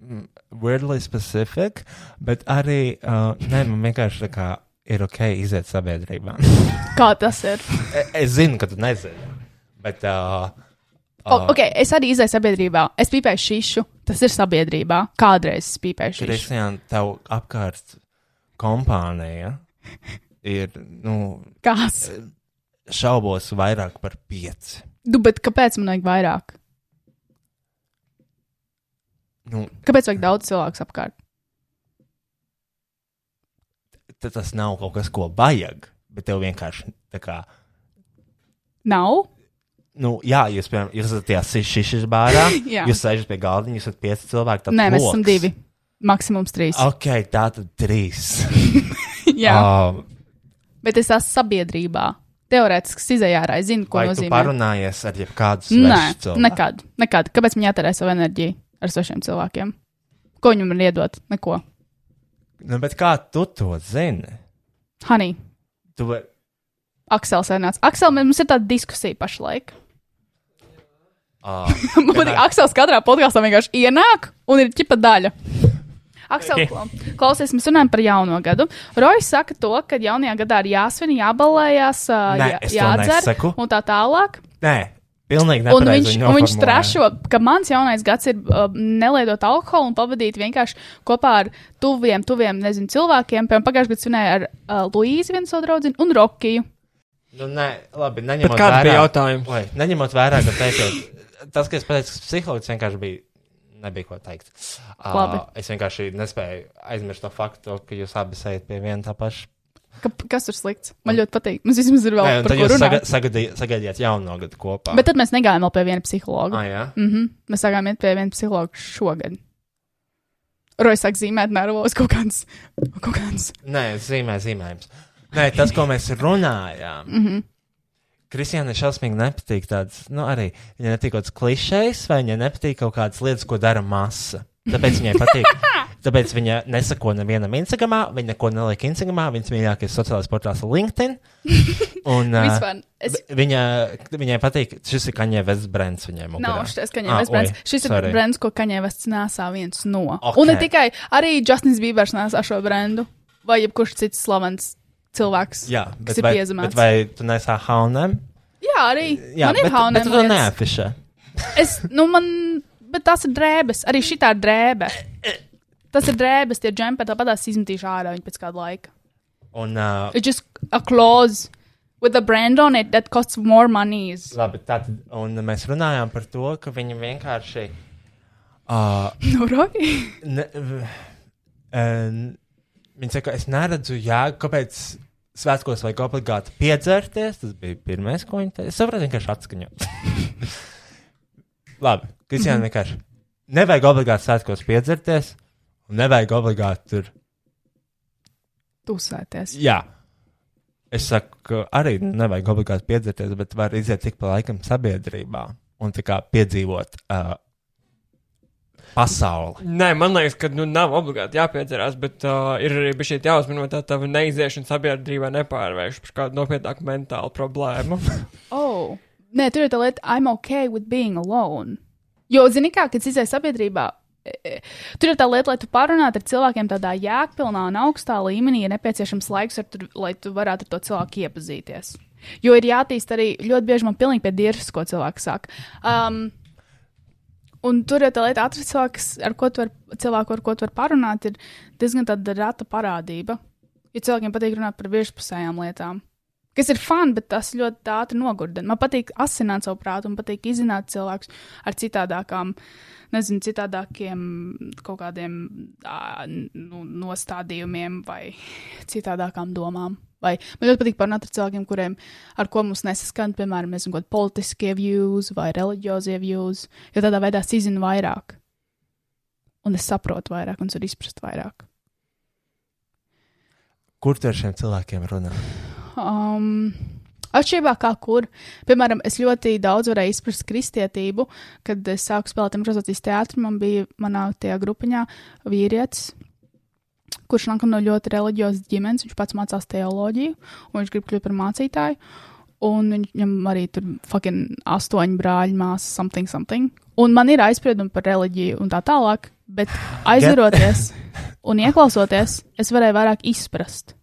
Mm, Weirdly specific, bet arī. Uh, nē, man vienkārši tā kā ir ok iziet sabiedrībā.
Kā tas ir?
E- es zinu, ka tu nezini. Bet. Uh,
O, ok, es arī izdeju sabiedrībā. Es pīpēju šīšu, tas ir sabiedrībā. Kādreiz es pīpēju šīšu.
Kristian, tev apkārt kompānija ir, nu,
Kas?
šaubos vairāk par pieci.
Nu, bet kāpēc man vajag vairāk?
Nu,
Kāpēc vajag daudz cilvēku apkārt?
tad tas nav kaut kas, ko vajag. Bet tev vienkārši tā kā,
Nav.
nu, jā, jūs, piemēram, jūs esat tajā sišķišķis bārā,
Jā.
jūs sēžat pie galda, jūs esat pieci cilvēki. tad
Nē, mēs esam
loks.
divi. Maksimums trīs.
Ok, tā tad trīs.
Jā,
Um,
bet es esmu sabiedrībā. Teorētiski es izēju ārā, es zinu, ko
vai tu
nozīmē.
parunājies ar jebkādu
Nē,
svešu cilvēku?
nekad, nekad. Kāpēc man jātērē savu enerģiju ar svešiem cilvēkiem? Ko viņam ir iedot? Neko.
Nu, bet kā tu to zini?
Hanī,
Tu vari.
Aksels ir nācis. Aksel, mums ir tāda diskusija pašlaik.
Ah,
Man patīk, Aksels katrā podkāstā vienkārši ienāk un ir ķipa daļa. Aksel, kla- klausies, mēs runājam par jauno gadu. Rojas saka to, ka jaunajā gadā ir jāsvin, jābalējās, ā,
Nē,
jā,
es to
jādzer
nesaku.
un tā tālāk.
Nē, pilnīgi
Un
nepareizi
viņš,
viņu
un viņš
noformulēju.
trešo, ka mans jaunais gads ir uh, nelietot alkoholu un pavadīt vienkārši kopā ar tuviem, tuviem nezinu, cilvēkiem. Piemēram, pagājušajā gadā svinēja ar uh, Luīzi, vienu savu draugu, un Rokiju.
Nu, nē, labi,
Bet
neņemot
kāda bija
vērā-
jautājuma?
Lai, neņemot vērā, ka teiktu, tas, kas pateicis, ka psihologs vienkārši bija. Nebija ko teikt. Ā,
Labi.
es vienkārši nespēju aizmirst to faktu, ka jūs abi esat pie viena tā paša.
Ka, kas tur slikts? Man ļoti patīk. Mums vismaz ir vēl
Nē, un
par
tad
ko
jūs saga
runāt.
sagadī- sagaidījāt jauno gadu kopā.
Bet tad mēs negājām vēl pie viena psihologa.
ah, jā.
Mm -hmm. Mēs sākām iet pie viena psihologa šogad. Rojas sāk zīmēt nervos kaut kāds. Kaut kāds.
Nē, zīmē, zīmējums. Nē, tas, ko mēs runājām. Mm
Mhm.
-hmm. Kristiāna šausmīgi nepatīk tādas, nu, arī viņa nepatīk kaut kādas klišejas, vai viņa nepatīk kaut kādas lietas, ko dara masa. Tāpēc viņai patīk. Tāpēc viņa nesako nevienam Instagram, viņa neko neliek Instagram, viņas mīļākais sociālais portāls ir LinkedIn. Un, ā,
Vispār. Es...
vi- viņa, viņai patīk, šis ir Kaņē Vesbrands viņai. mugurā.
Nav šis
Ah,
kaņēvis brands.
oi,
Šis ir
sorry.
brands, ko kaņēvis nesā viens no.
Ok.
Un ne tikai arī Justins Bībers nesā šo brandu, vai jebkurš cits slavens cilvēks,
Jā, bet
kas ir
vai, bet
piezīmēts.
vai tu nesā haunem?
Jā, arī
Jā,
man ir
bet, bet tu
haunēm.
to
lietas.
neapišā.
Es, nu, man, bet tās ir drēbes, arī šī ir drēbe. Tas ir drēbes, tie džempēji, tāpat tās izmetīšu ārā viņu pēc kāda laika.
Un, uh,
It's just a clothes with a brand on it that costs more money.
Labi, tātad, un mēs runājām par to, ka viņi vienkārši. Uh,
Nu, Robi?
ne, v- en- viņi saka, es neredzu, jā, kāpēc svētkos vajag obligāti piedzerties. Tas bija pirmais, ko viņi teica. Es saprotu, vienkārši atskaņot. Labi, Kristiāna vienkārši. Nevajag obligāti svētkos piedzerties, un nevajag obligāti tur.
Tusēties.
Jā. Es saku, ka arī nevajag obligāti piedzerties, bet var iziet tik pa laikam sabiedrībā un tā kā piedzīvot uh, pasauli.
Nē, man liekas, ka nu, nav obligāti jāpiedzerās, bet uh, ir arī bijis jāuzmanā, tā tā neiziešana sabiedrībā nepārvērš par kādu nopietnāku mentālu problēmu.
Oh. Nē, tur ir tā lieta, I'm okay with being alone. Jo, zini, kā, kad izai sabiedrībā, e, e, tur ir tā lieta, lai tu pārunātu ar cilvēkiem tādā jēgpilnā un augstā līmenī, ir nepieciešams laiks, ar tur, lai tu varētu ar to cilvēku iepazīties. Jo ir jātīst arī ļoti bieži man pilnīgi pie dievs, ko cilvēks saka. Um, Un tur ir tā lieta, atrast cilvēks, ar ko tu vari, cilvēku, ar ko tu vari parunāt, ir diezgan tāda reta parādība. Jo cilvēkiem patīk runāt par virspusējām lietām. Kas ir fani, bet tas ļoti ātri nogurdina. Man patīk asināt savu prātu, man patīk izzināt cilvēkus ar citādākām, nezinu, citādākiem kaut kādiem ā, nu, nostādījumiem vai citādākām domām. Vai man ļoti patīk parunāt ar cilvēkiem, kuriem ar ko mums nesaskan, piemēram, nezinu, kaut kādi politiskie views vai reliģiozie views, jo tādā veidā es izzinu vairāk. Un es saprotu vairāk, un es varu izprast vairāk.
Kur tu ar šiem cilvēkiem runā?
Um, Atšķirībā kā kur, piemēram, es ļoti daudz varēju izprast kristietību, kad es sāku spēlēt improvizācijas teātrī. Man bija manā tajā grupiņā vīrietis, kurš nāk no ļoti reliģiozas ģimenes. Viņš pats mācās teoloģiju, un viņš grib kļūt par mācītāju. Un viņam arī tur fucking astoņi brāļi, māsas, something, something. Un man ir aizspriedumi par reliģiju un tā tālāk, bet aizveroties un ieklausoties, es varēju vairāk izprast.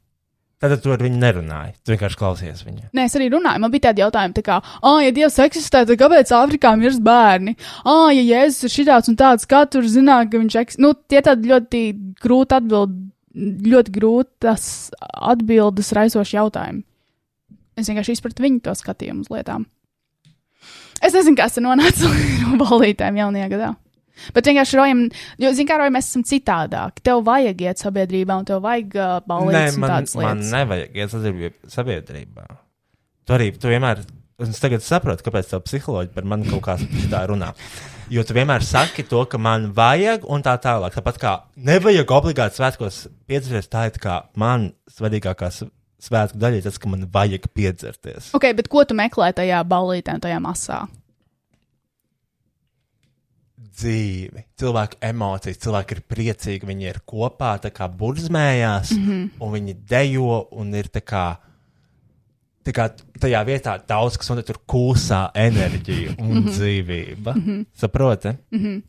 Tad tu ar viņu nerunāji. Tu vienkārši klausies viņu.
Nē, es arī runāju. Man bija tādi jautājumi, tā kā, ah, ja Dievs eksistē, tad kāpēc Āfrikā mirst bērni? Ah, ja Jēzus ir šitāds un tāds, kā tur zināt, ka viņš eksistē. Nu, tie tādi ļoti grūti atbild, ļoti grūtas atbildes raisoši jautājumi. Es vienkārši izpratu viņu to skatījumu uz lietām. Es nezinu, kas ir nonācis līdz balītēm jaunajā gadā. Bet vienkārši rojam, jo, zināmā mērā, mēs esam citādāki. Tev vajag iet sabiedrībā, un tev vajag uh, balīdzes un
man,
tādas
man
lietas.
nevajag iet sadarbība- sabiedrībā. Tu arī tu vienmēr, un es tagad saprotu, kāpēc tā psiholoģija par mani kaut kā tā runā. Jo tu vienmēr saki to, ka man vajag, un tā tālāk. Tāpat kā nevajag obligāti svētkos piedzerties, tā ir tā kā man svarīgākā s- svētku daļa, ir tas, ka man vajag piedzerties.
Ok, bet ko tu meklē tajā balītē, un tajā masā?
dzīvi, cilvēku emocijas, cilvēki ir priecīgi, viņi ir kopā, tā kā burzmējās, mm
Mhm.
-hmm. un viņi dejo, un ir tā kā, tā kā tajā vietā daudz kas, un tur kūsā enerģija un
Mhm.
mm -hmm. dzīvība. Mm -hmm. Saproti? Mm -hmm.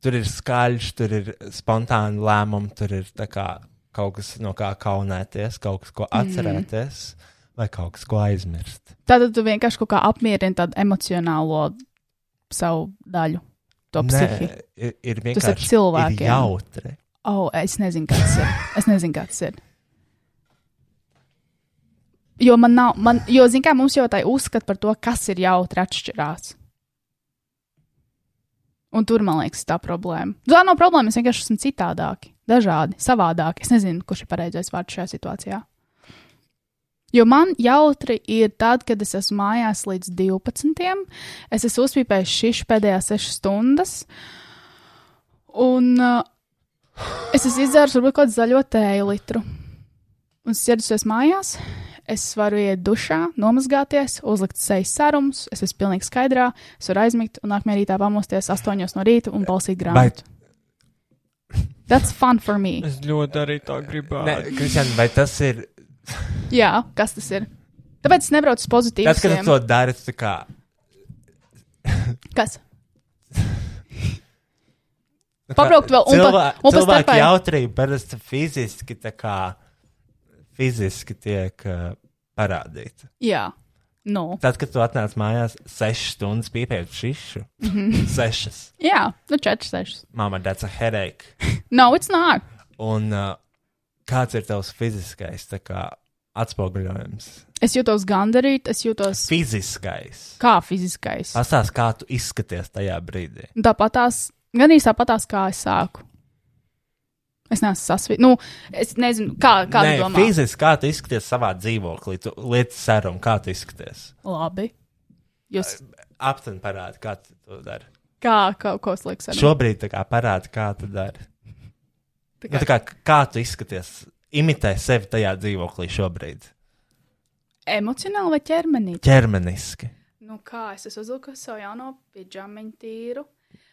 Tur ir skaļš, tur ir spontāni lēmumi, tur ir tā kā kaut kas, no kā kaunēties, kaut kas,
Mhm.
ko atcerēties, mm -hmm. vai kaut kas, ko aizmirst.
Tātad tu vienkārši kaut kā apmierini tādu emocionālo savu daļu, to psihi.
Nē, ir, ir
Tas ir
vienkārši ir
cilvēkiem.
jautri.
Oh, es nezinu, kas tas ir. Es nezinu, kas tas ir. Jo man nav, man, jo, zināmā mērā, mums jau tā uzskata par to, kas ir jautri atšķirās. Un tur, man liekas, tā problēma. Tā nav problēma, es vienkārši esmu citādāki, dažādi, savādāki. Es nezinu, kurš ir pareizais vārds šajā situācijā. Jo man jautri ir tad, kad es esmu mājās līdz 12. Es esmu uzpīpējis šīs pēdējās 6 stundas. Un uh, es esmu izdzēris varbūt kaut kādu zaļo tēju litru. Un sēdusies mājās, es varu iet dušā, nomazgāties, uzlikt sejas sarumus, es esmu pilnīgi skaidrā, es varu aizmigt un nākamajā rītā pamosties 8 no rīta un balsīt grāmatu. That's fun for me.
Es ļoti arī tā gribēju.
Nē, Kristian, vai tas ir
Jā, kas tas ir? Tāpēc es nebraucu uz
Tas, ka tu
pozitīvu.
to dari, tu tā kā.
Kas? Pabraukt vēl un pa- un pa
Cilvēki
starpā-
jautrība parasti fiziski, tā kā, fiziski tiek uh, parādīta.
Jā, nu.
Tad, kad tu atnāc mājās, sešas stundas pīpēt šišu. Sešas.
Mhm. Jā, nu 4, 6.
Māma, that's a headache.
No, it's not.
Un uh, kāds ir tavs fiziskais, tā kā, atspoguļojums?
Es jūtos gandarīts, es jūtos
Fiziskais.
kā fiziskais.
Pastāst, kā tu izskaties tajā brīdī.
Un Tāpatās, gan īsi tāpatās, kā es sāku. Es neesmu sasvīts. Nu, es nezinu, kā, kā tu
Nē,
domā.
fiziski, kā tu izskaties savā dzīvoklī, tu lietas sarumu, kā tu izskaties.
Labi. Jūs
aptuveni parāda, kā tu to dari.
kā kaut ko slēgs ar šo?
Šobrīd tā kā parāda, kā tu dari. Nu, tā kā, kā tu izskaties, imitē sevi tajā dzīvoklī šobrīd.
Emocionāli vai ķermenī?
Ķermeniski.
Nu, kā es esmu uzvilkusi savu jauno pidžamiņu tīru.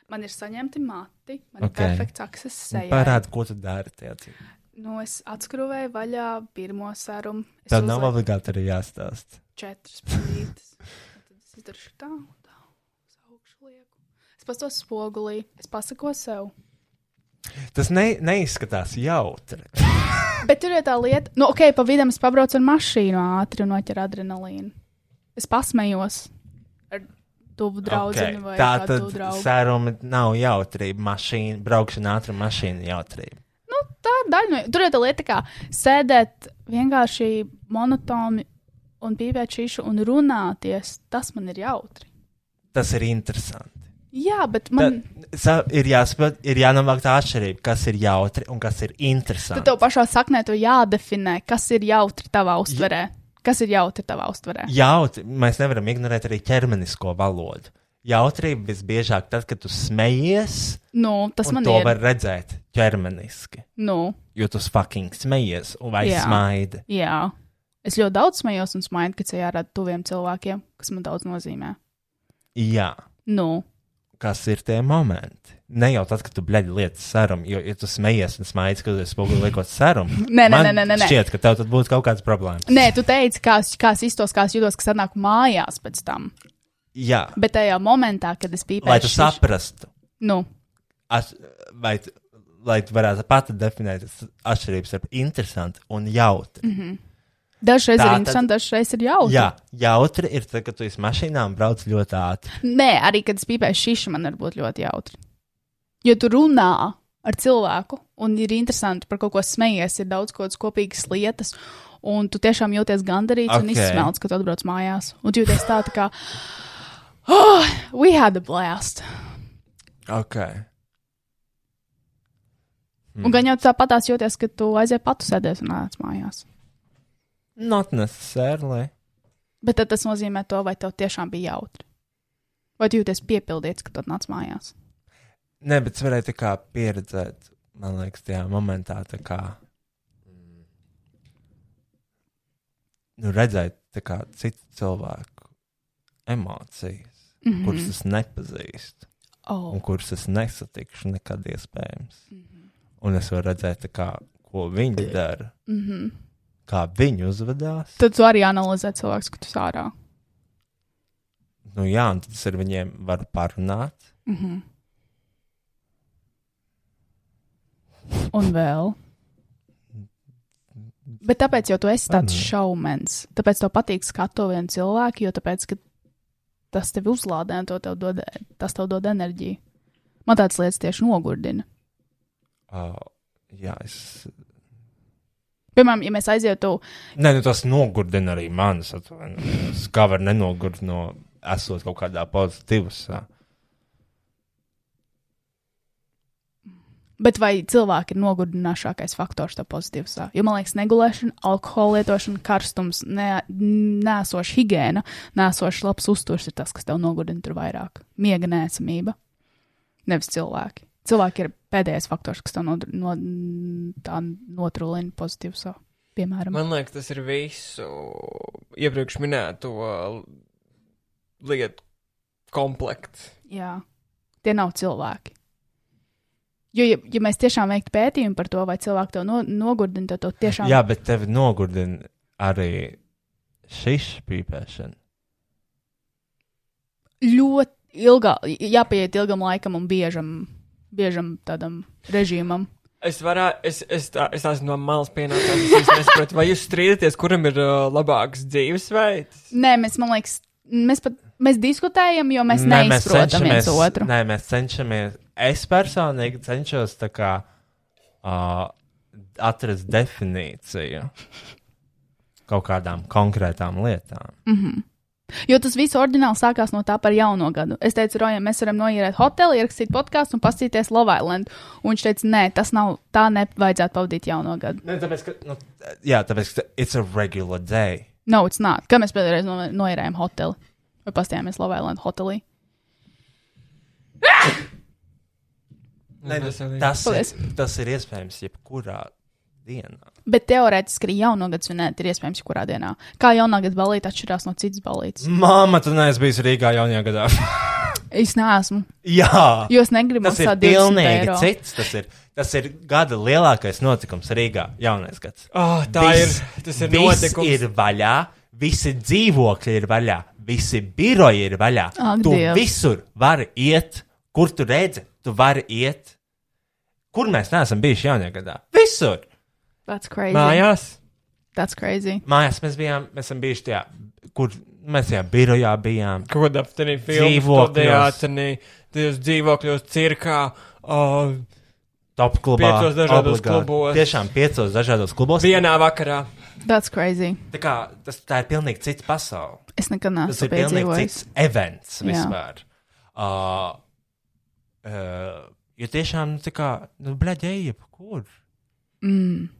Man ir saņemti mati, man okay.
Ok.
ir perfekts akses
Un
sejā.
Parāda, ko tu dari tajā dzīvoklī.
Nu, es atskrūvēju vaļā pirmo sarumu. Es
Tev nav
uzliku
obligāti arī jāstāsta.
četras plītas. Tad es Es daru tā, tā, uz augšu lieku. Es pastos spogulī, es pasaku sev.
Tas ne, neizskatās jautri.
Bet tur ir tā lieta, nu, ok, pa vidu es pabraucu ar mašīnu ātri un noķeru adrenalīnu. Es pasmējos ar tuvu draugu okay. vai
Tā
kādu
tad
tuvu draugu.
sēruma nav jautrība. Mašīna, braukšana ātruma mašīna jautrība.
Nu, tā ir daļa no. Tur ir tā lieta, kā sēdēt vienkārši monotoni un pīpēt šīšu un runāties. Tas man ir jautri.
Tas ir interesanti.
Jā, bet man.
Sa, ir jāsaprot, ir jānovāk tā atšķirība, kas ir jautri un kas ir
Tad
interesanti.
tev pašā saknē to jādefinē, kas ir jautri tavā uztverē. Kas ir jautri tavā uztverē?
Jautri, mēs nevaram ignorēt arī ķermenisko valodu. Jautrība visbiežāk tad, kad tu smejies,
Nu, tas
un
man
to
ir.
var redzēt ķermeniski.
Nu,
Jo tu fucking smejies un vai
Jā.
smaidi.
jā. Es ļoti daudz smējos un smaidu, kad ceļā ar tuviem cilvēkiem, kas man daudz nozīmē.
Jā.
Nu,
kas ir tie momenti. Ne jau tad, kad tu blēdi lietas sarumu, jo, ja tu smejies un smaidies, kad es spoguli liekot sarumu,
nē, nē,
man
nē, nē, nē, nē.
šķiet, ka tev tad būtu kaut kāds problēma.
Nē, tu teici, kā es, kā es iztos, kā es jūtos, kas atnāk mājās pēc tam.
Jā,
Bet tajā momentā, kad es pīpēju,
lai tu saprastu,
Nu,
as, vai tu, lai tu varētu pati definēt tas atšķirības starp interesantu un jautru. Mm -hmm.
dažreiz
Tā
ir
tad-
interesanti, dažreiz ir jautri.
Jā, jautri ir tad, kad tu esi mašīnā un brauc ļoti ātri.
Nē, arī kad es pīpēju šīšu, man var būt ļoti jautri. Jo tu runā ar cilvēku, un ir interesanti par kaut ko smejies, ir daudz kaut kādas kopīgas lietas, un tu tiešām jūties gandarīts okay. un
Ok.
izsmelts, kad tu atbrauc mājās. Un tu jūties tā, tā kā, oh, we had a blast.
Okay.
Mm. Un gan jau tāpatās jūties, ka tu aizies patu sēdēs un nāc mājās.
Not necessarily.
Bet tad tas nozīmē to, vai tev tiešām bija jautri. Vai tu jūties piepildīts, kad tu atnāc mājās?
Nē, bet es varēju tā kā pieredzēt, man liekas, tajā momentā, tā kā. mm, Nu, redzēt, tā kā citu cilvēku emocijas,
Mm
mm. kuras es nepazīstu
oh. Mhm.
un kuras es nesatikšu nekad iespējams. Mm. Un es varu redzēt, tā kā, ko viņi dara,
mm -hmm.
kā viņi uzvedās.
Tad tu arī analizē cilvēku, kad tu esi ārā.
Nu, jā, un tas ar viņiem var parunāt.
Mm -hmm. Un vēl. Bet tāpēc jau tu esi tāds šaumens. Tāpēc tev patīk skatuvienu cilvēku, jo tāpēc, ka tas tevi uzlādē un to tev dod, tas tev dod enerģiju. Man tāds lietas tieši nogurdina.
Uh, jā, es.
Piemēram, ja mēs aizietu,
Nē, nu, tas nogurdina arī manis. atvainojos. Kā var nenogurdināt, no, esot kaut kādā pozitīvā.
bet vai cilvēki ir nogurdinošākais faktors tev pozitīvs? Jo man liekas, negulēšana, alkohola lietošana, karstums, ne- nēsoša higiēna, nēsošs labs uzturs ir tas, kas tev nogurdina tur vairāk. Miega nēsamība, nevis cilvēki. Cilvēki ir pēdējais faktors, kas tev no, no, tā notrūlina pozitīvs. Piemēram,
Man liekas, tas ir visu iepriekš minēto lietu komplekts.
Jā, tie nav cilvēki. Jo, ja, ja mēs tiešām veiktu pētījumu par to, vai cilvēki to no, nogurdina, tad to tiešām
Jā, bet tevi nogurdina arī šis pīpēšana.
ļoti ilgā, jāpieiet ilgam laikam un biežam, biežam tādam režīmam.
Es varētu, es, es, tā, es esmu no malas pienācis. Es īsti nesaprotu, vai jūs strīdaties, kuram ir uh, labāks dzīvesveids?
Nē, mēs, man liekas, mēs pat mēs diskutējam, jo mēs ne, neizprotam viens otru. Ne.
Nē, mēs cenšamies. Es personīgi cenšos tā kā uh, atrast definīciju kaut kādām konkrētām lietām.
Mhm. Jo tas viss oriģināli sākās no tā par jauno gadu. Es teicu, Rojam, mēs varam noierēt hoteli, ierakstīt podkāstu un paskatīties Love Island. Un viņš teica, nē, tas nav tā, nevajadzētu pavadīt jauno gadu.
Nē, tāpēc, ka, nu, jā, tāpēc, ka it's a regular day.
Nav, no, it's not. Kā mēs pēdējais no, noierējām hoteli? Vai pastījāmies Love Island hotelī?
Nē,
Tas arī-
tas,
Paldies.
ir, tas ir iespējams jebkurā dienā.
Bet teorētiski arī jaunogad svinēt ir iespējams jebkurā dienā. Kā jaunogad balīti atšķirās no citas balītes?
Māma, tu neesi bijusi Rīgā jaunajā gadā.
Mm.
Es neesmu.
Jā,
Jo es negribu
tas ir
maksāt 20
pilnīgi
eiro.
cits. Tas ir, tas ir gada lielākais notikums Rīgā. Jaunais gads.
Oh, tā
Viss-
ir. Tas ir
viss
notikums.
Ir vaļā, visi dzīvokļi ir vaļā,
visi biroji ir vaļā.
Ak,
tu
Dievs.
visur vari iet, kur tu redzi, tu vari iet. Kur mēs neesam bijuši jaunajā gadā? Visur!
That's crazy.
Mājās.
That's crazy.
Mājās mēs bijām, mēs esam bijuši tajā, kur mēs tajā birojā bijām.
Kaut kādā aptuveni
Dzīvokļos.
filmā, tajos dzīvokļos, cirkā. Uh,
Top klubā.
Piecos dažādos
obligāti.
klubos.
Tiešām piecos dažādos klubos.
vienā vakarā.
That's crazy.
Tā, kā, tas, tā ir pilnīgi cits pasaule.
Es nekad
Tas
neesmu
ir pilnīgi
piedzīvojis.
cits events
Ah, Jā.
vispār. Uh, uh, jo tiešām, nu, tā kā, nu, bleģēji, kur?
Mm.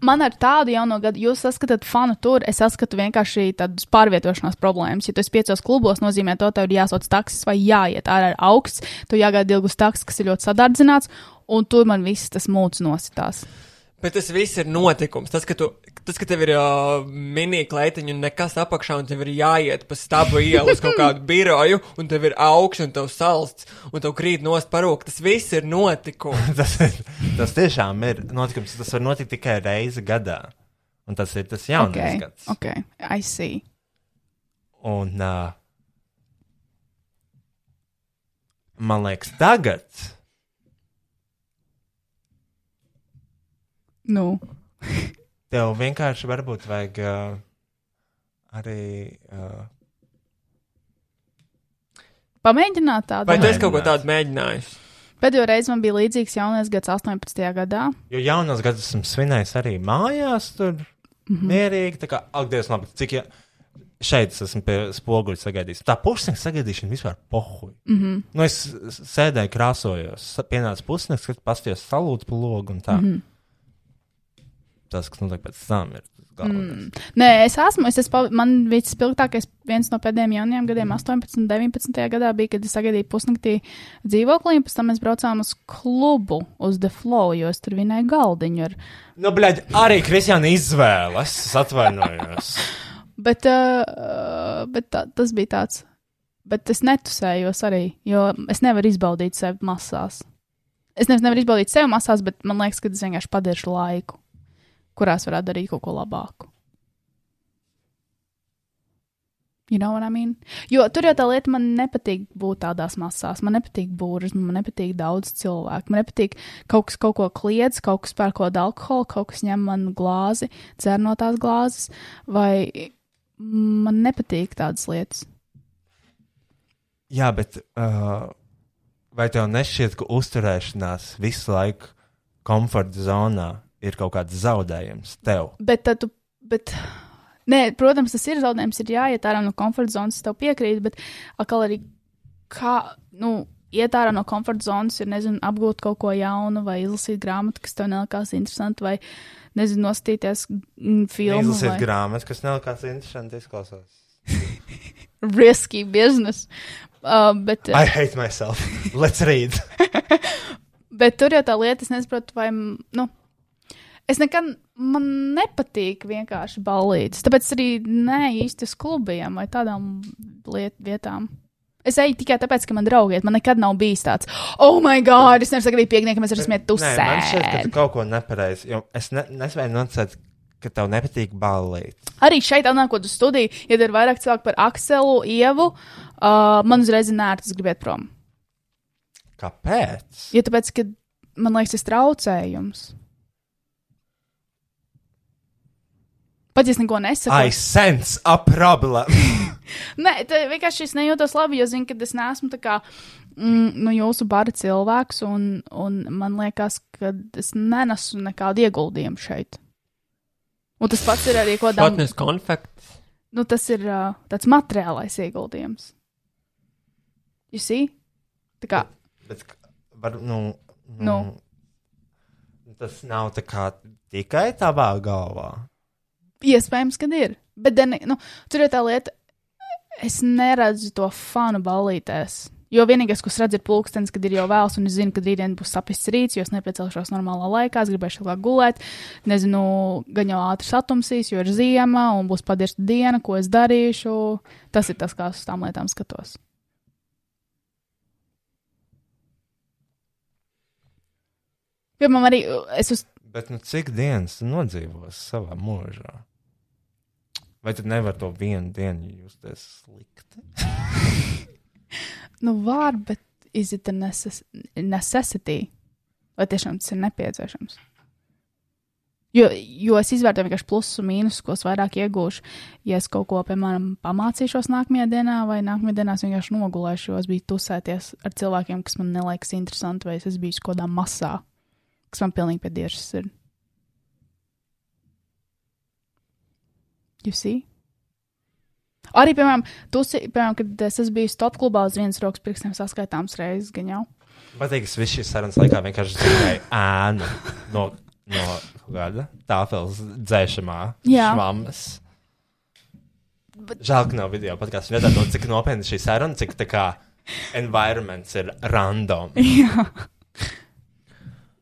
Man ar tādu jaunu gadu, jūs saskatāt fanu tur, es saskatu vienkārši tādas pārvietošanās problēmas. Ja tu esi piecos klubos, nozīmē to, tev ir jāsauc taksis vai jāiet ārā ar augsts, tu jāgaida ilgus taksis, kas ir ļoti sadardzināts, un tur man viss tas mūcis nositās.
Bet tas viss ir notikums. Tas, ka, tu, tas, ka tev ir uh, mini-kleitiņa un nekas apakšā, un tev ir jāiet pa stabu ielu uz kaut kādu biroju, un tev ir augsts, un tev salsts, un tev krīt nost parūk. Tas viss ir notikums.
tas, ir- tas tiešām ir notikums. Tas var notikt tikai reizi gadā. Un tas ir tas jaunais okay.
Okay.
gads.
ok, I see.
Un, uh, man liekas, tagad
Nu,
tev vienkārši varbūt vajag uh, arī. Uh,
pamēģināt tādu.
Vai tu esi
Mēģināt.
kaut ko tādu mēģinājis?
Pēdējo reizi man bija līdzīgs jaunais gads 18. gadā.
jo jaunos gadus esmu svinējis arī mājās, tur mm
Mhm,
-hmm. mierīgi. Tā kā, ak, Dievs, labi, cik ja... šeit es esmu pie spoguļa sagaidījis. Tā pusnakts sagaidīšana vispār pohuļ. Mm -hmm.
mhm,
nu, es s- sēdēju, krāsojos, sa- pienāca pusnakts, kad paskatījos salūtu pa logu un
Mhm.
tā. Mm -hmm. Tas, kas notiek pēc tam, ir tas galvenais. Mm.
Nē, es esmu. Es esmu man bija spilgtākais viens no pēdējiem jaunajiem gadiem,
Mhm.
18, 19 gadā, bija, kad es sagaidīju pusnaktī dzīvoklī, un pēc tam mēs braucām uz klubu, uz The Flow, jo es tur vinēju galdiņu. Ar...
Nu, blēģi, arī Kristiāna izvēles. Es atvainojos.
Bet, uh, bet tā, tas bija tāds. Bet es netusējos arī, jo es nevaru izbaudīt sevi masās. Es nevis nevaru izbaudīt sevi masās, bet man liekas, ka es vienkārši padiršu laiku, kurās varētu darīt kaut ko labāku. You know what I mean? Jo tur jau tā lieta, man nepatīk būt tādās masās, man nepatīk būras, man nepatīk daudz cilvēku, man nepatīk kaut kas kaut ko kliedz, kaut kas pērkot alkoholu, kaut kas ņem man glāzi, dzer no tās glāzes, vai man nepatīk tādas lietas.
Jā, bet uh, vai tev nešķiet, ka uzturēšanās visu laiku komforta zonā ir kaut kāds zaudējums tev?
Bet tad tu. Bet... Nē, protams, tas ir zaudējums, ir jāiet ārā no komforta zonas, es tev piekrītu, bet atkal arī kā, nu, iet ārā no komforta zonas ir, nezinu, apgūt kaut ko jaunu, vai izlasīt grāmatu, kas tev nelikās interesanti, vai, nezinu, nostīties mm, filmu.
Izlasīt
Vai...
grāmatas, kas nav kāds interesants, izklausās.
Risky business. Uh, bet,
I hate myself. Let's read.
Bet tur jau tā lieta, es nesaprotu, vai. Nu, es nekad man nepatīk vienkārši ballītes. Tāpēc es arī nē, īsti uz klubiem vai tādām liet, vietām. Es eju tikai tāpēc, ka man draugi iet. Man nekad nav bijis tāds, oh, my God, es nevaru sagaidīt piekdienu, ka mēs varam smiet
Nē, man šķiet, ka tu
tusē.
kaut ko nepareizi. jo Es ne, nespēju nocēt, ka tev nepatīk ballīt.
Arī šeit, atnākot uz studiju, ja ir vairāk cilvēku par Akselu, Ievu, uh, man uzreiz ir nērts gribēt prom.
Kāpēc?
Jo tāpēc, ka man liekas, tas traucējums. Pat ja es neko nesaku.
I sense a problem.
Nē, tā vienkārši es nejūtos labi, jo zinu, ka es neesmu tā kā mm, nu, jūsu bara cilvēks, un, un man liekas, ka es nenesu nekādu ieguldījumu šeit. Un tas pats ir arī ko dāmas.
Fitness konfekts.
Nu, tas ir uh, tāds materiālais ieguldījums. Jūs zināt, tā kā
Bet, k- var, nu, nu,
Nu.
Tas nav tā kā tikai tavā galvā.
iespējams, ka ir. Bet then, nu, tur ir tā lieta, es neredzu to fanu ballītēs. Jo vienīgais, ko es redzu, ir pulkstenis, kad ir jau vēls, un es zinu, ka rītdien būs sapists rīts, jo es nepiecelšos normālā laikā, es gribēšu ilgāk gulēt. Nezinu, gan jau ātri satumsīs, jo ir ziema un būs padirsta diena, ko es darīšu. Tas ir tas, kā es uz tām lietām skatos. Piemēram, arī uh, es uz
Bet nu, cik dienas tu nodzīvos savā mūžā? Vai tad nevar to vienu dienu justies slikti?
Nu, var, bet is it a necess necessity? Vai tiešām tas ir nepieciešams? Jo, jo es izvērtēju vienkārši plusus un mīnusus, ko es vairāk iegūšu. Ja es kaut ko, piemēram, pamācīšos nākamajā dienā, vai nākamajā dienā es vienkārši nogulēšu, jo es biju tusēties ar cilvēkiem, kas man neliekas interesanti, vai es esmu bijis kaut kādā masā, kas man pilnīgi pie diešas ir. You see? Arī, piemēram, tu, si- piemēram, kad es esmu bijis top klubā uz vienas rokas pirkstiem saskaitāms reizes, gan jau.
Patīk, ka viss šis sarunas laikā vienkārši dzirdēja ēnu no, no kaut kāda tāfeles dzēšamā
Jā.
švammas. Žēl, ka nav video podkāstu. Redzēt, no cik nopietna šī saruna, cik tā kā environments ir random,
Jā.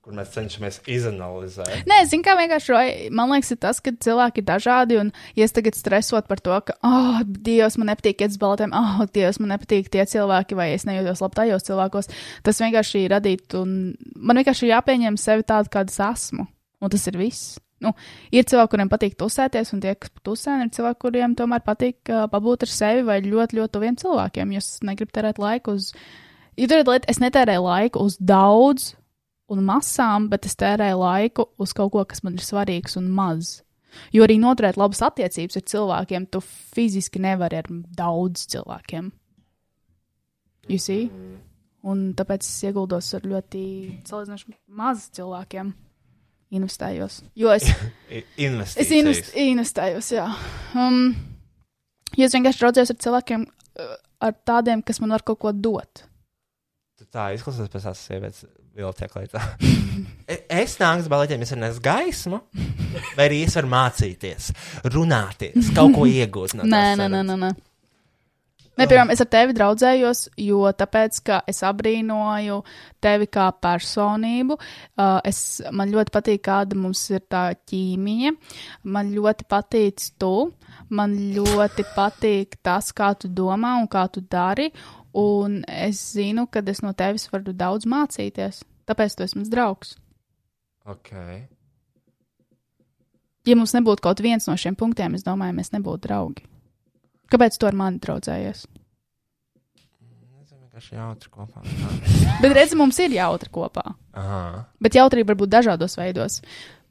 kur mēs cenšamies izanalizēt.
Nē, zinu, kā vienkārši Roy, man liekas, ir tas, ka cilvēki ir dažādi. Un, ja es tagad stresotu par to, ka, oh, Dievs, man nepatīk iet uz balotiem, oh, Dievs, man nepatīk tie cilvēki, vai es nejūtos labi tajos cilvēkos, tas vienkārši radītu, un man vienkārši ir jāpieņem sevi tādu, kāda es esmu. Un tas ir viss. Nu, ir cilvēki, kuriem patīk tusēties, un tie, kas tusē, un ir cilvēki, kuriem tomēr patīk uh, pabūt ar sevi vai ļoti, ļoti tuviem cilvēkiem. Jūs negribat terēt laiku uz. Ja tur ir lieta, es netērēju laiku uz daudz un masām, bet es tērēju laiku uz kaut ko, kas man ir svarīgs un maz. Jo arī noturēt labas attiecības ar cilvēkiem, tu fiziski nevari ar daudz cilvēkiem. Jūs zināt? Un tāpēc es ieguldos ar ļoti salīdzinoši maz cilvēkiem. Investējos. Jo es
I- Investīcijas.
Es invest, investējos, jā. Um, jo es vienkārši raudzījos ar cilvēkiem, uh, ar tādiem, kas man var kaut ko dot.
Tu tā izklausās pēc tās sievietes vilciekā līdzi. Es nāku uz balotiem, es nesu gaismu, vai arī es varu mācīties, runāties, kaut ko iegūt. No
Nē,
tās
nē, nē,
sarunas.
nē. nē. Nē, piemēram, es ar tevi draudzējos, jo tāpēc, ka es abrīnoju tevi kā personību. Uh, es, man ļoti patīk, kāda mums ir tā ķīmija. Man ļoti patīk tu. Man ļoti patīk tas, kā tu domā un kā tu dari. Un es zinu, ka es no tevis varu daudz mācīties. Tāpēc tu esi mans draugs.
Okay.
Ja mums nebūtu kaut viens no šiem punktiem, es domāju, mēs nebūtu draugi. Kāpēc tu ar mani draudzējies?
Tas ir vienkārši jautri kopā.
Bet redziet, mums ir jautri kopā.
Aha.
Bet jautrība var būt dažādos veidos.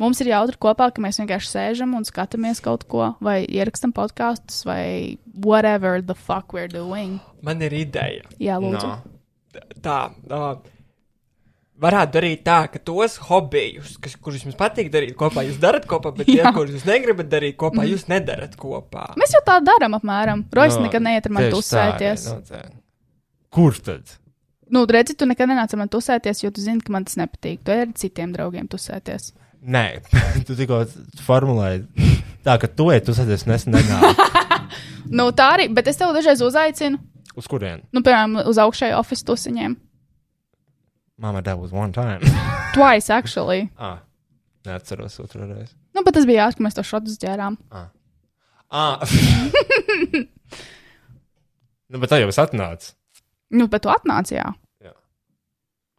Mums ir jautri kopā, ka mēs vienkārši sēžam un skatāmies kaut ko, vai ierakstam podkāstus, vai whatever the fuck we're doing.
Man ir ideja.
Jā, lūdzu.
No.
tā, uh, varētu darīt tā, ka tos hobijus, kas, kurus jums patīk darīt kopā, jūs darat kopā, bet tie,
Jā.
kurus jūs negribat darīt kopā, jūs nedarat kopā.
Mēs jau tā darām, apmēram. Rojas no,
No,
nekad neiet ar
Tieši
mani
tā,
tusēties.
jā, noteikti. Kur tad?
Nu, redzi, tu nekad nenāc ar mani tusēties, jo tu zini, ka man tas nepatīk. Tu ej ar citiem draugiem tusēties.
Nē, tu tikko formulēji tā, ka tu ej, tu sēdies nesenā.
Nu, tā arī, bet es tev dažreiz uzaicinu,
Uz kurien?
nu, piemēram, uz augšēju oficiālu tusiņiem.
Mama, that was one time.
Twice, actually.
ah, neatceros otru reizi.
Nu, bet tas bija jāsaka, ka mēs to šodien ģērām.
Ah. nu, bet tā jau es atnācu.
Nu, bet tu atnāci, jā.
Jā.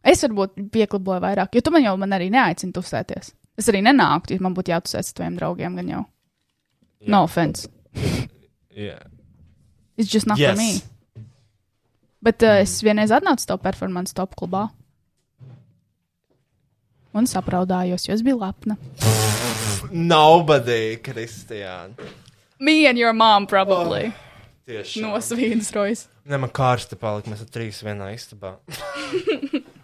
Es varbūt pieklaboju vairāk, jo tu man jau man arī neaicini tusēties. Es arī nenāktu, ja man būtu jātusēs ar taviem draugiem, gan jau. Jā. No offense.
Yeah.
It's just not yes. for me.
Yes.
Bet uh, es vienreiz atnācu to performance top klubā. Un sapraudājos, jo es biju lepna.
Nobody, Kristiāna.
Me and your mom probably. Oh.
Tieši tā.
Nosvīdis rojas.
Ne, man kārsta palika, mēs ar trīs vienā istabā.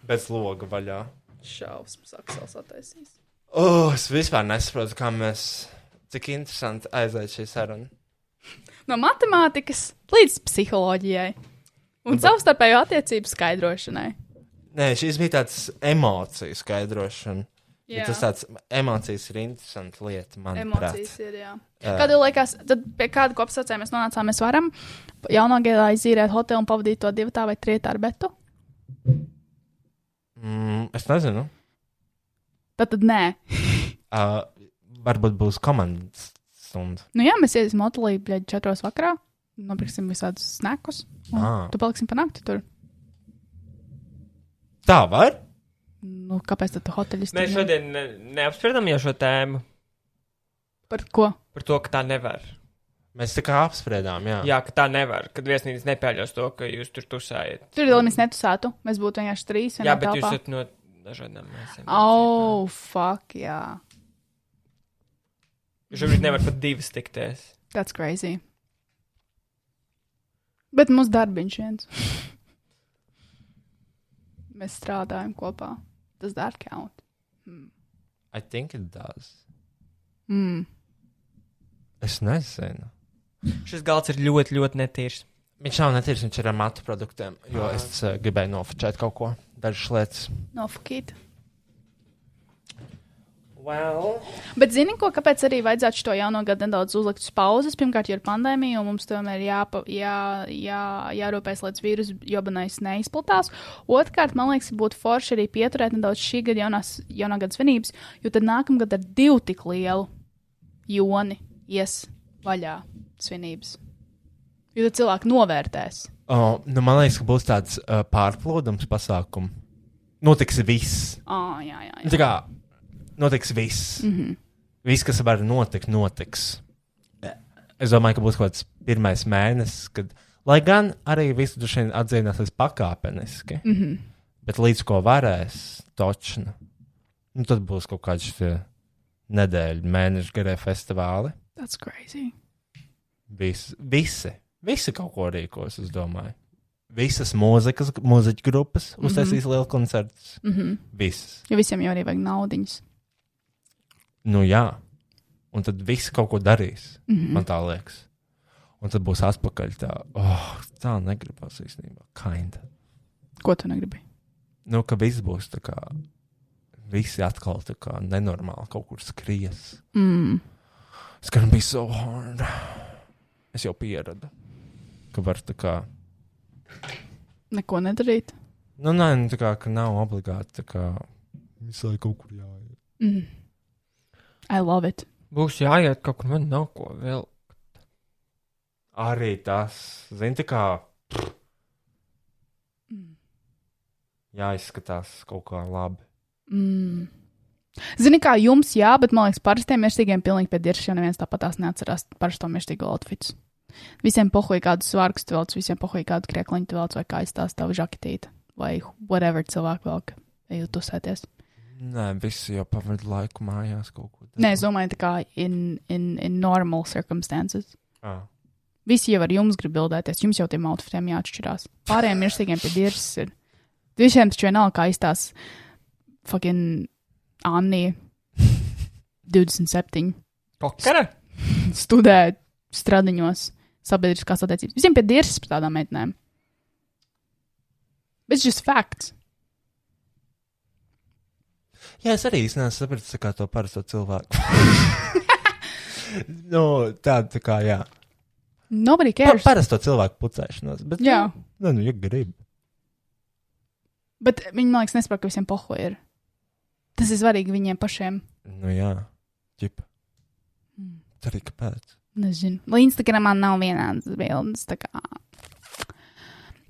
Bez loga vaļā.
Šausmas, aksels attaisīs.
Oh, es vispār nesaprotu, kā mēs. Cik interesanti aiziet šī saruna.
No matemātikas līdz psiholoģijai.
Nu,
Un savstarpēju attiecību skaidrošanai.
Nē, šīs bija tādas emociju skaidrošana.
Jā.
Yeah. Tas tāds emocijas ir interesants lieta, manuprāt.
Emocijas ir. jā.
Jā.
Kad jau likās, tad pie kāda kopsaucēja mēs nonācām, mēs varam jaunā gadā izīrēt hotelu un pavadīt to divu tā vai trījā ar betu.
Mm, es nezinu.
Tad, tad nē,
Uh, varbūt būs komandas stunda.
nu jā, mēs iesim hotelī, bļaigi, četros vakarā, nopirksim visādus snekus.
Ah.
Tu paliksim pa nakti tur.
Tā var?
Nu, kāpēc tad tu hoteļus
Mēs šodien ne, neapspriedām jau šo tēmu
Par ko?
par to, ka tā nevar.
Mēs tā kā apspriedām, jā.
Jā, ka tā nevar, kad viesnīca nepieļaus to, ka jūs tur tusējat.
Tur jau mēs netusētu. Mēs būtu vienkārši trīs.
Jā, bet jūs esat no dažādām mēsēm.
Oh, fuck, jā.
Jūs šobrīd nevarat pat divas tikties.
That's crazy. Bet mums darbiņš viens. Mēs strādājam kopā. Tas dar count. Hmm.
I think it does.
Mm.
Es nezinu.
Šis galds ir ļoti, ļoti netīrs.
Viņš nav netīrs, viņš ir ar matu produktiem, jo es uh, gribēju nofočēt kaut ko, dažas lietas.
No fukīt.
Well.
Bet zini, ko, kāpēc arī vajadzētu šo jauno gadu nedaudz uzlikt uz pauzes? Pirmkārt, jo ir pandēmija, un mums tomēr jāpa, jā, jā, jārūpēs, lai vīrusu jobanais neizplatās. Otrkārt, man liekas, būtu forši arī pieturēt nedaudz šī gada jaunās, jaunā gada svinības, jo tad nākamgad ar divu tik lielu joni ies vaļā svinības. Jo tad cilvēki novērtēs.
Uh, nu, man liekas, ka būs tāds uh, pārplūdums pasākumu. Notiks viss.
Ah, jā, jā,
Nu,
Mhm. jā.
Tā kā notiks viss. Mm -hmm. Viss, kas var notikt, notiks. Es domāju, ka būs kaut kāds pirmais mēnesis, kad. Lai gan arī viss tur šodien atzīmēsies pakāpeniski, mm -hmm.
Mhm.
bet līdz ko varēs, točnu. Nu, tad būs kaut kādi šie nedēļu, mēnešu garie festivāli.
That's crazy.
Vis, visi, visi kaut ko rīkos, es domāju. Visas mūzikas, mūziķu grupas uztaisīs mm -hmm. lielu koncertu. Mm -hmm. Visas.
Mhm. Jo visiem jau arī vajag naudiņas.
Nu, jā. Un tad viss kaut ko darīs. Mm
Mhm.
-hmm. Man tā liekas. Un tad būs atpakaļ tā, oh, tā negribas īstenībā. Kinda.
Ko tu negribi?
Nu, ka viss būs tā kā. Visi atkal tā kā nenormāli kaut kur skries.
Mm.
It's gonna be so hard. Es jau pieradu. Ka var tā kā.
Neko nedarīt.
Nu, nē, nu, tā kā ka nav obligāti tā kā. Visu laiku kaut kur jāiet.
Mm. I love it.
Būs jāiet kaut kur, man nav ko vēl.
Arī tas, zini, tā kā. Jā, izskatās kaut kā labi.
Mm. Zini, kā jums, jā, bet man liekas, parastiem mirstīgiem pilnīgi pie diržas jau neviens tāpat tās neatcerās parasto mirstīgo outfits. Visiem pohuļ kādu svārku stvelc, visiem pohuļ kādu kriekliņu velc vai kā aizstās tavu žaketīti vai whatever cilvēku velk, ejot tusēties.
Nē, visi jau pavadīja laiku mājās kaut ko
Nē, es domāju, tā kā in, in, in normal circumstances.
Ah.
Visi jau ar jums grib bildēties, jums jau tiem outfitiem jāatšķirās. Pārējiem mirstīgiem pie diržas ir. Visiem taču vienalga, kā aizstās fucking Anni 27
Kokara?
studēt stradiņos, sabiedriskās attiecības. Visiem pie diržas par tādām meitenēm. Bet šis fakts.
Jā, es arī īstenībā sapratu tā kā to parasto cilvēku. nu, tā, tā kā, jā.
Nobody
Pa,
cares.
parasto cilvēku pucēšanos. Bet,
Jā,
Nē, nu, ja gribi.
bet viņi man liekas nesaprot, ka visiem poho ir. Tas ir svarīgi viņiem pašiem.
Nu, jā, ģip. Tā arī kāpēc.
Nezinu. Lai Instagramā nav vienādas bildes. Tā kā,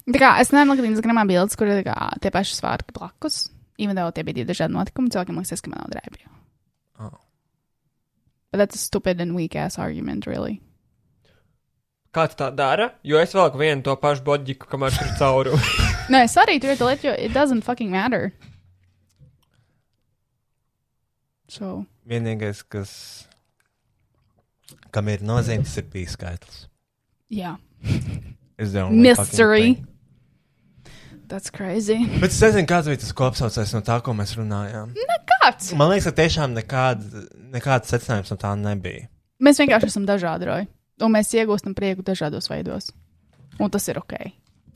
tā kā es nemanīju, ka Instagramā bildes, kur ir tā kā tie paši svārki blakus. Īvadot, tie bija divi dažādi notikumi. Cilvēkiem liekas, ka man nav drēbju.
Oh.
But that's a stupid and weak ass argument, really.
Kāds tā dara? Jo es velku vienu to pašu boģiku, kamēr tur cauru.
Nē, es arī tur ir tā lieta, jo it doesn't fucking matter. So,
Vienīgais, kas. Kam ir nozīmes, ir bijis skaitlis.
yeah.
Es domāju,
Mystery. That's crazy.
Bet es nezinu, kāds bija tas kopsaucējs no tā, ko mēs runājām.
Kāds?
Man liekas, ka tiešām nekāda, nekāds secinājums no tā nebija.
Mēs vienkārši esam dažādi, Roji. Un mēs iegūstam prieku dažādos veidos. Un tas ir ok.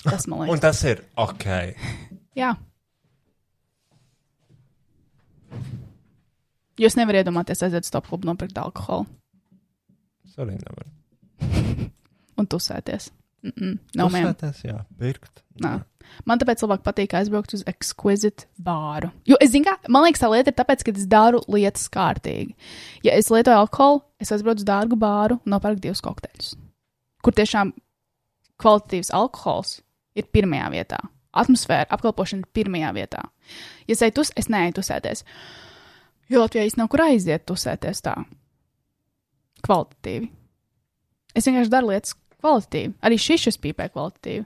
Tas man
Un
liekas.
tas ir ok.
Jā. Jūs nevarat iedomāties, aiziet uz top klubu, nopirkt alkoholu
Es arī nevaru.
un tusēties. Mm -mm, no mēm.
Uzsvētās, jā, pirkt.
Nā. Man tāpēc labāk patīk aizbraukt uz ekskvizītu bāru. Jo es zinu, kā man liekas, tā lieta ir tāpēc, ka es daru lietas kārtīgi. Ja es lietoju alkoholu, es aizbraucu uz dārgu bāru un nopērku divus kokteļus, kur tiešām kvalitatīvs alkohols ir pirmajā vietā. Atmosfēra, apkalpošana ir pirmajā vietā. Ja es eju tus, es neeju tusēties. Jo Latvijā īstenībā nav kur aiziet tusēties tā. Kvalitatīvi. Es vienkārši daru lietas kvalitatīvi. Arī šis šis pīpē kvalitatīvi.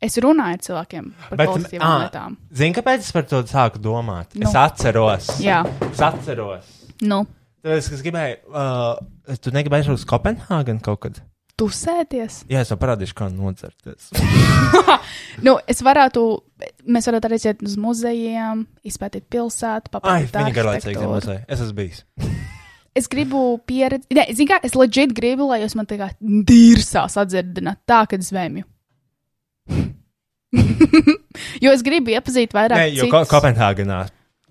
Es runāju ar cilvēkiem par
Bet,
kvalitatīvām
ā.
lietām.
Zini, kāpēc es par to sāku domāt?
Nu.
Es atceros.
Jā,
Es atceros.
nu,
Tāpēc, ka es gribēju, uh, tu negribēji uz Kopenhāgenu kaut kad?
tusēties.
Jā, es tev parādīšu, kā nodzerties.
Nu, es varētu, mēs varētu arī iet uz muzejiem, izpētīt pilsētu,
Ai,
papētīt
viņa garlaicīgi
arhitektūru.
nemazēja. Es esmu bijis.
Es gribu pieredzi, ne, zini, kā es leģit gribu, lai jūs man tā kā dīrsās atdzirdināt, tā, kad zvēmju. jo es gribu iepazīt vairāk.
Nē, jo Ko-
citus.
Kopenhāgenā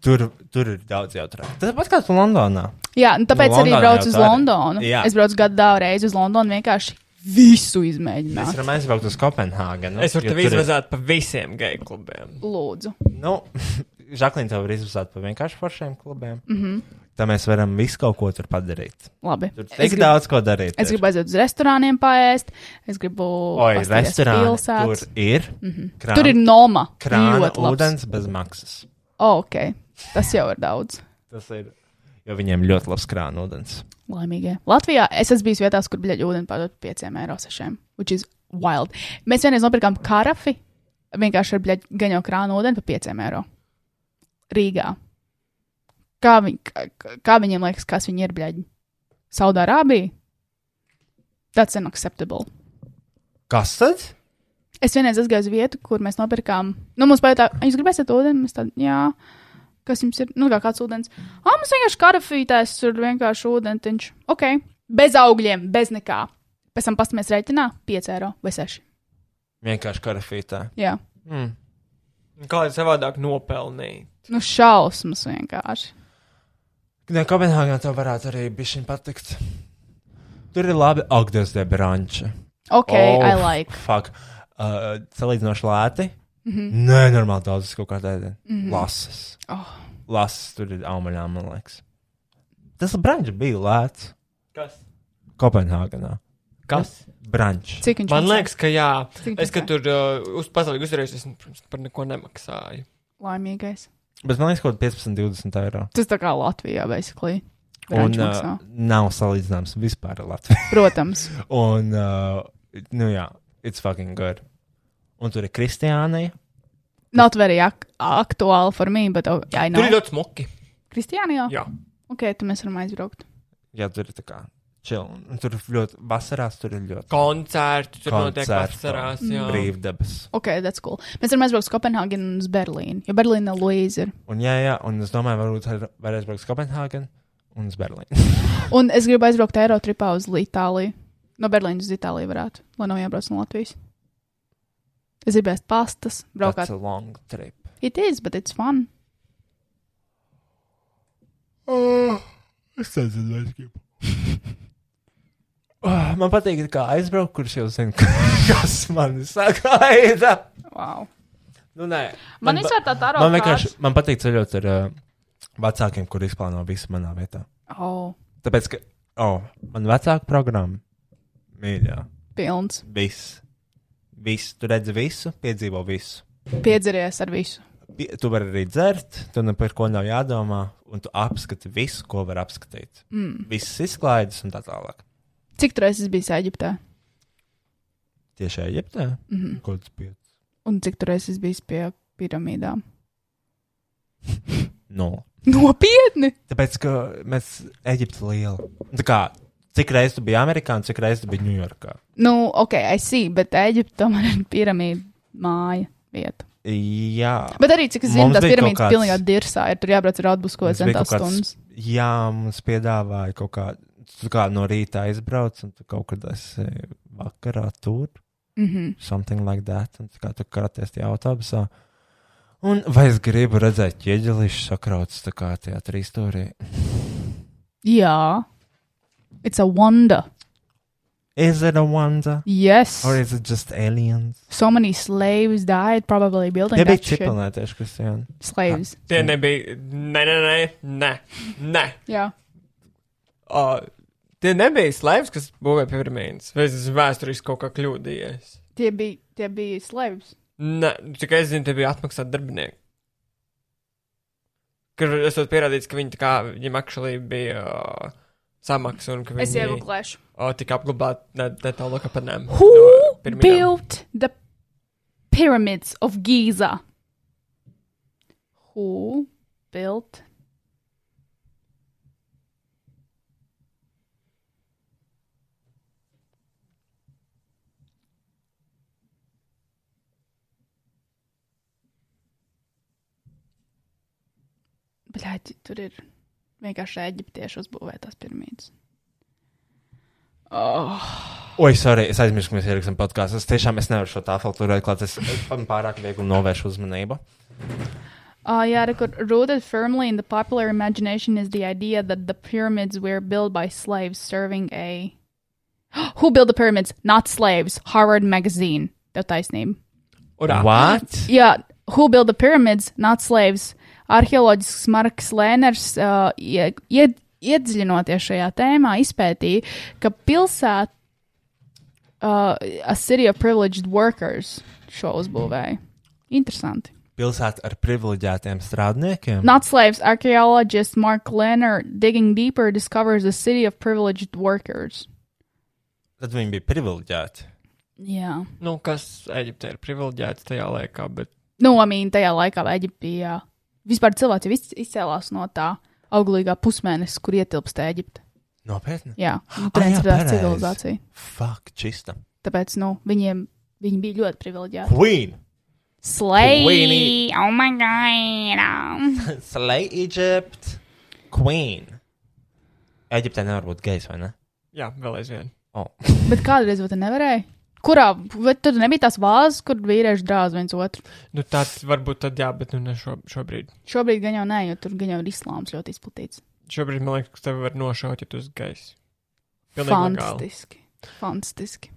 tur, tur ir daudz jautrāk. Tas pats kā tu Londonā.
Jā, nu, tāpēc
Nu,
arī
Londonā
braucu
jau
uz
tā arī.
Londonu.
Jā.
Es braucu gadā reizi uz Londonu vienkārši visu
Es
izmēģināju.
varu aizbraukt uz Kopenhāgenu.
Es varu
jo
tevi
tur ir-
izvazāt pa visiem geju klubiem.
Lūdzu.
Nu, Žaklīna tev var izvazāt pa vienkārši foršiem klubiem. Mm -hmm. Tā mēs varam visu kaut ko tur padarīt.
Mhm. Labi.
Tur tik
Es
gribu,
gribu,
daudz ko darīt.
es gribu aiziet uz restorāniem paēst. Es gribu.
Oi,
paskatīties
restorāni tur
pilsētas. Mhm.
ir. Mm -hmm. krāna,
Tur ir noma.
krāna,
ļoti labi.
ūdens bez maksas.
Oh, ok. Tas jau ir daudz.
Tas ir, jo viņiem ļoti labs krāna ūdens.
Laimīgie. Latvijā es esmu bijis vietās, kur bļaļ ūdeni pārdod par 5 eiro 6, which is wild. Mēs vienreiz nopirkām karafi vienkārši ar bļaļ gaņo krānu ūdeni par 5 eiro. Rīgā. Kā, viņ, kā, kā viņiem liekas, kas viņi ir bļaļi? Saudārābija? That's unacceptable.
Kas tad?
Es vienreiz aizgāju uz vietu, kur mēs nopirkām. Nu, mums pajautā, "A, jūs gribēsiet ūdeni? Mēs tādā, jā, kas jums ir? Nu, kā kāds ūdens. Ah, mums vienkārši karafītēs, tur vienkārši ūdentiņš. Ok, bez augļiem, bez nekā. Pēc tam pastāmies rēķinā 5 eiro vai 6.
Vienkārši karafītā.
Jā,
Mm.
Hmm.
Kā lai savādāk nopelnītu?
nu šausmas vienkārši.
Nē, Kopenhāgenā tev varētu arī bišķiņ patikt. Tur ir labi Ogdes de Branche.
Ok, oh. I like. Mhm.
Fuck. Uh, salīdzinoši lēti. Mm -hmm. Nē, normāli daudz es kaut kā tādu. Mm -hmm. Lasas.
Oh.
Lasas tur ir aumaļā, man liekas. Tas brančs bija lēts
Kas?
Kopenhāgenā.
Kas?
Brančs.
Cik viņš
Man
maksā?
liekas, ka jā.
Cik
Es,
viņš
kad tur uh, uz pasauli uzreiz, es protams, par neko nemaksāju.
laimīgais.
Bet man liekas, ka 15, 20 eiro.
Tas tā kā Latvijā, basically.
Un,
Viņš
uh,
maksā.
nav salīdzināms vispār ar Latviju.
uh,
Protams.
Un, uh, nu jā, it's fucking good. Un tur ir Kristiānai.
Not very ak aktuāli for me, but oh, I
No. Tur ir
know.
ļoti smuki.
Kristiānijā?
Jā.
Ok, tu mēs varam aizbraukt.
Jā, tur ir tā kā chill. Un tur ļoti vasarās tur ir ļoti
Koncerti tur notiek
Koncerti.
vasarās. Jā.
brīvdabas.
Ok, that's cool. Mēs varam aizbraukt uz Kopenhāgenu un uz Berlīnu. Jo Berlīna ir Luīza. ir.
Un jā, jā, un es domāju, varbūt ar- varēs braukt uz Kopenhāgenu un uz Berlīnu.
Un es gribu aizbraukt Eiropā uz Itāliju. No Berlīnas uz Itāliju varētu, lai nav jābrauc no Latvijas. Es gribēju
That's
pastas, braukt.
a long trip.
It is, but it's fun.
Ah, Es nezinu, vai es gribu. Oh, man patīk, ka aizbraukt, kurš jau zina, kas man sagaida.
Wow.
Nu, nē, Man
Man vispār tā tā
man vienkārši man patīk ceļot ar uh, vecākiem, kur izplāno visu manā vietā.
Oh,
Tāpēc, ka, oh, man vecāka programma mīļā.
pilns.
Viss. Viss. Tu redzi visu, piedzīvo visu.
Piedzeries ar visu.
Pie, tu vari arī dzert, tu ne par ko nav jādomā, un tu apskati visu, ko var apskatīt. Mm. Visas izklaides un tā tālāk.
Cik tur es biju Eģiptē? Mhm.
Tieši Eģiptē? Mm -hmm. Kaut kas pieci.
Un cik tur es biju pie piramīdām?
No.
Nopietni!
Tāpēc, ka mēs Eģipte liela. Tā kā, cik reizes tu biji Amerikā un cik reizes tu biji Ņujorkā?
Nu, ok, I see, bet Eģipte tomēr ir piramīda māja vieta.
Jā.
Bet arī, cik es zinu,
Mums
tas
bija
piramīdas
kaut kāds-
kāds... pilnībā dirsā ir. Tur jābrauc ar autobusu, ko
Mums bija
centās
kaut kāds-
stundas.
Jā, mums piedāvāja kaut kā, tu kā no rīta aizbrauc, un tu kaut kad esi vakarā tur,
Mm -hmm.
something like that, un tu kā tu karaties tajā autobusā. Un vai es gribu redzēt ķieģelīšu sakrauts tā kā tajā trīsstūrī?
Jā, it's a wonder.
Is it a wonder?
Yes.
Or is it just aliens?
So many slaves died probably building
Tie bija
that shit.
čipelnētieši, Kristiāna.
Slaves.
Tie nebija. Nē, nē, nē, nē. nē.
Jā.
Uh, tie nebija slēpes, kas būvēja piramīdas. Vai es esmu vēsturiski kaut kā kļūdījies?
Tie bija, tie bija slaves.
Nē, tikai es zinu, tie bija atmaksāti darbinieki. Kur esot pierādīts, ka viņi tā kā, viņiem actually bija uh, samaksu un ka
Es
viņi
iegūlēšu.
o, tika apglabāti ne, ne tālu kā par nēm.
Who
no pirmajām.
built the pyramids of Giza? Who built? Bļaļ, tur ir vienkārši eģiptieši uzbūvētās pirmītes. Oh.
Oi, sorry, es aizmirsu, ka mēs ierakstam podkāstu. Es tiešām es nevaru šo tālu turēt klāt. Es man pārāk viegli novēršu uzmanību.
Uh, yeah, they could- rooted firmly in the popular imagination is the idea that the pyramids were built by slaves serving a. Who built the pyramids? Not slaves. Harvard Magazine. Tev taisnība.
Urā.
What?
Jā, who built the pyramids? Not slaves. Arheoloģisks Marks Lēners uh, ie, ie, iedziļinoties šajā tēmā izpētīja, ka pilsēta uh, a city of privileged workers šo uzbūvēja. Interesanti.
Pilsēta ar privileģētiem strādniekiem.
Not slaves. Archaeologist Mark Lenner, digging deeper, discovers a city of privileged workers.
Tad viņi bija privileģēti.
Jā.
Nu, kas Eģiptē ir privileģēts tajā laikā, bet
Nu, I mean, tajā laikā Eģipte bija. Vispār cilvēki jau iz- izcēlās no tā auglīgā pusmēnesis, kur ietilpst Eģipte.
Nopietni.
Jā, nu,
Ah, jā,
transferēta
pareizi.
civilizācija.
Fuck, čista.
Tāpēc, nu, viņiem viņi bija ļoti privileģēti.
Queen!
Slay! Oh my god! Um.
Slay Egypt! Queen! Eģiptē nevar būt gejs, vai ne?
jā, vēl aizvien.
Bet kādreiz vai te nevarēja? Kurā? Vai tur nebija tās vāzes, kur vīrieši drāz viens otru?
Nu, tāds varbūt tad jā, bet nu ne šo, šobrīd.
Šobrīd gan jau nē, jo tur gan jau ir islāms ļoti izplatīts.
Šobrīd man liekas, ka tevi var nošaut, ja tu uz gaisa. Pilnīgi legāli.
Fantastiski. Fantastiski.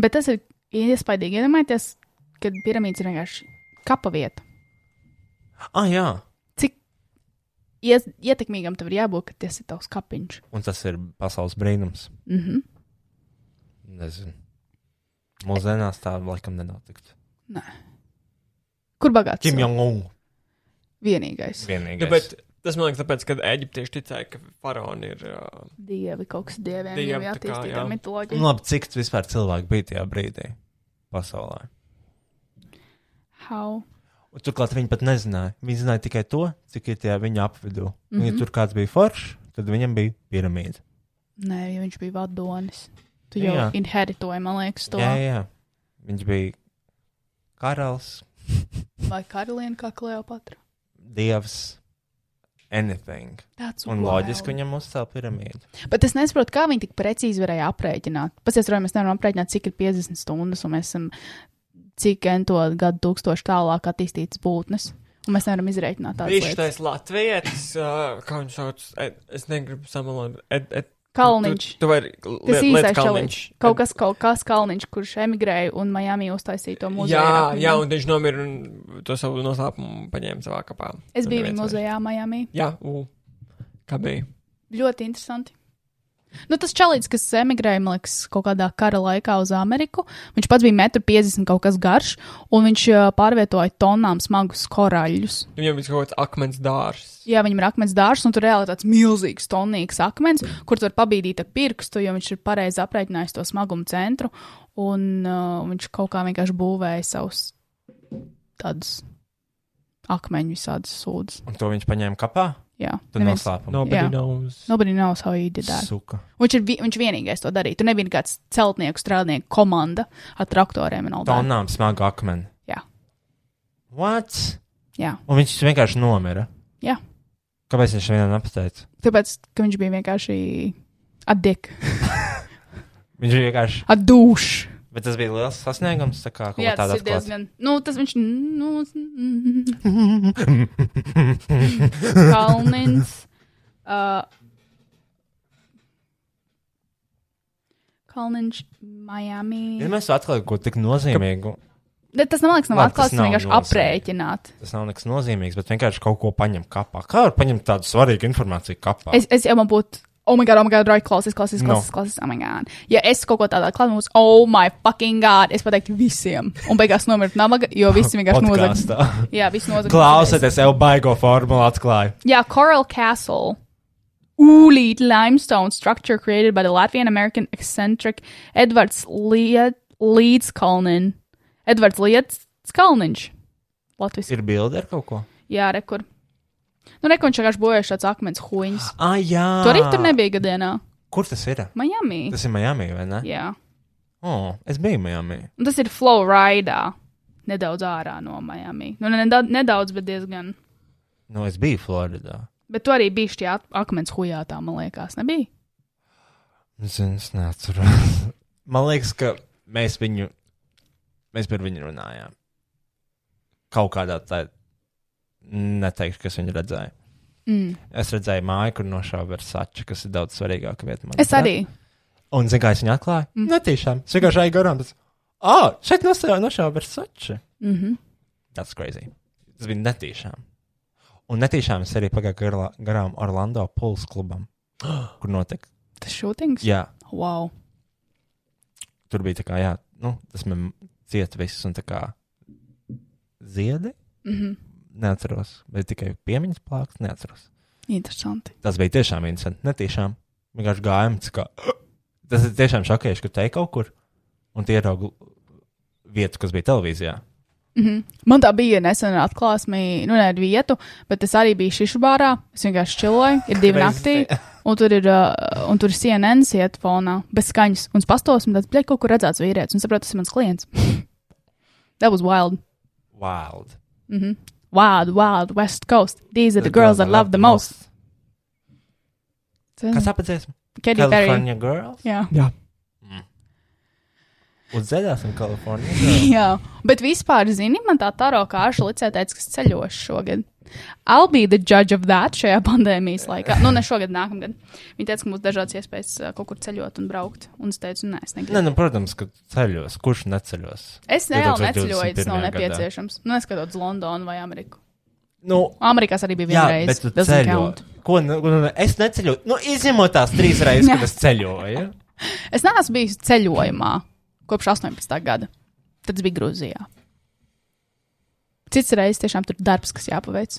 Bet tas ir iespaidīgi. Iedomājieties, kad piramīda ir vienkārši kapa vieta.
Ah, jā!
Ies, ietekmīgam tam ir jābūt, ka tas ir tavs kapiņš.
Un tas ir pasaules brīnums.
Mm -hmm.
Nezinu. Mūsdienās tā laikam nenotikt.
Kur bagāts?
Kim Jong-un
Vienīgais.
vienīgais.
Nu, bet tas man liekas, tāpēc, ka Eģiptieši ticēja, ka faraoni ir. Uh,
Dievi kaut kas dieviem.
Dievi,
Dievi, jā,
tā kā,
attīstīt
jā.
tā mitoloģija.
Un nu, labi, cik vispār cilvēku bija tajā brīdī pasaulē?
How?
Un turklāt viņi pat nezināja. Viņi zināja tikai to, cik ir tajā viņa apvidū. Mm
Mhm.
-hmm. Ja tur kāds bija foršs, tad viņam bija piramīda.
Nē, jo viņš bija vadonis. Tu
Jā,
jau
jā.
inheritoji, man liekas, to.
Jā, jā. Viņš bija karalis,
Vai karalieni kā Kleopatra?
dievs, anything.
Tāds
Un loģiski viņam uzcēla piramīdu.
Bet es nesaprotu, kā viņi tik precīzi varēja aprēķināt. Pasies, Roja, mēs nevaram aprēķināt, cik ir 50 stundas, un mēs esam cik ento gadu tūkstoši tālāk attīstītas būtnes. Un mēs nevaram izreikināt tādu
Viņš
lietu.
tais latvijas, uh, kā viņš sauc, Ed, es negribu samalot. Ed, ed,
Kalniņš.
Tu, tu vai li,
Tas īstais
Kalniņš.
čaliņš. Kaut kas, kaut kas Kalniņš, kurš emigrēja un Miami uztaisīja to muzeju.
Jā, jā, un viņš nomira un to savu noslēpumu paņēma savā kapā.
Es
Un
biju
neviens vairs-
muzejā Miami.
Jā, u, kā bija?
Ļoti interesanti. Nu, tas čalīts, kas emigrēja, man liekas, kaut kādā kara laikā uz Ameriku, viņš pats bija 1,50 m kaut kas garš, un viņš ā, pārvietoja tonām smagus korāļus.
Viņam bija kaut kāds akmens dārs.
Jā, viņam ir akmens dārsts, un tur reāli tāds milzīgs, tonīgs akmens, kur tu vari pabīdīt ar pirkstu, jo viņš ir pareizi aprēķinājis to smagumu centru. Un uh, viņš kaut kā vienkārši būvēja savus tādus akmeņu visādas sūdzes.
Un to viņš paņēma kapā.
Jā,
Tad noslēpumā no.
Nobody
Jā.
knows.
Nobody knows how he did that.
suka.
Viņš ir vi viņš vienīgais to darīja. Tur nebija nekāds celtnieku strādnieku komanda ar traktoriem un all that.
Tonām smagu akmeni.
Jā.
What?
Jā.
Un viņš vienkārši nomira.
Jā.
Kāpēc viņš vienam apsteidz?
Tāpēc, ka viņš bija vienkārši adik,
Viņš vienkārši.
adūš.
Bet tas bija liels sasniegums. Tā kā kaut kā
Jā, tas
tāda
ir diezgan. Nu, tas viņš. Nu, mm,
atklāta.
Kalnins. Uh, Kalniņš, Miami.
Ja mēs atklājam kaut ko tik nozīmīgu,
Bet tas, man liekas, nav
Labi, tas
atklāts. Tas
nav
vienkārši
nozīmīgi.
aprēķināt.
tas nav nekas nozīmīgs, bet vienkārši kaut ko paņem kapā. Kā var paņemt tādu svarīgu informāciju kapā?
Es, es jau man būtu Oh my god, oh my god, right, klausies, klausies,
No.
klausies, klausies, oh my god. Ja es kaut ko tādā klāstu, būs, oh my fucking god, es pateiktu visiem. Un beigās nomirt nabaga, jo visi vienkārši nozags.
Podkāstā.
Jā, visi nozags.
Klausieties, jau baigo formulu atklāju.
Yeah, Coral Castle. Oolit limestone structure created by the Latvian American eccentric Edvard Leeds Kalnin. Edvards Leeds Kalniņš. Latvijas.
Ir bilde ar kaut ko?
Jā, rekur. Nu, neko viņš vienkārši bojāja šāds akmens huņš.
Ah, jā.
Tur arī tur nebija gadienā.
Kur tas ir?
Miami.
Tas ir Miami, vai ne?
Jā.
Oh, es biju Miami.
Un tas ir Floridā. Nedaudz ārā no Miami. Nu, nedaudz, nedaudz, bet diezgan.
Nu, es biju Floridā.
Bet tu arī biji šajā akmens huijā, tā man liekas, nebija.
Zinu, es neatceros. Man liekas, ka mēs viņu, mēs par viņu runājām. Kaut kādā tādā, neteikšu, kas viņu redzēja.
Mm.
Es redzēju māju, kur nošāva Versace, kas ir daudz svarīgāka vieta. man.
Es arī.
Un zinu, kā es viņu atklāju? Mm. Nē, tiešām. Es vienkārši gāju garām. Tas... Ah, šeit nošāva nošāva Versace.
Mm -hmm.
Tas crazy. Tas bija netīšām. Un netīšām es arī pagāju garla- garām Orlando Pulse klubam, kur notika.
Tas šūtings?
Jā,
Wow.
tur bija tā kā, jā, nu, tas man cieta viss un tā kā ziedi.
Mm -hmm.
Neatceros, vai tikai piemiņas plāksnes, neatceros.
Interesanti.
Tas bija tiešām interesanti. Netīšām. Vienkārši gājām. tā Kā... Tas ir tiešām šokējoši, ka te kaut kur un tie ieraugu vietu, kas bija televīzijā.
Mhm. Man tā bija nesen atklāsme, nu, ne ar vietu, bet es arī biju šīšu bārā. Es vienkārši čiloju, ir divi naktī, un tur ir, uh, un tur ir CNN iet fonā, bez skaņas. Un es pastos, un tāds, bļaļ, kaut kur redzēts vīrietis, un saprotu, tas ir mans klients. That was wild. Mhm.
Wild.
Wild, wild, West Coast. These are the, girls that love the most.
Kas apdzēs?
Katy Perry.
California girls.
Jā.
Uzdzēsim Kaliforniju.
Jā, bet vispār, zini, man tā tā roka ārša licē teica, ka es ceļošu šogad. I'll be the judge of that šajā pandēmijas laikā. Nu, ne šogad, nākamgad. Viņa teica, ka mums dažādas iespējas ā, kaut kur ceļot un braukt. Un es teicu, nē, es
Nē,
negribu.
nu, protams, ka ceļos. Kurš neceļos?
Es reāli
2021.
neceļoju, tas nav
gadā.
nepieciešams. Nu, neskatoties Londonu vai Ameriku.
Nu,
Amerikās arī bija
jā,
viena
bet
reize.
tu ceļo. Ko, nu, nu, nu, es neceļoju. Nu, izņemot tās trīs reizes, kad es ceļoju.
Es neesmu bijis ceļojumā kopš 18. gada. Tad tas bija Grūzijā. Cits reizes tiešām tur darbs, kas jāpaveic.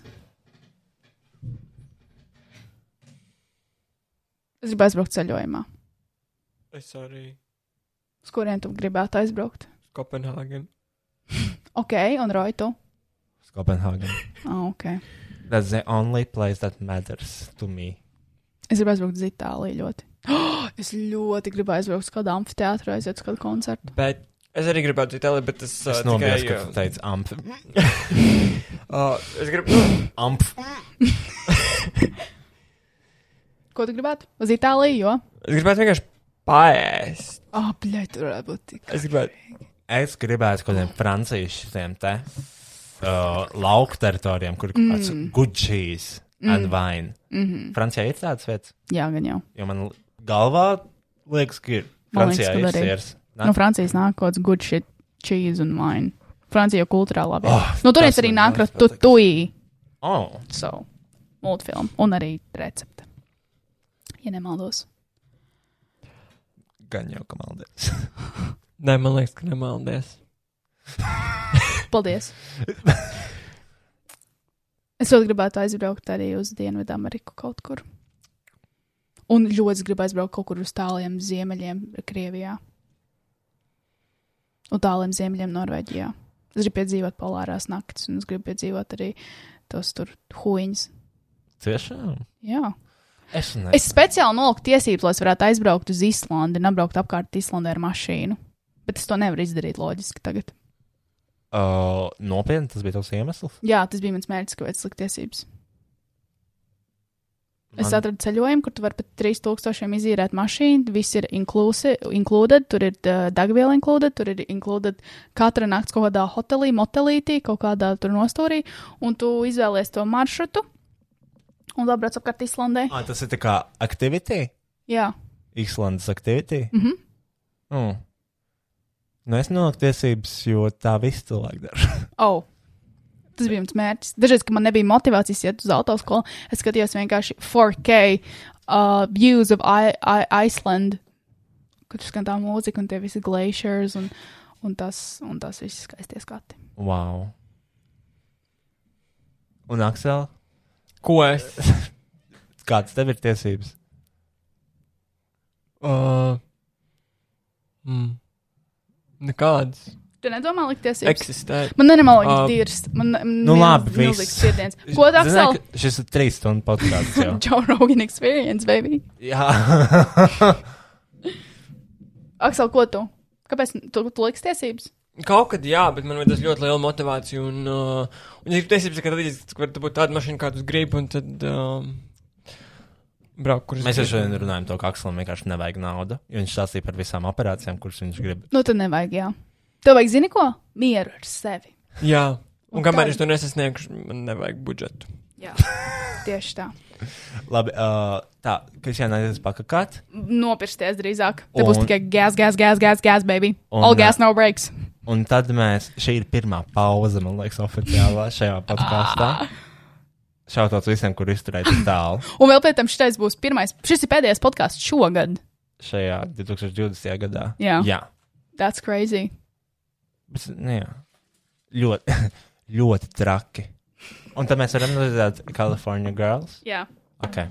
Es gribu aizbraukt ceļojumā.
Es arī
Uz kurien tu gribētu aizbraukt?
Kopenhāgen.
Ok, un Roitu.
Uz Kopenhāgenu.
Oh, okay.
That's the only place that matters to me.
Es gribu aizbraukt uz Itāliju ļoti. Oh, es ļoti gribu aizbraukt uz kādu amfiteātru, aiziet uz kādu koncertu.
Bet es arī gribētu Itālijā, bet tas
Es
uh,
nomierināju,
tikai,
ka tu teici amp.
uh, es gribu.
amp.
Ko tu gribētu? Uz Itāliju, jo?
Es gribētu vienkārši paēst.
Ah, oh, bļaļ, tur varētu būt tik.
Es gribētu.
Es gribētu kaut kādiem francīšiem te uh, lauku teritorijām, kur ir mm. gudšīs
Mhm.
and wine. Mm -hmm. Francijā ir tādas vietas,
Jā, gan jau.
jo man l- galvā liekas, ka ir.
Man liekas,
Francijā
ka
ir
arī.
sirs. Nā,
No Francijas nāk kaut kāds good shit, cheese un wine. Francija jau kultūrāli labi. Oh, no turienes
Ah, tas
arī
man
nāk tutui,
Oh,
so multfilm un arī recepte. Ja nemaldos.
gan jau, ka maldies.
Nē, man liekas, ka nemaldies.
Paldies! es ļoti gribētu aizbraukt arī uz Dienvidu Ameriku kaut kur. Un ļoti gribu aizbraukt kaut kur uz tāliem ziemeļiem, Krievijā. Un tāliem ziemeļiem, Norvēģijā. Es gribu piedzīvot polārās naktis, un es gribu piedzīvot arī tos tur huīņus.
Tiešām?
Jā.
Es nezinu.
Es speciāli noliku tiesības, lai es varētu aizbraukt uz Islandi un apbraukt apkārt Islandē ar mašīnu. Bet es to nevaru izdarīt loģiski tagad.
Uh, nopietni, tas bija tavs iemesls.
Jā, tas bija mans mērķis, kāpēc es liku tiesības. Man... Es
Man-
atradu ceļojumu, kur tu vari pat 3000 izīrēt mašīnu. Viss ir inklusi- included, tur ir uh, dagviela included, tur ir included katra nakts kaut kādā hotelī, motelītī, kaut kādā tur nostūrī. Un tu izvēlies to maršrutu un vēl brauc apkārt Islandē.
Ah, tas ir tā kā aktivitāte.
Jā,
Īslandes aktivitāte.
mm -hmm.
Mm. Nu, es nonāku tiesības, jo tā viss cilvēks dara.
oh. tas bija mans mērķis. Dažreiz, kad man nebija motivācijas iet uz autoskolu, es skatījos vienkārši 4K uh, views of I I Iceland, kad tu skan tā mūzika un tie visi glaciers un, un tas, un tas viss skaisties skati.
Wow. Un, Aksel,
Ko es?
kādas tev ir tiesības?
Uh, mm, nekādas.
Tu nedomā likties? Eks...
Eksistē.
Man nenormāli
Uh,
uh, dirst. Man, man
Ah. nu labi,
milzīgs
viss.
spiediens. Ko tā atsal?
Zināji, ka Šis ir trīs stundu podkāsts jau.
Joe Rogan experience, baby.
Jā.
Aksel, ko tu? Kāpēc tu, tu liks tiesības?
Kaut kad jā, bet man vajag ļoti lielu motivāciju. Un, uh, un ja ir tiesības, ka tad es varu būt tāda mašīna, kādu es gribu, un tad um, braukt, kur es
Mēs jau
gribu.
šodien runājam, to, ka Akselam vienkārši nevajag naudu. jo Viņš stāstīja par visām operācijām, kuras viņš grib.
Nu, tad nevajag, jā. Tev vajag, zini ko? Mieru ar sevi.
Jā, un
Un
kamēr
tad-
es to nesasniegšu, man nevajag budžetu.
Jā, tieši tā.
Labi, uh, tā, Kristiāna, aizies pakakāt.
Nopirkties drīzāk. Te būs
Un-
tikai gas, gas, gas, gas, gas, baby.
Un,
All
ā,
gas, no breaks.
Un tad mēs, šī ir pirmā pauze, man liekas, oficiālā šajā
Ah.
podkāstā. Šautot visiem, kur izturēt tālu
Un vēl pēc tam šitais būs pirmais. Šis ir pēdējais podkāsts šogad.
šajā 2020. gadā.
Jā.
Jā.
That's crazy.
Bet, nu, jā. Ļoti, ļoti traki. Un tad mēs varam redzēt California Girls.
Jā.
Okay.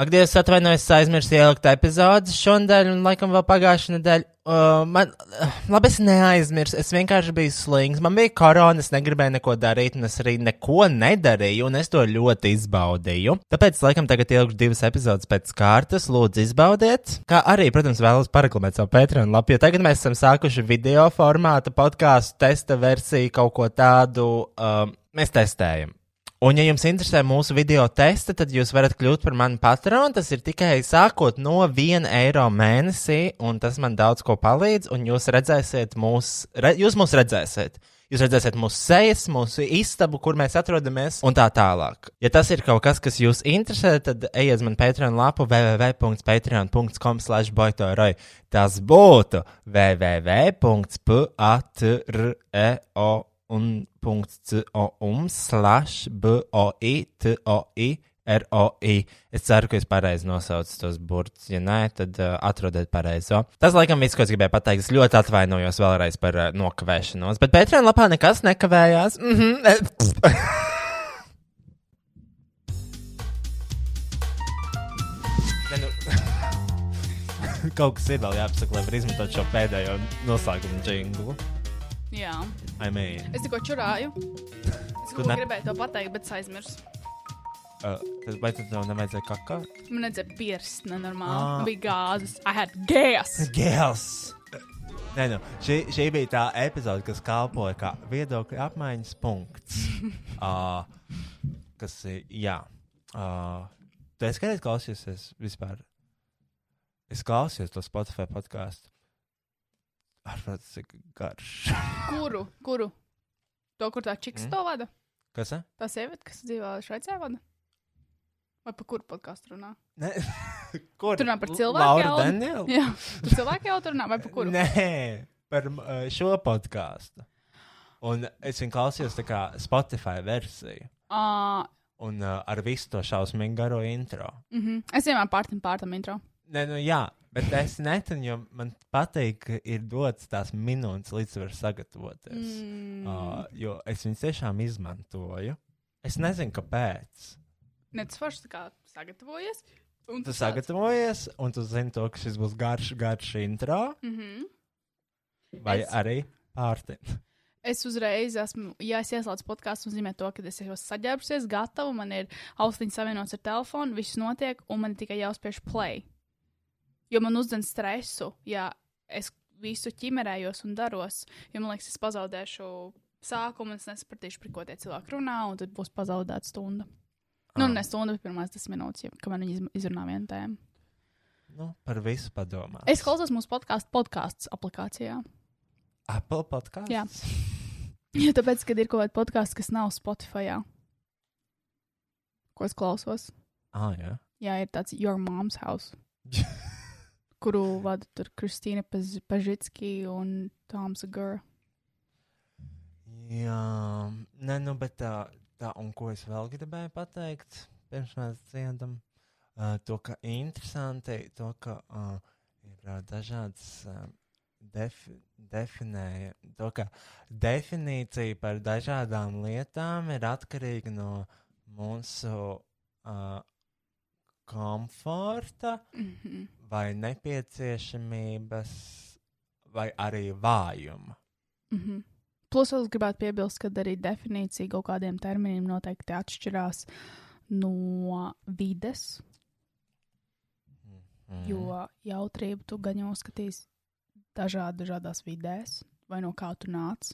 Ak, Dievs, atvainojos, es aizmirsu ielikt epizodus šonadēļ, un laikam vēl pagājušā nedēļa. Uh, man, uh, labi, es neaizmirsu, es vienkārši biju slings. Man bija korona, es negribēju neko darīt, un es arī neko nedarīju, un es to ļoti izbaudīju. Tāpēc, laikam, tagad ielikšu divas epizodes pēc kārtas, lūdzu, izbaudiet. Kā arī, protams, vēlos paraklamēt savu Patreon lapu, jo tagad mēs esam sākuši video formāta podkāstu testa versiju, kaut ko tādu. Um, mēs testējam. Un, ja jums interesē mūsu video testa, tad jūs varat kļūt par mani patronu. Tas ir tikai sākot no 1 eiro mēnesī, un tas man daudz ko palīdz. Un jūs redzēsiet, mūs, re, jūs mūs redzēsiet. Jūs redzēsiet mūsu sejas, mūsu istabu, kur mēs atrodamies, un tā tālāk. Ja tas ir kaut kas, kas jūs interesē, tad ejiet uz manu Patreon lapu www.patreon.com slash boitoroj. Tas būtu www.patreo un .com um slash boi toi roi. Es ceru, ka es pareizi nosaucu tos burtus. Ja nē, tad uh, atrodiet pareizo. Tas, laikam, viss, ko es gribēju pateikt, es ļoti atvainojos vēlreiz par uh, nokavēšanos, bet Pētrēna lapā nekas nekavējās. Mm -hmm. nu- Kaut kas ir vēl jāapsaka, lai var izmantot šo pēdējo noslēgumu jinglu.
Jā.
I mean.
Es tikko čurāju. Es
Tu
kaut ko
ne-
gribēju to pateikt, bet es aizmirsu.
Uh, tad vai tad tev nevajadzēja kakā?
Man nedzēra pierst nenormāli.
Ā.
Man bija gāzes. I had gas.
Gēls! Nē, nu, šī, šī bija tā epizode, kas kalpoja kā viedokļu apmaiņas punkts. uh, kas ir, jā. Uh, tu esi kādreiz klausījusies vispār? Es klausījos to Spotify podkāstu. Ar protams, cik garš.
Kuru? Kuru? To, kur tā čiks
Mm.
to vada?
Kas, ne?
Tā sieviete, kas dzīvo Šveicē, vada? Vai par kuru podkāstu runā?
ne? Kur?
Tu runā par
L-
cilvēku
Laura
Elnu?
Daniela?
Jā, tu cilvēki jau tur runā, vai par kuru?
Nē, par uh, šo podkāstu. Un es viņu klausījos tā kā Spotify versiju.
Uh,
Un uh, ar visu to šausmīgu garo intro.
mm -hmm. Es vienmēr pārtam pārtam intro.
Nē, nu jā, bet es netinu, jo man patīk, ka ir dots tās minūtes, līdz var sagatavoties. Mm.
Mm,
Uh, jo es viņus tiešām izmantoju. Es nezinu, kāpēc.
Nē, tas forši tā kā sagatavojies. Un
Tu
tāds-
sagatavojies, un tu zini, to, ka šis būs garš, garš intro,
Mhm.
vai
Es-
es... arī pārtiņa.
Es uzreiz esmu, ja es ieslēdzu podkāstu, nozīmē to, ka es jau esmu saģērbusies, gatava, man ir austiņas savienots ar telefonu, viss notiek, un man ir tikai jāuzspiež play. Jo man uzdzen stresu, ja es visu ķimerējos un daros, jo man liekas, es pazaudēšu sākumu, un es nesapratīšu, par ko tie cilvēki runā, un tad būs pazaudēta stunda. Nu,
Ah.
ne stunda, bet pirmās desmit minūtes, ja- kamēr viņi izm- izrunā vienu tēmu.
Nu, par visu padomā.
Es klausos mūsu podkāstu podkāstu aplikācijā.
Apple podkāstu.
Jā. Jo tāpēc, kad ir kaut kāda podkāsta, kas nav Spotify, ko es klausos,
Ah, jā.
jā, ir tāds Your Mom's House, kuru vada tur Kristīna Paz- Pažitski un Toms Gurra.
Jā, nē, nu, bet tā, tā, un ko es vēl gribēju pateikt, pirms mēs dziedam, uh, to, ka interesanti, to, ka uh, ir uh, dažādas uh, defi definēja, to, ka definīcija par dažādām lietām ir atkarīga no mūsu uh, komforta mm
Mhm.
-hmm. vai nepieciešamības vai arī vājuma.
Mhm. Plus, vēl es gribētu piebilst, ka arī definīcija kaut kādiem terminiem noteikti atšķirās no vides.
Mm.
Jo jautrību tu gan jau skatīs dažādi, dažādās vidēs, vai no kā tu nāc.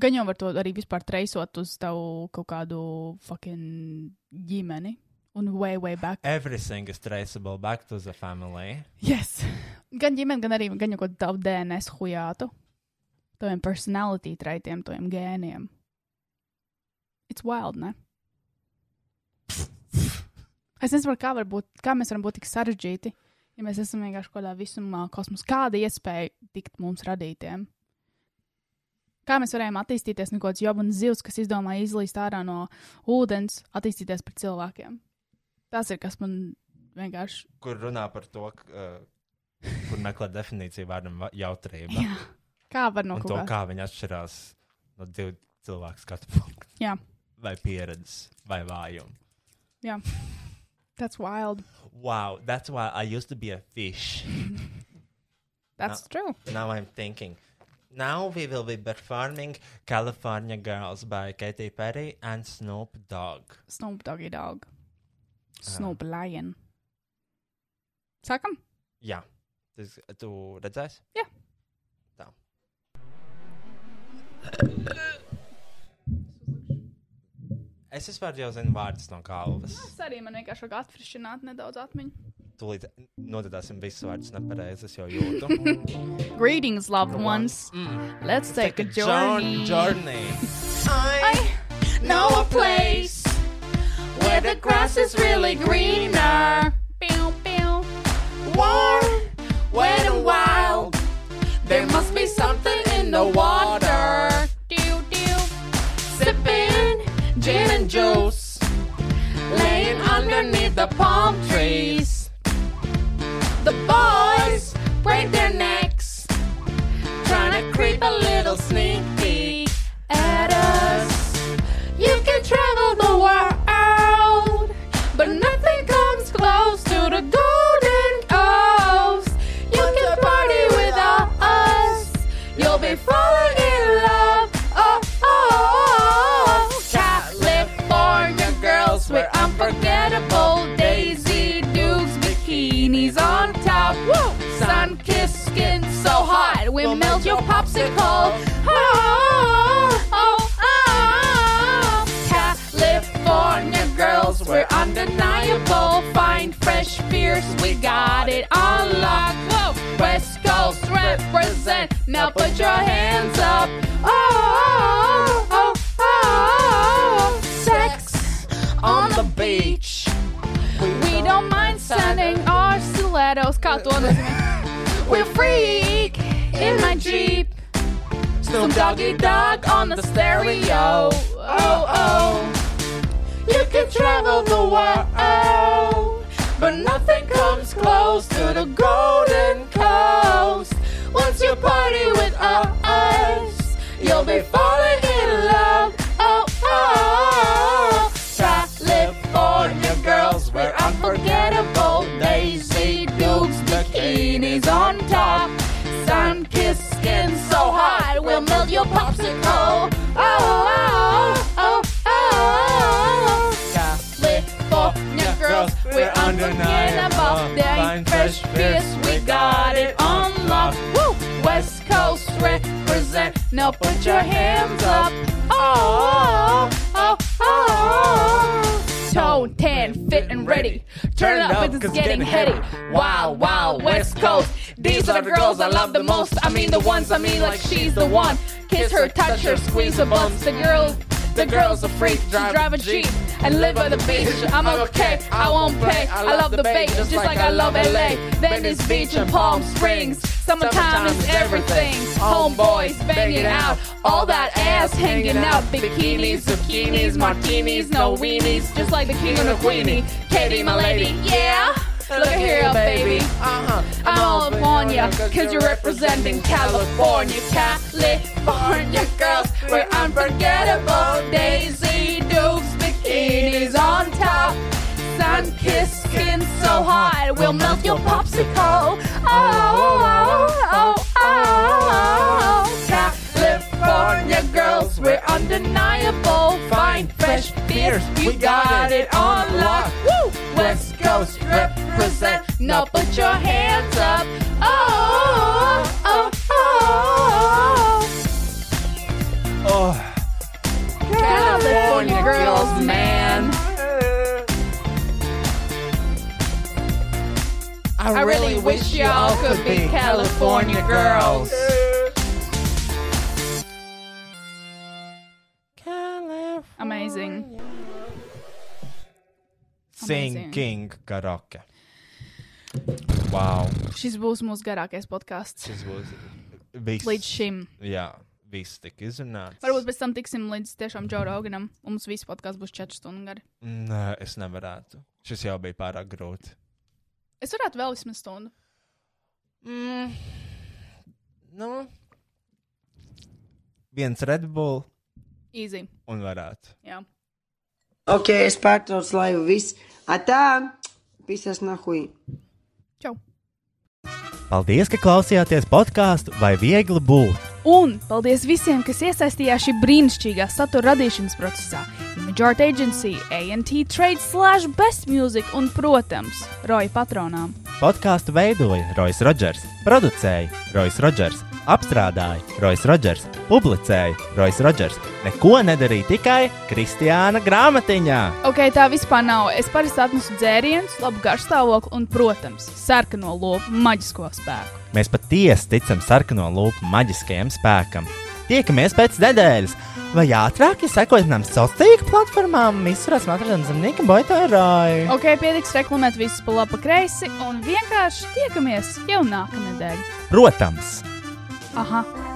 Gan jau var to arī vispār treisot uz tavu kaut kādu fucking ģimeni. Un way, way back.
Everything is traceable back to the family.
Yes. Gan ģimene, gan arī gan jau kaut kādu tavu DNS hujātu. Taviem personality traitiem, taviem gēniem. It's wild, ne? Es nezinu, kā, var būt, kā mēs varam būt tik sarežģīti, ja mēs esam vienkārši kaut kādā visumā kosmosā. Kāda iespēja tikt mums radītiem? Kā mēs varējām attīstīties no kaut kādas jobas zivs, kas izdomāja izlīst ārā no ūdens, attīstīties par cilvēkiem? Tas ir kas man vienkārši.
Kur runā par to, k- uh, kur meklēt definīciju vārdam va- jautrība
Jā. Kā var no
un
kaut
to,
kā?
kā viņi atšķirās no divu cilvēku skatu punktu
Jā,
vai pieredzes vai vājuma.
jā. That's wild.
Wow, that's why I used to be a fish.
That's true.
Now I'm thinking. Now we will be performing California Girls by Katy Perry and Snoop Dogg.
Snoop Doggy Dog. Snoop Lion. Sākam?
Jā, tas tu redzēsi?
Jā.
Tā. Es vispār jau zinu vārdus no galvas.
Es arī man vienkārši vajag atfrišķināt nedaudz atmiņu.
Tūlīt nododāsim visus vārdus nepareizi, es jau jūtu.
Greetings, loved ones. Let's take a journey.
journey.
Know a place where the grass is really greener. Pew, pew.
Warm,
Wet and wild. There must be something in the water. Dew, dew. Sipping gin and juice. Laying underneath the palm trees. The boys break their necks. Trying to creep a little sneak peek at us. You can travel the world, but nothing comes close to the Golden Coast. You can party with us, you'll be falling in love. Oh, oh, oh. California girls with unforgettable Daisy Dukes bikinis on top. Woo! Sun kissed skin so hot, we'll melt your popsicle. Oh, oh, oh. California girls, we're undeniable. Find fresh fierce, we got it on lock. Whoa. West Coast represent. Now put your hands up. Oh, oh, oh, oh, oh. sex on the beach. We don't mind sending our stilettos. Kā to nozīmē? We're freak in my jeep. Some doggy dog on the stereo. Oh oh. You can travel the world, but nothing comes close to the golden coast. Once you party with us, you'll be falling in love. Oh oh. California girls wear unforgettable Daisy Dukes bikinis on top. Sun kissed skin so hot, we'll melt your popsicle. Oh, oh, oh, oh, oh. California girls, we're undeniable. They ain't fresh fierce, we got it on lock. Woo! West Coast represent. Now put your hands up. Oh, oh, oh, oh. Tone tan, fit and ready. Turn it up, it's getting heady. Wow, wow, West Coast. These are the girls I love the most. I mean the ones, I mean like she's the one. Kiss her, touch her, squeeze her bumps. The girl, The girls are free to drive a Jeep and live on the beach. I'm okay, I won't pay. I love the bay, just like I love LA. Venice Beach and Palm Springs. Summertime is everything. Homeboys banging out, all that ass hanging out. Bikinis, zucchinis, martinis, no weenies, just like the king and the queenie. Katie, my lady, yeah. Look at here, baby. Uh-huh. I'm all up on ya, cause you're representing California. California girls, we're unforgettable. Daisy dukes, bikinis on top. Sun kissed skin so hot, we'll melt your popsicle. Oh, oh, oh, oh, oh. California girls, we're undeniable. Fine, fresh beers, we got it on lock. Woo! West Coast represent. Now put your hands up. Oh, oh, oh, oh. California girls, man. I really wish y'all could be California girls. Amazing.
Singing karaoke. Wow.
Šis būs mūsu garākais podkāsts
Tas būs viss.
līdz šim.
Jā, viss tik izrunāts.
Varbūt pēc tam tiksim līdz tiešām Džo Roganam. Un mums viss podkāsts būs 4 stundu gari.
Nē, es nevarētu. Šis jau bija pārāk grūti.
Es varētu vēl vismaz stundu.
Nu, viens Red Bull
Easy.
un varētu.
Jā.
Ok, es pārtraucu laivu viss. Atā, pisas nahui.
Čau.
Paldies, ka klausījāties podkāstu vai viegli būt.
Un paldies visiem, kas iesaistījās šī brīnišķīgā satura radīšanas procesā. Image Art Agency, ANT Trade, Slash, Best Music un, protams, Roja patronām.
Podkāstu veidoja Roisas Rodžers, producēja Roisas Rodžers, apstrādāja Roisas Rodžers, publicēja Roisas Rodžers. Neko nedarīja tikai Kristiāna grāmatiņā.
Ok, tā vispār nav. Es parasti atnesu dzērienus, labu garšstāvokli un, protams, sarkano lopu maģisko spēku.
Mēs patiesi ticam sarkano lupu maģiskajam spēkam. Tiekamies pēc nedēļas, vai ātrāk, ja sekojat mums sociālajām tīkla platformām, visurās matradienas zemnieka boitārāju.
Ok, pietiks reklamēt visus pa labi, pa kreisi un vienkārši tiekamies jau nākamnedēļ.
Protams!
Aha!